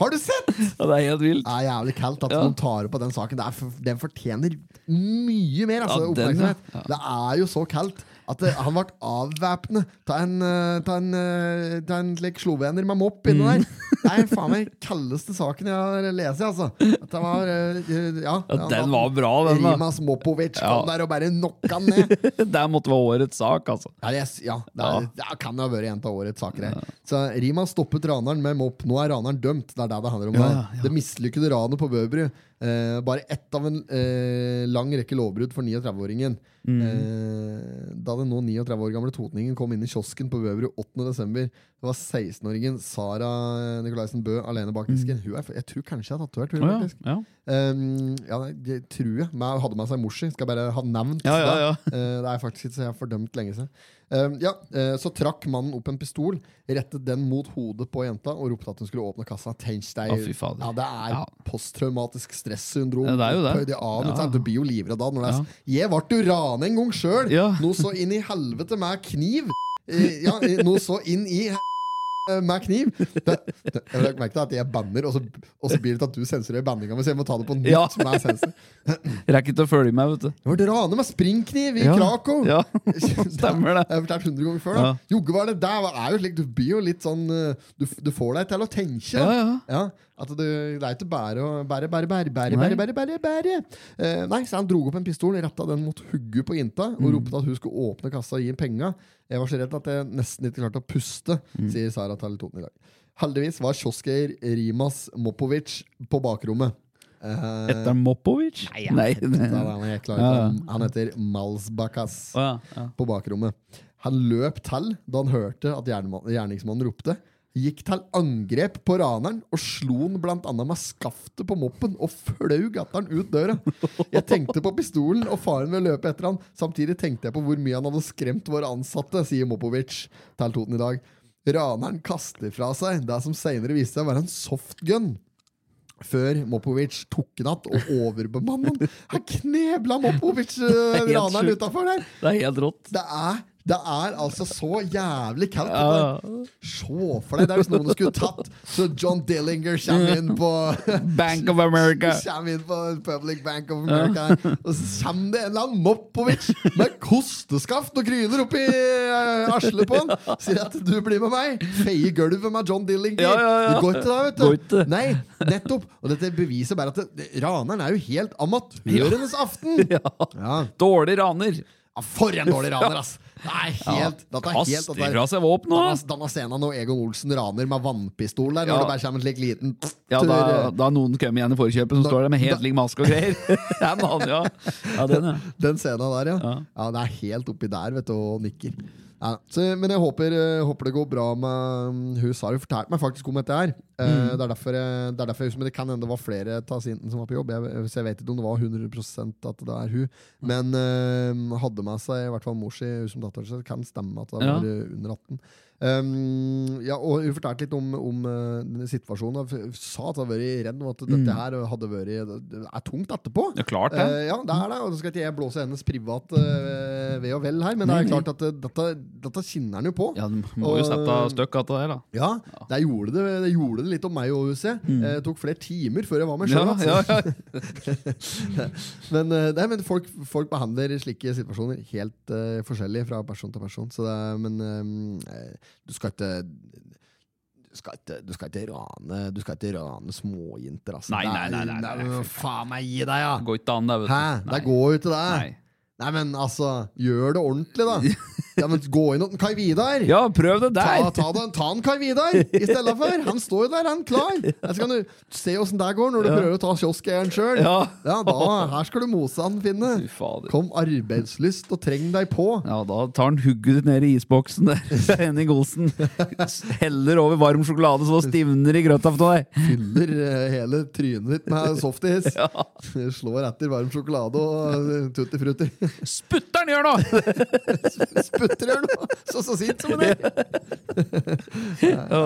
[SPEAKER 2] Har du sett?!
[SPEAKER 1] Ja, det er helt vilt.
[SPEAKER 2] Det er jævlig kaldt at
[SPEAKER 1] Ja.
[SPEAKER 2] noen tar opp på den saken. Det er, for- den fortjener mye mer altså,
[SPEAKER 1] Ja, den,
[SPEAKER 2] oppmerksomhet.
[SPEAKER 1] ja. Ja.
[SPEAKER 2] Det er jo så kaldt at det, han ble avvæpnet av en, eh, ta en, eh, ta en like, slovener med mopp inne
[SPEAKER 1] Mm.
[SPEAKER 2] der. Det er faen meg kaldeste saken jeg har lest. Altså. At det var, eh, eh, ja,
[SPEAKER 1] Ja,
[SPEAKER 2] han-
[SPEAKER 1] den var bra, den. da
[SPEAKER 2] Rimas Mopovic kom
[SPEAKER 1] Ja.
[SPEAKER 2] der og bare knocka han ned.
[SPEAKER 1] Det måtte være årets sak, altså.
[SPEAKER 2] Ja, det, er- ja, det, er,
[SPEAKER 1] Ja.
[SPEAKER 2] det kan jo ha vært en av årets saker. her Så Rima stoppet raneren med mopp. Nå er raneren dømt. Det er det det handler om.
[SPEAKER 1] Ja,
[SPEAKER 2] da.
[SPEAKER 1] ja, ja.
[SPEAKER 2] Det mislykkede ranet på Bøbru. Eh, bare ett av en eh, lang rekke lovbrudd for 39-åringen.
[SPEAKER 1] Mm.
[SPEAKER 2] Eh, da den nå 39 år gamle totningen kom inn i kiosken på Bøbru 8.12., var 16-åringen Sara Nikolaisen Bø alene bak disken. Hun er, f- jeg tror kanskje jeg har tatovert
[SPEAKER 1] Mm. Å,
[SPEAKER 2] henne.
[SPEAKER 1] ja.
[SPEAKER 2] faktisk.
[SPEAKER 1] Ja.
[SPEAKER 2] Um, ja, nei, det tror jeg. Men jeg hadde med seg morsi. Skal bare ha nevnt
[SPEAKER 1] Ja, ja, ja.
[SPEAKER 2] det. Eh, det er faktisk ikke så jeg har fordømt lenge siden. Um, ja, eh, så trakk mannen opp en pistol, rettet den mot hodet på jenta og ropte at hun skulle åpne kassa. Tenk deg,
[SPEAKER 1] Å, fy fader.
[SPEAKER 2] ja, det er
[SPEAKER 1] Ja.
[SPEAKER 2] posttraumatisk stressyndrom.
[SPEAKER 1] Ja, det er jo det.
[SPEAKER 2] opphøyd i annen,
[SPEAKER 1] Ja.
[SPEAKER 2] sant? Du blir jo livredd da. Når det er, s- Jeg ble jo ranet en gang sjøl!
[SPEAKER 1] Ja.
[SPEAKER 2] Noe så inn i helvete med kniv! Eh, ja, eh, noe så inn i eh, med kniv. Det, det, jeg legger merke til at jeg banner, og så, og så blir det til at du sensurerer banninga mi. Så jeg må ta det på nytt.
[SPEAKER 1] Ja.
[SPEAKER 2] med sensor.
[SPEAKER 1] Rekker ikke å følge med, vet du.
[SPEAKER 2] Det var rane med springkniv i
[SPEAKER 1] Ja.
[SPEAKER 2] Krakow!
[SPEAKER 1] Ja,
[SPEAKER 2] Det
[SPEAKER 1] *laughs*
[SPEAKER 2] har
[SPEAKER 1] stemmer det.
[SPEAKER 2] Jeg fortalt 100 ganger før. da
[SPEAKER 1] Ja.
[SPEAKER 2] Jogge var det der var- er jo slik, Du blir jo litt sånn eh, Du, du får deg til å tenke. da.
[SPEAKER 1] Ja, ja.
[SPEAKER 2] Ja, at du, det er ikke bare å bære, bære, bære, bære,
[SPEAKER 1] Nei.
[SPEAKER 2] bære, bære, bære, bære. Eh, nei, så han dro opp en pistol, retta den mot hugget på jenta og
[SPEAKER 1] Mm.
[SPEAKER 2] ropte at hun skulle åpne kassa og gi ham penga. Jeg var så redd at jeg nesten ikke klarte å puste,
[SPEAKER 1] Mm.
[SPEAKER 2] sier Sara til Toten i dag. Heldigvis var kiosker Rimas Mopovic på bakrommet. Eh,
[SPEAKER 1] Etter Mopovic? Nei.
[SPEAKER 2] da er han, helt klar,
[SPEAKER 1] Ja, ja.
[SPEAKER 2] han heter Malsbakas
[SPEAKER 1] Å, ja, ja.
[SPEAKER 2] på bakrommet. Han løp til da han hørte at gjernemann- gjerningsmannen ropte. Gikk til angrep på raneren og slo han blant annet med skaftet på moppen og fløy gatteren ut døra. Jeg tenkte på pistolen og faren ved å løpe etter han. Samtidig tenkte jeg på hvor mye han hadde skremt våre ansatte, sier Mopovic til Toten i dag. Raneren kaster fra seg det som senere viste seg å være en softgun. Før Mopovic tok den att og overbemannet den. Her knebla Mopovic eh,
[SPEAKER 1] Det er helt
[SPEAKER 2] raneren
[SPEAKER 1] sjukt.
[SPEAKER 2] utafor der!
[SPEAKER 1] Det er helt rått.
[SPEAKER 2] Det er, det er altså så jævlig kaldt.
[SPEAKER 1] Ja.
[SPEAKER 2] dette. Se for deg det er hvis noen skulle tatt så John Dillinger kommer inn
[SPEAKER 1] *laughs*
[SPEAKER 2] på
[SPEAKER 1] Bank of America.
[SPEAKER 2] Kommer inn på Public Bank of America her, Og så kommer det en eller annen Mopovic med kosteskaft og kryner oppi uh, arslet
[SPEAKER 1] *laughs*
[SPEAKER 2] på han. Sier at 'du blir med meg'. Feier gulvet med John Dillinger.
[SPEAKER 1] Ja, ja, ja.
[SPEAKER 2] Det går ikke da,
[SPEAKER 1] Går
[SPEAKER 2] vet du.
[SPEAKER 1] ikke.
[SPEAKER 2] Nei, nettopp. Og dette beviser bare at det- det, raneren er jo helt amatørenes
[SPEAKER 1] *laughs*
[SPEAKER 2] aften. Ja.
[SPEAKER 1] Dårlig raner.
[SPEAKER 2] Ja, for en dårlig raner, ass! Det er helt,
[SPEAKER 1] Ja,
[SPEAKER 2] dette er helt
[SPEAKER 1] Kast
[SPEAKER 2] dette er-
[SPEAKER 1] ifra seg våpenet!
[SPEAKER 2] Danna,
[SPEAKER 1] da.
[SPEAKER 2] Danna Senan og Egon Olsen raner med vannpistol der,
[SPEAKER 1] Ja.
[SPEAKER 2] når det bare kommer en slik liten
[SPEAKER 1] Ja,
[SPEAKER 2] tur,
[SPEAKER 1] da,
[SPEAKER 2] eh,
[SPEAKER 1] da har noen kommet igjen i forkjøpet som
[SPEAKER 2] Da-
[SPEAKER 1] står der med
[SPEAKER 2] da-
[SPEAKER 1] helt lik maske og greier. *laughs* ja, men han, ja. ja, den, ja.
[SPEAKER 2] Den scenen der, ja. ja.
[SPEAKER 1] Ja.
[SPEAKER 2] Det er helt oppi der, vet du, og nikker. Ja, så, men jeg håper, eh, håper det går bra med mm, Hun har jo fortalt meg faktisk om dette her. Eh,
[SPEAKER 1] Mm.
[SPEAKER 2] Det er derfor, jeg- det, er derfor jeg, men det kan hende det var flere av sintene som var på jobb. Jeg, eh, så jeg vet ikke om det var 100 at det er hun. Men eh, hadde med seg i hvert fall mor si hun som datter. Så det kan stemme at det
[SPEAKER 1] Ja.
[SPEAKER 2] var eh, under 18. Um, ja, og Hun fortalte litt om, om eh, denne situasjonen. og Hun sa at hun hadde vært redd, og at dette her hadde vært, eh, det er tungt etterpå.
[SPEAKER 1] Mm. Ja, klart det.
[SPEAKER 2] Eh, ja, det er det. Og så skal ikke jeg blåse hennes privat eh, ved og vel her, men det er klart at eh, dette, dette kinner han jo på.
[SPEAKER 1] Ja, du må jo sette støkk av det der, da.
[SPEAKER 2] Ja, det gjorde det, det gjorde det litt om meg òg, husker jeg. Eh, Det tok flere timer før jeg altså. var med sjøl.
[SPEAKER 1] Mm. Ja, ja, ja.
[SPEAKER 2] Men, eh, nei, men folk, folk behandler slike situasjoner helt eh, forskjellig fra person til person. Så det, er- men eh, du skal ikke du skal, ikke, du, skal ikke rane, du skal ikke rane småjenter, altså.
[SPEAKER 1] Nei,
[SPEAKER 2] Det
[SPEAKER 1] nei,
[SPEAKER 2] er-
[SPEAKER 1] nei, nei,
[SPEAKER 2] det er-
[SPEAKER 1] nei, nei.
[SPEAKER 2] Faen meg, gi deg, ja!
[SPEAKER 1] Det går ikke an, det, vet du.
[SPEAKER 2] Hæ?
[SPEAKER 1] Nei.
[SPEAKER 2] Det går jo ikke, det.
[SPEAKER 1] Nei.
[SPEAKER 2] Nei, men altså, gjør det ordentlig,
[SPEAKER 1] *laughs*
[SPEAKER 2] da. Ja, men Gå inn hos Kai Vidar!
[SPEAKER 1] Ja, prøv det
[SPEAKER 2] Ta,
[SPEAKER 1] der!
[SPEAKER 2] ta, den, ta en Kai Vidar i stedet for! Han står jo der, han klar! Så
[SPEAKER 1] *laughs*
[SPEAKER 2] kan du se åssen det går når du prøver å ta kioskeieren sjøl.
[SPEAKER 1] Ja.
[SPEAKER 2] da, her skal du mose han, Finne.
[SPEAKER 1] Fy fader.
[SPEAKER 2] Kom arbeidslyst og treng deg på.
[SPEAKER 1] Ja, da tar han hugget ditt ned i isboksen der. *laughs* Henning Olsen heller over varm sjokolade så det stivner i grøta på deg.
[SPEAKER 2] Fyller eh, hele trynet ditt med softis.
[SPEAKER 1] *laughs*
[SPEAKER 2] Slår etter varm sjokolade og eh, tutti frutti.
[SPEAKER 1] Sputter'n gjør noe!
[SPEAKER 2] Sputter gjør noe! Så så sint som det er!
[SPEAKER 1] Ja.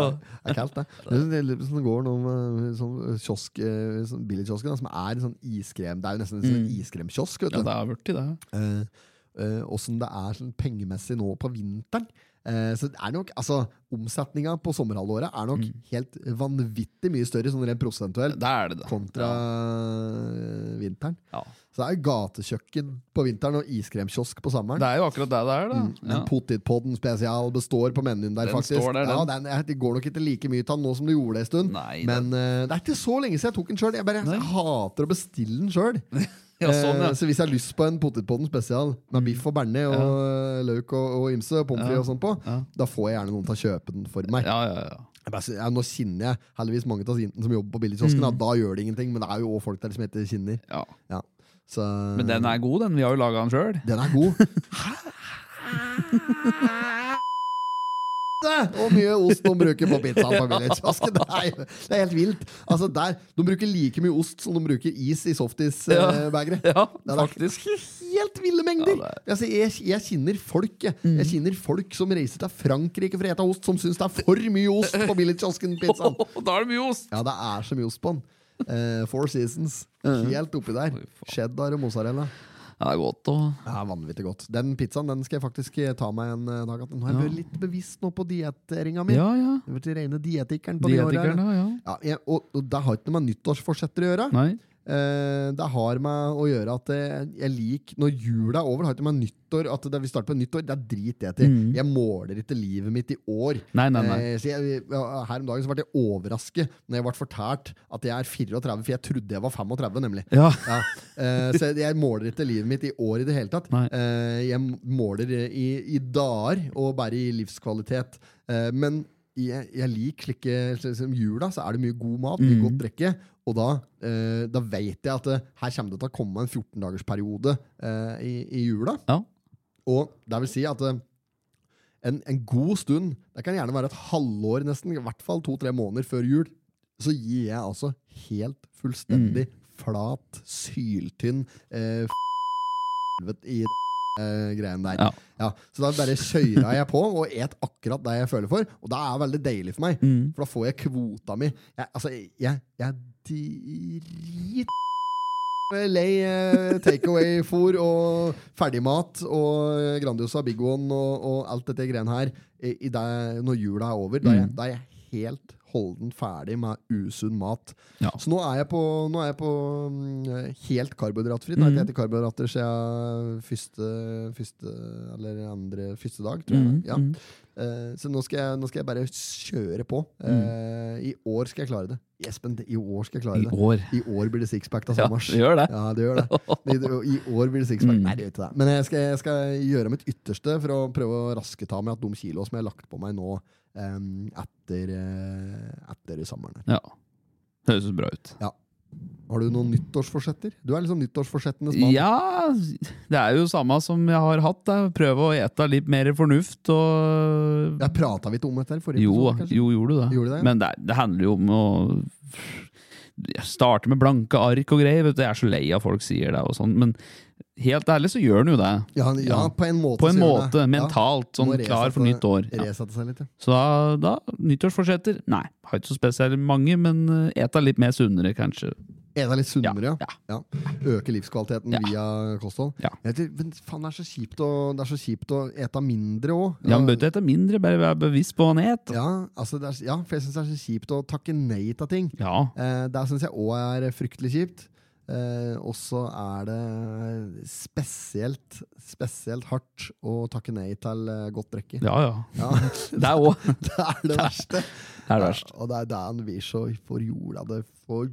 [SPEAKER 2] Det er kaldt, det. Det er litt sånn det går nå med sånn kiosk, eh, sånn billigkiosken, da, som er sånn iskrem. Det er jo nesten som en sånn iskremkiosk. vet
[SPEAKER 1] Mm. Ja,
[SPEAKER 2] du. Eh,
[SPEAKER 1] det er blitt det.
[SPEAKER 2] Åssen det er sånn pengemessig nå på vinteren. Eh, så det er nok, altså Omsetninga på sommerhalvåret er nok helt vanvittig mye større sånn rent prosentuelt
[SPEAKER 1] Mm. Det er det, det.
[SPEAKER 2] kontra eh, vinteren.
[SPEAKER 1] Ja.
[SPEAKER 2] Så det er jo gatekjøkken på vinteren og iskremkiosk på sommeren.
[SPEAKER 1] Det er jo akkurat det det er, da.
[SPEAKER 2] Mm, Men
[SPEAKER 1] Ja.
[SPEAKER 2] potetpodden spesial består på menyen der,
[SPEAKER 1] Den
[SPEAKER 2] faktisk.
[SPEAKER 1] står der, den.
[SPEAKER 2] Ja, den, jeg, det går nok ikke like mye til den nå som det gjorde en stund.
[SPEAKER 1] Nei,
[SPEAKER 2] men eh, det er ikke så lenge siden jeg tok den sjøl. Jeg bare jeg hater å bestille den sjøl.
[SPEAKER 1] *laughs* Ja, sånn, ja. Mm.
[SPEAKER 2] så hvis jeg har lyst på en potetpodden spesial med biff og bearnés og eh, løk og, og ymse, og pommes frites og sånn på, da får jeg gjerne noen til å kjøpe den for meg.
[SPEAKER 1] Ja, ja, ja.
[SPEAKER 2] Jeg bare, sier, ja, nå kjenner jeg heldigvis mange av jentene som jobber på billigkiosken.
[SPEAKER 1] Mm.
[SPEAKER 2] Da, da gjør det ingenting, men det er jo også folk der som heter Kinner.
[SPEAKER 1] ja.
[SPEAKER 2] Ja. Så,
[SPEAKER 1] Men den er god, den. Vi har jo laga den sjøl.
[SPEAKER 2] den er *laughs* god. Hvor mye ost de bruker på pizzaen på Village-kiosken. Det, er jo- det er helt vilt. Altså der, De bruker like mye ost som de bruker is i *laughs* softis-bagere.
[SPEAKER 1] Ja,
[SPEAKER 2] Det er
[SPEAKER 1] faktisk.
[SPEAKER 2] Helt ville mengder!
[SPEAKER 1] Ja,
[SPEAKER 2] altså, jeg, jeg kjenner folk jeg. jeg kjenner folk som reiser til Frankrike for å ete ost, som syns det er for mye ost på Village-kiosken-pizzaen.
[SPEAKER 1] Da er det mye ost!
[SPEAKER 2] Ja, det er så mye ost på den. Eh, four Seasons. Helt oppi der. Cheddar og mozzarella.
[SPEAKER 1] Ja, det er godt å
[SPEAKER 2] Det er vanvittig godt. Den pizzaen den skal jeg faktisk ta meg en eh, dag. at Nå har jeg vært litt bevisst nå på dietteringa mi.
[SPEAKER 1] Ja, ja.
[SPEAKER 2] Jeg har vært rene dietikeren på de åra.
[SPEAKER 1] Dietikeren,
[SPEAKER 2] her.
[SPEAKER 1] ja. ja.
[SPEAKER 2] Ja, jeg, og, og det har ikke noe med nyttårsforsetter å gjøre.
[SPEAKER 1] Nei.
[SPEAKER 2] Eh, det har med å gjøre at jeg, jeg liker Når jula er over, har ikke med nyttår At det, vi starter på nyttår, det driter jeg til. Jeg måler ikke livet mitt i år.
[SPEAKER 1] Mm. Nei, nei, nei.
[SPEAKER 2] Eh, så jeg, ja, her om dagen så ble jeg overrasket når jeg ble fortalt at jeg er 34, for jeg trodde jeg var 35, nemlig.
[SPEAKER 1] Ja.
[SPEAKER 2] Ja. Eh, så jeg- jeg måler ikke livet mitt i år i det hele tatt.
[SPEAKER 1] Nei.
[SPEAKER 2] Eh, jeg måler i, i dager og bare i livskvalitet. Eh, men jeg, jeg liker slike slik som jula, så er det mye god mat,
[SPEAKER 1] Mm.
[SPEAKER 2] mye godt drikke. Og da, eh, da vet jeg at eh, her kommer det til å komme en 14-dagersperiode eh, i, i jula.
[SPEAKER 1] Ja.
[SPEAKER 2] Og det vil si at eh, en, en god stund, det kan gjerne være et halvår nesten, i hvert fall to-tre måneder før jul, så gir jeg altså helt fullstendig flat, syltynn eh, f- helvete i eh, greien der.
[SPEAKER 1] Ja.
[SPEAKER 2] så da bare kjøra jeg på og et akkurat det jeg føler for. Og det er veldig deilig for meg,
[SPEAKER 1] Mm.
[SPEAKER 2] for da får jeg kvota mi. Jeg, altså, jeg, jeg er drit... Lei eh, takeaway-fôr og ferdigmat og eh, Grandiosa Big One og, og alt dette greiene her i, i det, når jula er over. Da
[SPEAKER 1] Mm.
[SPEAKER 2] er, jeg, da er jeg helt holden ferdig med usunn mat.
[SPEAKER 1] Ja.
[SPEAKER 2] Så nå er jeg på, nå er jeg på mm, helt karbohydratfri. Nå har jeg
[SPEAKER 1] Mm.
[SPEAKER 2] ikke spist karbohydrater siden første, første eller andre første dag, tror jeg.
[SPEAKER 1] Mm,
[SPEAKER 2] Ja.
[SPEAKER 1] mm.
[SPEAKER 2] Eh, så nå skal, jeg, nå skal jeg bare kjøre på. Eh, I år skal jeg klare det. Espen, det- i år skal jeg klare
[SPEAKER 1] Mm. I
[SPEAKER 2] det.
[SPEAKER 1] år.
[SPEAKER 2] I år blir det sixpack av
[SPEAKER 1] Ja,
[SPEAKER 2] sommers.
[SPEAKER 1] det Mm. gjør det.
[SPEAKER 2] Ja, det gjør det. I, I år blir det sixpack. Nei, det gjør ikke det. Men jeg skal, jeg skal gjøre mitt ytterste for å prøve å raske ta med at de kilo som jeg har lagt på meg nå em, etter, eh, etter sommeren. her.
[SPEAKER 1] Ja. Det høres bra ut.
[SPEAKER 2] Har du noen nyttårsforsetter? Du er liksom nyttårsforsettenes mann.
[SPEAKER 1] Ja, det er jo samme som jeg har hatt. Da. Prøve å ete litt mer fornuft og
[SPEAKER 2] Jeg prata vi ikke om dette her i forrige
[SPEAKER 1] Jo,
[SPEAKER 2] episode, kanskje?
[SPEAKER 1] jo gjorde du det.
[SPEAKER 2] Gjorde det, ja.
[SPEAKER 1] Men det, er- det handler jo om å starte med blanke ark og greier. Vet du. Jeg er så lei av folk sier det og sånn, men helt ærlig så gjør han jo det.
[SPEAKER 2] Ja, ja,
[SPEAKER 1] Ja.
[SPEAKER 2] på en måte.
[SPEAKER 1] På en
[SPEAKER 2] så gjør
[SPEAKER 1] måte,
[SPEAKER 2] det.
[SPEAKER 1] mentalt,
[SPEAKER 2] Ja.
[SPEAKER 1] sånn
[SPEAKER 2] Må
[SPEAKER 1] klar for
[SPEAKER 2] resette-
[SPEAKER 1] nytt år. Ja.
[SPEAKER 2] Resette seg litt, ja.
[SPEAKER 1] Så da, da nyttårsforsetter? Nei, har ikke så spesielt mange, men eh, eta litt mer sunnere, kanskje.
[SPEAKER 2] Er det litt sunnere, ja?
[SPEAKER 1] Ja.
[SPEAKER 2] ja. Øke livskvaliteten
[SPEAKER 1] Ja.
[SPEAKER 2] via kosthold?
[SPEAKER 1] Ja.
[SPEAKER 2] Jeg vet ikke, Men faen, det er så kjipt å, det er så kjipt å ete mindre òg.
[SPEAKER 1] Ja, men bør ikke ete mindre, bare være bevisst på hva han et.
[SPEAKER 2] ja, altså det er, ja, for jeg syns det er så kjipt å takke nei til ting.
[SPEAKER 1] Ja.
[SPEAKER 2] Eh, det syns jeg òg er fryktelig kjipt. Eh, og så er det spesielt, spesielt hardt å takke nei til eh, godt drikke.
[SPEAKER 1] Ja, ja.
[SPEAKER 2] Ja,
[SPEAKER 1] Det er òg Det
[SPEAKER 2] det er det verste.
[SPEAKER 1] er verst.
[SPEAKER 2] Ja, og det er det han blir så forjola det for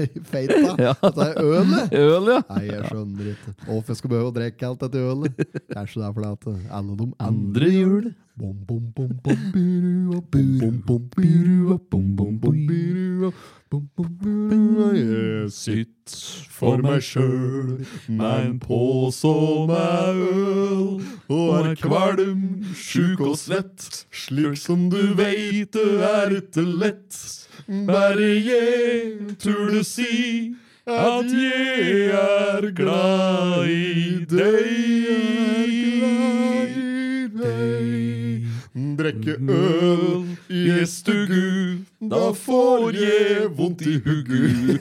[SPEAKER 2] Feita.
[SPEAKER 1] Ja.
[SPEAKER 2] At det er ølet.
[SPEAKER 1] Øl, ja.
[SPEAKER 2] Nei, jeg skjønner ikke. Hvorfor jeg skal behøve å drikke alt dette ølet? Kanskje det er fordi at alle de andre
[SPEAKER 1] Andre jul.
[SPEAKER 2] Bom, bom, bom, bom, birua, bom, bom, bom, birua, bom, bom, bom, birua, bom, bom, birua. Jeg sitter for meg sjøl med en påse med øl og er kvalm, sjuk og svett. Slik som du veit, det er ikke lett. Bare jeg turde si at jeg er glad i deg. Drekke øl i stugu, da får jeg vondt i huggu.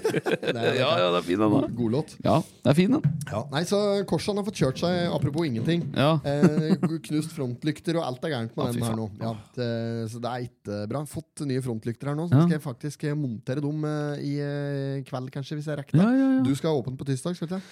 [SPEAKER 1] *laughs* Ja, ja, det er fin den, da.
[SPEAKER 2] God låt.
[SPEAKER 1] Ja, det er fin den.
[SPEAKER 2] Ja. Nei, så Korsan har fått kjørt seg, apropos ingenting.
[SPEAKER 1] Ja.
[SPEAKER 2] Eh, knust frontlykter og alt er gærent med
[SPEAKER 1] Ja, fy
[SPEAKER 2] den her nå.
[SPEAKER 1] faen.
[SPEAKER 2] Ja, det, så det er ikke bra. Fått nye frontlykter her nå, så
[SPEAKER 1] Ja.
[SPEAKER 2] skal jeg faktisk eh, montere dem eh, i eh, kveld, kanskje, hvis jeg rekker det.
[SPEAKER 1] Ja, ja, ja.
[SPEAKER 2] Du skal ha åpent på tirsdag, skal du ikke?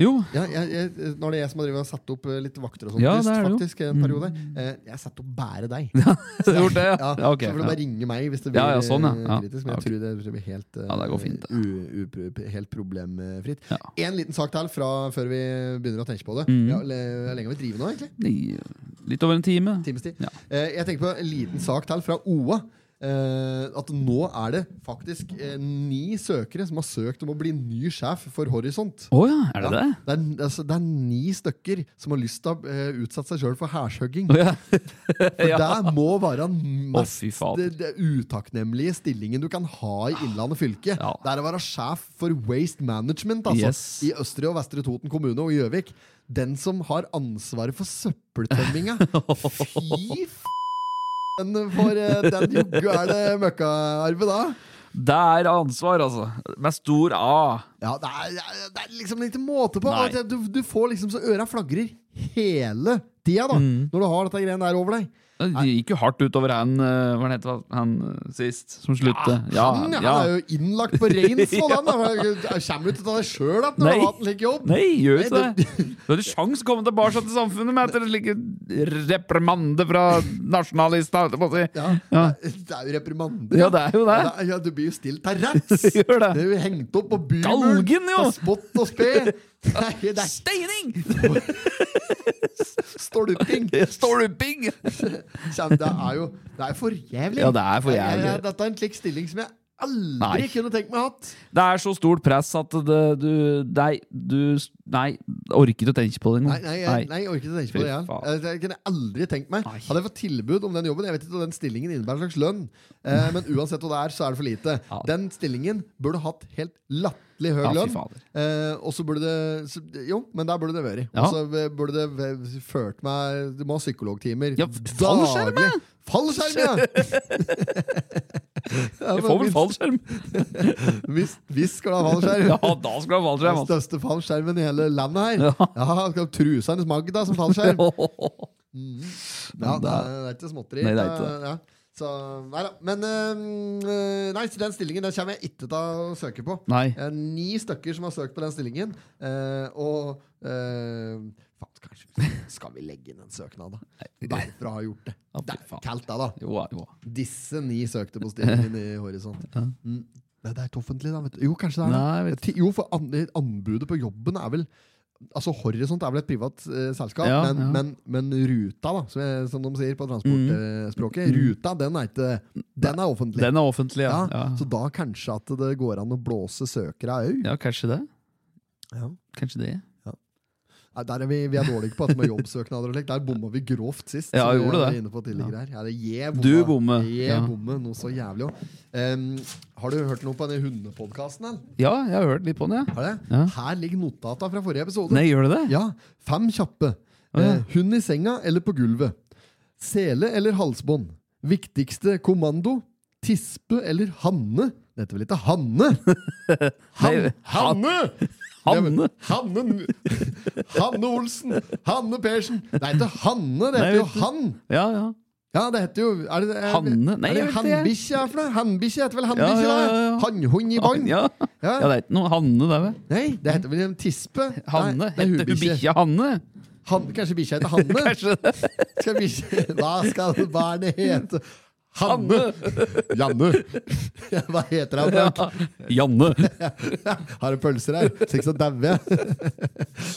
[SPEAKER 1] Jo,
[SPEAKER 2] Ja, jeg, jeg, nå er det jeg som har drevet og satt opp eh, litt vakter og sånt
[SPEAKER 1] Ja,
[SPEAKER 2] tyst,
[SPEAKER 1] det er det jo. Mm.
[SPEAKER 2] faktisk, en periode. Eh, jeg har satt opp bare
[SPEAKER 1] *laughs*
[SPEAKER 2] deg.
[SPEAKER 1] du har gjort det, ja.
[SPEAKER 2] Ja,
[SPEAKER 1] ja ok.
[SPEAKER 2] så får du
[SPEAKER 1] ja.
[SPEAKER 2] bare ringe meg hvis det blir
[SPEAKER 1] Ja, ja, sånn, ja.
[SPEAKER 2] eh,
[SPEAKER 1] Ja,
[SPEAKER 2] kritisk. Men jeg
[SPEAKER 1] ok.
[SPEAKER 2] tror det tror det blir helt, eh,
[SPEAKER 1] Ja, det går fint, det.
[SPEAKER 2] u- upro- helt problemfritt.
[SPEAKER 1] Ja. Mm.
[SPEAKER 2] En liten sak til fra før vi begynner å tenke på det. Ja, le- Hvor lenge har vi drevet nå, egentlig?
[SPEAKER 1] Ni- Litt over en time.
[SPEAKER 2] Times tid.
[SPEAKER 1] Ja.
[SPEAKER 2] Eh, jeg tenker på en liten sak til fra OA. Eh, at nå er det faktisk eh, ni søkere som har søkt om å bli ny sjef for Horisont.
[SPEAKER 1] Å ja, er det
[SPEAKER 2] Ja,
[SPEAKER 1] det?
[SPEAKER 2] det, er, altså, det er ni stykker som har lyst til å eh, utsette seg sjøl for hærhugging.
[SPEAKER 1] Å ja.
[SPEAKER 2] *laughs* For
[SPEAKER 1] Ja.
[SPEAKER 2] det må være den
[SPEAKER 1] Å,
[SPEAKER 2] mest eh,
[SPEAKER 1] fy faen.
[SPEAKER 2] det, det utakknemlige stillingen du kan ha i Innlandet fylke.
[SPEAKER 1] Ja.
[SPEAKER 2] Det er å være sjef for Waste Management altså,
[SPEAKER 1] Yes.
[SPEAKER 2] i Østre og Vestre Toten kommune og Gjøvik. Den som har ansvaret for
[SPEAKER 1] *laughs*
[SPEAKER 2] søppeltømminga. Fy f... Den for eh, den joggu er det møkkaarve, da.
[SPEAKER 1] Det er ansvar, altså. Med stor A.
[SPEAKER 2] Ja, det er, det er- det er liksom ikke måte på.
[SPEAKER 1] Nei.
[SPEAKER 2] At Du, du får liksom så øra flagrer hele tida da
[SPEAKER 1] Mm.
[SPEAKER 2] når du har dette greiene der over deg.
[SPEAKER 1] Det gikk jo hardt utover han eh, Hva het han, han eh, sist, som sluttet?
[SPEAKER 2] han, Sånn, ja, han er jo innlagt på Reinsvoll, han! da. Kommer du til å ta deg sjøl igjen når du
[SPEAKER 1] Nei.
[SPEAKER 2] har hatt en slik jobb?
[SPEAKER 1] Nei, gjør ikke
[SPEAKER 2] Nei,
[SPEAKER 1] det! Du hadde sjans å komme tilbake til samfunnet med etter en slik reprimande fra nasjonalista. holdt jeg på å si.
[SPEAKER 2] Ja,
[SPEAKER 1] Ja.
[SPEAKER 2] Det er jo reprimander.
[SPEAKER 1] Ja, det er jo det.
[SPEAKER 2] Ja, det er- ja, du blir jo stilt til retts!
[SPEAKER 1] Det *laughs* gjør det.
[SPEAKER 2] er jo hengt opp på
[SPEAKER 1] Galgen,
[SPEAKER 2] bymuren!
[SPEAKER 1] jo.
[SPEAKER 2] på Spott og spe! Det er, det er
[SPEAKER 1] Steining!
[SPEAKER 2] stolping!
[SPEAKER 1] Stolping!
[SPEAKER 2] Kjem, Det er jo det er for jævlig.
[SPEAKER 1] Ja, det er for
[SPEAKER 2] Jeg- jeg-
[SPEAKER 1] jævlig.
[SPEAKER 2] Dette er en slik stilling som jeg Aldri
[SPEAKER 1] Nei.
[SPEAKER 2] kunne tenkt meg hatt!
[SPEAKER 1] Det er så stort press at det, du Nei, du Nei, orker ikke å tenke på det
[SPEAKER 2] Nei,
[SPEAKER 1] engang.
[SPEAKER 2] nei, jeg, nei, jeg orker ikke tenke på det.
[SPEAKER 1] Fy faen.
[SPEAKER 2] Jeg, jeg kunne aldri tenkt meg Hadde jeg fått tilbud om den jobben Jeg vet ikke hva den stillingen innebærer slags lønn, eh,
[SPEAKER 1] *laughs*
[SPEAKER 2] men uansett hva det er, så er det for lite.
[SPEAKER 1] Ja.
[SPEAKER 2] Den stillingen burde hatt helt latterlig høy
[SPEAKER 1] Ja, fy
[SPEAKER 2] lønn.
[SPEAKER 1] fader.
[SPEAKER 2] Eh, og så burde det så, Jo, men der burde det vært.
[SPEAKER 1] Ja.
[SPEAKER 2] Og så burde det v- ført meg Du må ha psykologtimer
[SPEAKER 1] Ja, fallskjerm, ja!
[SPEAKER 2] daglig. Fallskjerm,
[SPEAKER 1] *laughs*
[SPEAKER 2] ja! *laughs*
[SPEAKER 1] Jeg
[SPEAKER 2] Altså,
[SPEAKER 1] får vel
[SPEAKER 2] *laughs*
[SPEAKER 1] fallskjerm!
[SPEAKER 2] Hvis, hvis skal du ha fallskjerm.
[SPEAKER 1] *laughs* Ja, da skal du ha fallskjerm!
[SPEAKER 2] Den
[SPEAKER 1] Altså.
[SPEAKER 2] største fallskjermen i hele landet her.
[SPEAKER 1] Ja.
[SPEAKER 2] Ja, han skal ha Trusa hennes Magda som
[SPEAKER 1] *laughs*
[SPEAKER 2] fallskjerm. Mm. Ja,
[SPEAKER 1] Men
[SPEAKER 2] det
[SPEAKER 1] da-
[SPEAKER 2] er, det er ikke småtteri. Eh,
[SPEAKER 1] Nei, det er ikke
[SPEAKER 2] Ja. Så, nei da. Men øhm, nei, så den stillingen den kommer jeg ikke til å søke på.
[SPEAKER 1] Nei.
[SPEAKER 2] Eh, ni stykker som har søkt på den stillingen. eh, og eh, faen, kanskje Skal vi legge inn en søknad, da? Bare for å ha gjort det.
[SPEAKER 1] Ja,
[SPEAKER 2] Det
[SPEAKER 1] fy
[SPEAKER 2] er
[SPEAKER 1] faen.
[SPEAKER 2] kaldt, da. da.
[SPEAKER 1] Jo, ja, jo.
[SPEAKER 2] Disse ni søkte på stillingen
[SPEAKER 1] *laughs*
[SPEAKER 2] i Horisont. Mm. Nei, det er ikke offentlig, da. Vet du. Jo, kanskje det er det.
[SPEAKER 1] Nei, jeg vet
[SPEAKER 2] Eh, Ti- Jo, for an anbudet på jobben er vel Altså Horisont er vel et privat eh, selskap,
[SPEAKER 1] Ja,
[SPEAKER 2] men,
[SPEAKER 1] ja.
[SPEAKER 2] Men, men Ruta, da, som, jeg, som de sier på transportspråket, Ruta den er ikke Den er offentlig.
[SPEAKER 1] Mm. Den er offentlig, ja.
[SPEAKER 2] ja,
[SPEAKER 1] Ja,
[SPEAKER 2] Så da kanskje at det går an å blåse søkere au.
[SPEAKER 1] ja kanskje det.
[SPEAKER 2] Ja.
[SPEAKER 1] Kanskje det.
[SPEAKER 2] Nei, Der er vi, vi er dårlige på at med jobbsøknader og slikt. Der bomma vi grovt sist.
[SPEAKER 1] Ja,
[SPEAKER 2] som
[SPEAKER 1] gjorde
[SPEAKER 2] vi var
[SPEAKER 1] det.
[SPEAKER 2] Inne på tidligere her. Ja, det er jeg
[SPEAKER 1] Du
[SPEAKER 2] bomma.
[SPEAKER 1] bommer,
[SPEAKER 2] Jeg
[SPEAKER 1] ja.
[SPEAKER 2] bommer noe så jævlig også. Em, har du hørt noe på denne hundepodkasten?
[SPEAKER 1] Ja, jeg har hørt litt på den, ja. Ja.
[SPEAKER 2] Her ligger notata fra forrige episode.
[SPEAKER 1] Nei, gjør det det?
[SPEAKER 2] Ja, fem kjappe.
[SPEAKER 1] Å, ja.
[SPEAKER 2] Eh, hund i senga eller på gulvet. Sele eller halsbånd. Viktigste kommando. Tispe eller hanne. Dette er vel ikke hanne? Han,
[SPEAKER 1] *laughs* Nei, han-
[SPEAKER 2] hanne!
[SPEAKER 1] Hanne!
[SPEAKER 2] Hanne Hanne Olsen! Hanne Persen! Det er ikke Hanne, det
[SPEAKER 1] Nei,
[SPEAKER 2] heter jo
[SPEAKER 1] vet du.
[SPEAKER 2] Han!
[SPEAKER 1] Ja, ja.
[SPEAKER 2] Ja, det heter jo er det, er,
[SPEAKER 1] Hanne? Nei,
[SPEAKER 2] er det
[SPEAKER 1] jeg vet ikke.
[SPEAKER 2] Hannbikkje er for noe? Hannbikkje heter vel hannbikkje?
[SPEAKER 1] Ja, ja,
[SPEAKER 2] da?
[SPEAKER 1] ja, ja.
[SPEAKER 2] Hannhund i bånd?
[SPEAKER 1] Ja. ja, det er ikke noe Hanne der, vel?
[SPEAKER 2] Nei, det heter vel en tispe? Nei, det er
[SPEAKER 1] Hanne? Heter hun
[SPEAKER 2] hubikkje.
[SPEAKER 1] bikkja
[SPEAKER 2] *laughs*
[SPEAKER 1] Hanne?
[SPEAKER 2] Han, kanskje bikkja heter Hanne?
[SPEAKER 1] *laughs* Kanskje det?
[SPEAKER 2] Skal bikkje, hva skal barnet hete? Hanne!
[SPEAKER 1] Hanne!
[SPEAKER 2] Janne! Hva heter han? Frank?
[SPEAKER 1] Ja. Janne!
[SPEAKER 2] Har du pølser her? Så ikke så dauer jeg. *laughs*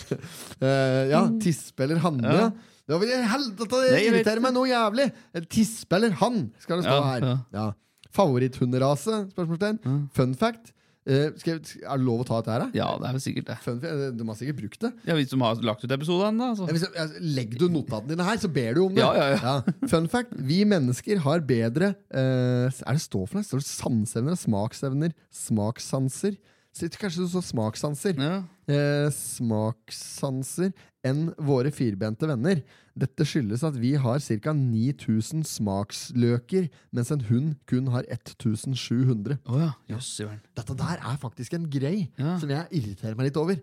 [SPEAKER 2] Eh, ja, tispe eller Hanne.
[SPEAKER 1] Ja.
[SPEAKER 2] Det, var, helvete, det
[SPEAKER 1] Nei, jeg vet
[SPEAKER 2] irriterer meg noe jævlig! Eh, Tispe eller han, skal det stå
[SPEAKER 1] Ja,
[SPEAKER 2] her. Ja. Favoritthunderase? Spørsmålstegn. Fun fact. Eh, skal jeg, er det lov å ta dette her? da?
[SPEAKER 1] Ja, det er vel sikkert det.
[SPEAKER 2] Fun fact, De har sikkert brukt det.
[SPEAKER 1] Ja, Hvis de har lagt ut episoden, da. Så.
[SPEAKER 2] Ja, Hvis, altså, legg du notatene dine her, så ber du om det.
[SPEAKER 1] Ja, ja, ja.
[SPEAKER 2] Fun fact. Vi mennesker har bedre eh, Er det stå for noe? Står det sanseevner? Smaksevner? Smakssanser? Så Kanskje du så smakssanser?
[SPEAKER 1] Ja.
[SPEAKER 2] Eh, smakssanser enn våre firbente venner. Dette skyldes at vi har ca. 9000 smaksløker, mens en hund kun har 1700.
[SPEAKER 1] Å ja. Jøss i verden.
[SPEAKER 2] Dette der er faktisk en grei
[SPEAKER 1] Ja.
[SPEAKER 2] som jeg irriterer meg litt over.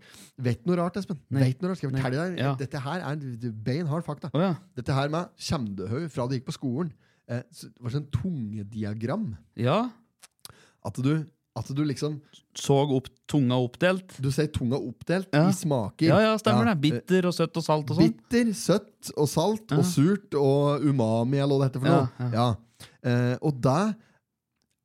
[SPEAKER 2] Vet noe rart, Espen?
[SPEAKER 1] Nei.
[SPEAKER 2] Vet noe rart? Skal jeg
[SPEAKER 1] Nei.
[SPEAKER 2] fortelle deg?
[SPEAKER 1] Ja.
[SPEAKER 2] Dette her er beinhard fakta.
[SPEAKER 1] Å ja.
[SPEAKER 2] Dette her med kjemdehøy fra du gikk på skolen, eh, så det var sånn tungediagram.
[SPEAKER 1] ja.
[SPEAKER 2] At du, at du liksom
[SPEAKER 1] Såg opp, tunga oppdelt.
[SPEAKER 2] Du sier tunga oppdelt
[SPEAKER 1] Ja.
[SPEAKER 2] i smaker.
[SPEAKER 1] Ja, ja, stemmer det.
[SPEAKER 2] Eh,
[SPEAKER 1] Bitter og søtt og salt og sånn.
[SPEAKER 2] Bitter, søtt og salt
[SPEAKER 1] Ja.
[SPEAKER 2] og surt og umami, eller hva det heter for noe.
[SPEAKER 1] Ja,
[SPEAKER 2] Ja. Eh, og det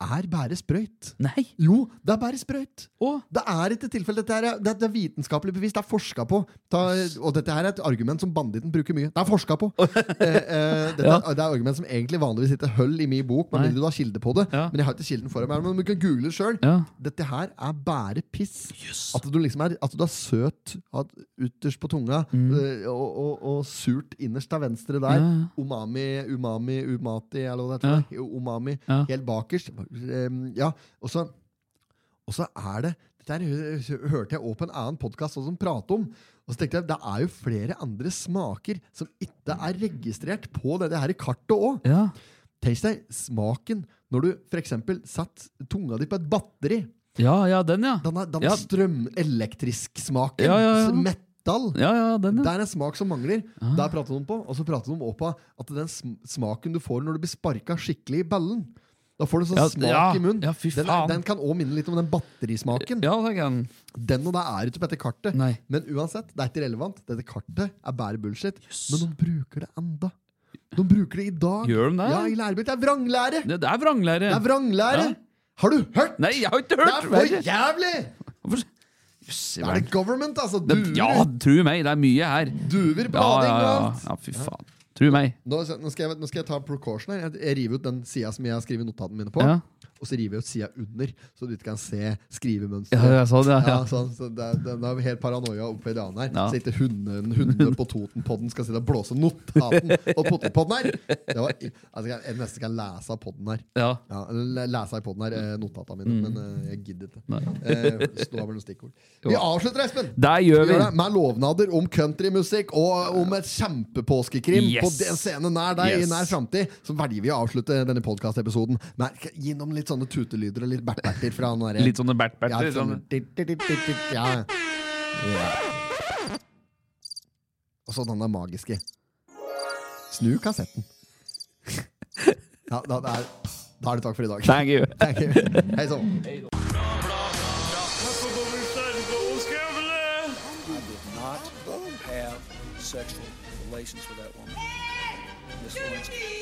[SPEAKER 2] er bare sprøyt.
[SPEAKER 1] sånn. Nei!
[SPEAKER 2] Jo, det er bare sprøyt.
[SPEAKER 1] Å!
[SPEAKER 2] Det er ikke tilfelle. Dette er, det er vitenskapelig bevisst. Det er forska på. Ta, og dette her er et argument som banditten bruker mye. Det er forska på! eh, eh, dette,
[SPEAKER 1] *laughs* Ja.
[SPEAKER 2] er- Det er argument som egentlig vanligvis ikke høll i min bok,
[SPEAKER 1] Nei.
[SPEAKER 2] men du har kilde på det.
[SPEAKER 1] Ja.
[SPEAKER 2] Men jeg har ikke kilden foran meg. Men du kan google det sjøl.
[SPEAKER 1] Ja.
[SPEAKER 2] Dette her er bare piss. At du liksom er, at du er søt at, ytterst på tunga eh, og, og, og surt innerst til venstre der.
[SPEAKER 1] Mm. Ja, ja.
[SPEAKER 2] Umami, umami, umati, eller hva det
[SPEAKER 1] Ja.
[SPEAKER 2] heter. for noe. Umami,
[SPEAKER 1] Ja.
[SPEAKER 2] helt bakerst. Em, Ja, og så og så er det Dette her hø- hørte jeg også på en annen podkast som pratet om. Og så tenkte jeg, Det er jo flere andre smaker som ikke er registrert på dette her kartet òg.
[SPEAKER 1] Ja.
[SPEAKER 2] Tenk deg smaken når du f.eks. setter tunga di på et batteri.
[SPEAKER 1] ja, ja, den, ja.
[SPEAKER 2] Den, er- den
[SPEAKER 1] Ja.
[SPEAKER 2] strømelektrisk smaken.
[SPEAKER 1] Ja, ja, ja.
[SPEAKER 2] Metall.
[SPEAKER 1] Ja, ja, den,
[SPEAKER 2] Det
[SPEAKER 1] ja. Ah.
[SPEAKER 2] er en smak som mangler. Der prater de på, og så prater de også på at den sm- smaken du får når du blir sparka skikkelig i ballen Da får du sånn
[SPEAKER 1] Ja,
[SPEAKER 2] smak
[SPEAKER 1] ja.
[SPEAKER 2] i munnen.
[SPEAKER 1] Ja, fy
[SPEAKER 2] den, er,
[SPEAKER 1] faen.
[SPEAKER 2] den kan òg minne litt om den batterismaken.
[SPEAKER 1] Ja, det kan
[SPEAKER 2] Den og det er ikke på dette kartet.
[SPEAKER 1] Nei.
[SPEAKER 2] Men uansett, det er ikke relevant. Dette kartet er bare bullshit. Men de bruker det enda. De bruker det i dag.
[SPEAKER 1] Gjør de det?
[SPEAKER 2] Ja, i lærebøker. Det er vranglære!
[SPEAKER 1] Det, det er vranglære.
[SPEAKER 2] Det er vranglære!
[SPEAKER 1] Ja.
[SPEAKER 2] Har du hørt?!
[SPEAKER 1] Nei, jeg har ikke
[SPEAKER 2] Det
[SPEAKER 1] hørt!
[SPEAKER 2] er
[SPEAKER 1] verre.
[SPEAKER 2] for jævlig!
[SPEAKER 1] Hvorfor- Jøss i
[SPEAKER 2] Det er
[SPEAKER 1] verden.
[SPEAKER 2] det government, altså.
[SPEAKER 1] Det,
[SPEAKER 2] Duver,
[SPEAKER 1] ja, tru meg, det er mye her.
[SPEAKER 2] duver
[SPEAKER 1] Ja,
[SPEAKER 2] blading
[SPEAKER 1] ja,
[SPEAKER 2] og
[SPEAKER 1] ja.
[SPEAKER 2] alt.
[SPEAKER 1] ja fy faen. Tru meg.
[SPEAKER 2] Nå, nå, skal jeg, nå skal jeg ta precaution her. Jeg, jeg river ut den sida som jeg har skrevet notatene mine på.
[SPEAKER 1] Ja.
[SPEAKER 2] og så river jeg ut sida under, så du ikke kan se skrivemønsteret.
[SPEAKER 1] Ja, ja, sånn, ja, ja.
[SPEAKER 2] sånn, så det, er- den er helt paranoia oppe i det andre her.
[SPEAKER 1] Ja.
[SPEAKER 2] Så ikke hunden, hunden på Totenpodden skal sitte og blåse notaten på Totenpodden her! Det var, altså, jeg, jeg nesten kan lese av podden her.
[SPEAKER 1] Ja.
[SPEAKER 2] Ja, eller lese i podden her, eh, notata mine, men eh, jeg gidder ikke.
[SPEAKER 1] Mm. Nei.
[SPEAKER 2] Eh, så det var vel noen
[SPEAKER 1] *laughs*
[SPEAKER 2] stikkord.
[SPEAKER 1] Jo.
[SPEAKER 2] Vi avslutter, Espen!
[SPEAKER 1] Der gjør vi.
[SPEAKER 2] det Med lovnader om countrymusikk og om et kjempepåskekrim
[SPEAKER 1] Yes.
[SPEAKER 2] på den scenen nær deg
[SPEAKER 1] Yes.
[SPEAKER 2] i nær framtid, så velger vi å avslutte denne podkastepisoden med gi noen litt sånne tutelyder og litt bert-berter fra han derre
[SPEAKER 1] Litt sånne
[SPEAKER 2] ja,
[SPEAKER 1] bert-berter.
[SPEAKER 2] sånn,
[SPEAKER 1] sånn-
[SPEAKER 2] ja. ja. Og så den der magiske. Snu kassetten. *laughs* Ja, da, da, er, da er det takk for i dag.
[SPEAKER 1] Thank you.
[SPEAKER 2] Thank you. Hei sann.
[SPEAKER 4] I did not have sexual relations with that woman. Miss Lewinsky.